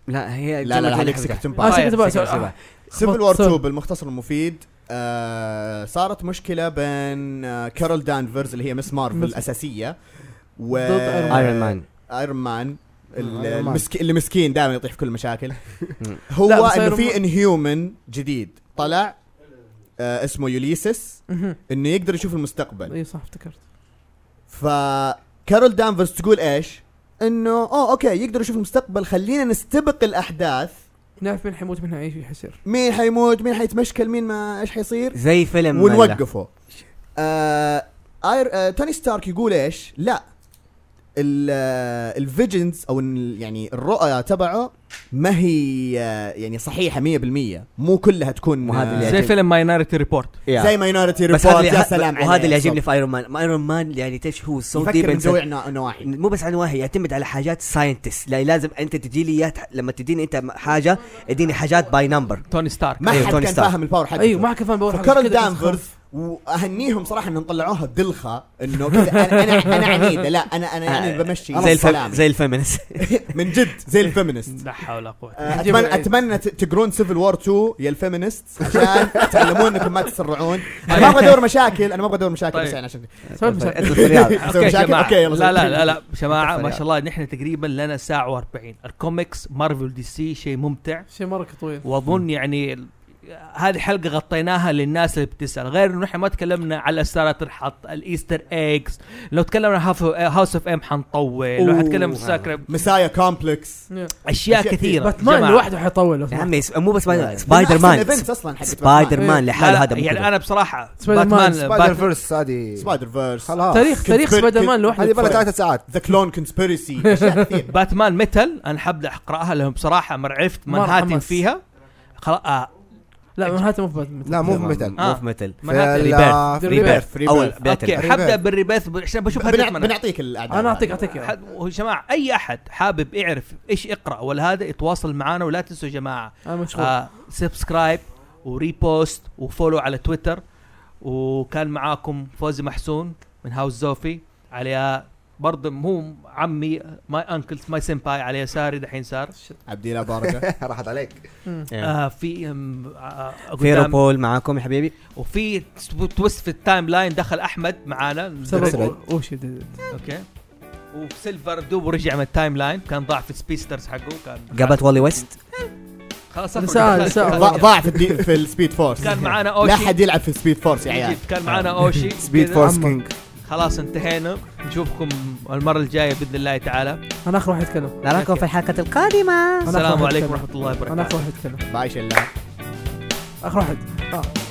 S5: لا هي
S3: لا لا لا هذيك
S5: سكت
S3: سكتن
S2: اه
S1: آه،
S3: باور
S1: سكت
S2: سكت
S1: باير،
S2: باير.
S5: سكت باير.
S3: سيفل وور
S2: خبط.
S3: 2 بالمختصر المفيد آه صارت مشكله بين آه كارول دانفرز اللي هي مس مارفل
S2: مس-
S3: الاساسيه و
S2: ضد آه، آيرون مان.
S5: ايرون مان
S3: ايرون مان
S6: آيرون
S3: ال-
S6: مان.
S3: المسك... اللي مسكين دائما يطيح في كل المشاكل
S5: مم.
S3: هو
S2: لا، بس
S3: انه
S2: آيرون
S3: في
S2: مان-
S3: انهيومن جديد طلع آه اسمه يوليسس
S2: مهم.
S3: انه يقدر يشوف المستقبل
S2: اي إيه، صح افتكرت
S3: فكارول دانفرز تقول ايش؟ انه اوه اوكي يقدر يشوف المستقبل خلينا نستبق الاحداث
S2: نعرف مين حيموت منها اي شيء حيصير
S3: مين حيموت مين حيتمشكل مين ما ايش حيصير
S5: زي فيلم
S3: ونوقفه آه آير آه توني ستارك يقول ايش لا آه، الفيجنز او ال- يعني الرؤى تبعه ما هي آه، يعني صحيحه 100% مو كلها تكون
S5: مو هذا اللي
S3: آه،
S1: زي
S5: يعجبني.
S1: فيلم مايناريتي ريبورت
S5: يا.
S3: زي ماينورتي
S5: بس
S3: ريبورت
S5: هذا
S3: يا
S5: اللي
S3: سلام عليك
S5: وهذا اللي يعجبني في ايرون مان ايرون مان يعني تيش هو سو
S3: يفكر من
S5: ديب
S3: جميع النا- النواحي
S5: مو بس عن واحد يعتمد على حاجات ساينتست لا لازم انت تجي لي إياه تح- لما تديني انت حاجه اديني حاجات باي نمبر
S1: توني ستارك
S3: ما
S5: أيوة،
S3: حد
S5: توني
S3: كان
S5: ستارك. أيوة،
S3: فاهم الباور حقه
S2: ايوه ما كفايه بقول
S3: فكارل دانفرز واهنيهم صراحه انهم طلعوها دلخه انه كذا أنا- انا انا عنيده لا انا انا يعني بمشي
S5: آه. زي الفم
S3: السلام
S5: زي الفيمنس
S3: من جد زي الفيمنست
S1: لا حول ولا قوه
S3: آه، اتمنى اتمنى ت- تقرون سيفل وور 2 يا الفيمنست عشان تعلمون انكم ما تسرعون انا ما ابغى ادور مشاكل انا ما ابغى ادور مشاكل بس
S1: طيب.
S3: يعني عشان
S2: سويت مساعدة.
S5: ادخل في الرياض.
S3: سوي
S1: اوكي
S3: مشاكل
S1: جماعة.
S3: اوكي يلا
S1: لا
S3: سوي.
S1: لا لا لا جماعه
S5: تفضل
S1: ما
S5: يا.
S1: شاء الله نحن تقريبا لنا ساعه و40 الكوميكس مارفل دي سي شيء ممتع
S2: شيء مره طويل
S1: واظن يعني ال- هذه حلقه غطيناها للناس اللي بتسال غير انه احنا ما تكلمنا على اسرار الحط الايستر ايجز لو تكلمنا هاوس اوف ام حنطول لو
S3: أوه.
S1: حتكلم في ساكرة
S3: مسايا كومبلكس
S1: اشياء
S3: أشياء
S1: كثيره
S2: باتمان
S1: جماعة.
S2: لوحده حيطول لو
S5: يا
S2: سمحت.
S5: عمي س- مو بس باي- سبايدر مان
S3: ايفنتس اصلا حق
S5: سبايدر مان
S1: لا،
S5: لحاله
S1: لا،
S5: هذا مو
S1: يعني
S5: كذا.
S1: انا بصراحه
S2: سبايدر مان،
S1: باتمان
S6: سبايدر
S1: باتمان
S6: فيرس هذه
S3: سبايدر فيرس
S6: خلاص
S2: تاريخ تاريخ
S3: كنت-
S2: سبايدر مان
S3: كنت-
S2: لوحده
S6: هذه بلا
S2: حيطول.
S6: ثلاث ساعات
S3: ذا كلون كونسبيرسي اشياء كثير
S1: باتمان ميتال انا حبدا اقراها لهم بصراحه ما عرفت
S2: مرة
S1: منهاتن
S2: حمس.
S1: فيها خلاص آه
S2: لا مانهاتن مو في باتمان
S6: لا مو مثل
S5: مو في ميتال
S1: منهاتن
S5: ريبيرث
S3: Rebirth.
S5: اول
S1: اوكي
S5: باتل
S1: حبدا بالريبيث ب- عشان بشوف هدف
S3: بنع-
S1: منها.
S3: بنعطيك الاعداد
S2: انا اعطيك اعطيك إياه.
S1: حد يا جماعه اي احد حابب يعرف ايش يقرا ولا هذا يتواصل معنا ولا تنسوا يا جماعه
S2: انا مشغول
S1: آه سبسكرايب وريبوست وفولو على تويتر وكان معاكم فوزي محسون من هاوس زوفي على برضه هو عمي ماي انكلز ماي سمباي على يساري دحين صار
S3: عبد الله باركه
S6: راحت عليك
S1: آه في أم، آه قدام-
S5: فيروبول معاكم يا حبيبي
S1: وفي تويست في التايم لاين دخل احمد معانا
S2: سبب اوشي ديد إت.
S1: اوكي وسيلفر دوب رجع من التايم لاين كان ضاع في سبيسترز حقه كان
S5: قابلت والي ويست
S1: خلاص
S2: نسأل-
S1: أخرج.
S2: نسأل.
S1: خلاص.
S3: ضاع- ضاع في الدي- في السبيد فورس
S1: كان معانا
S3: لا
S1: اوشي
S3: احد يلعب في السبيد فورس يا عيال
S1: كان معانا اوشي
S6: سبيد
S1: كذا.
S6: فورس كينج
S1: خلاص انتهينا نشوفكم المره الجايه باذن الله تعالى
S2: انا اخر واحد يتكلم
S5: نراكم في الحلقة القادمة
S2: أنا آخر
S1: السلام
S2: واحد
S1: عليكم
S2: أتكلم.
S1: ورحمه الله وبركاته
S2: انا اخر واحد يتكلم
S3: باي شلال
S2: اخر واحد اه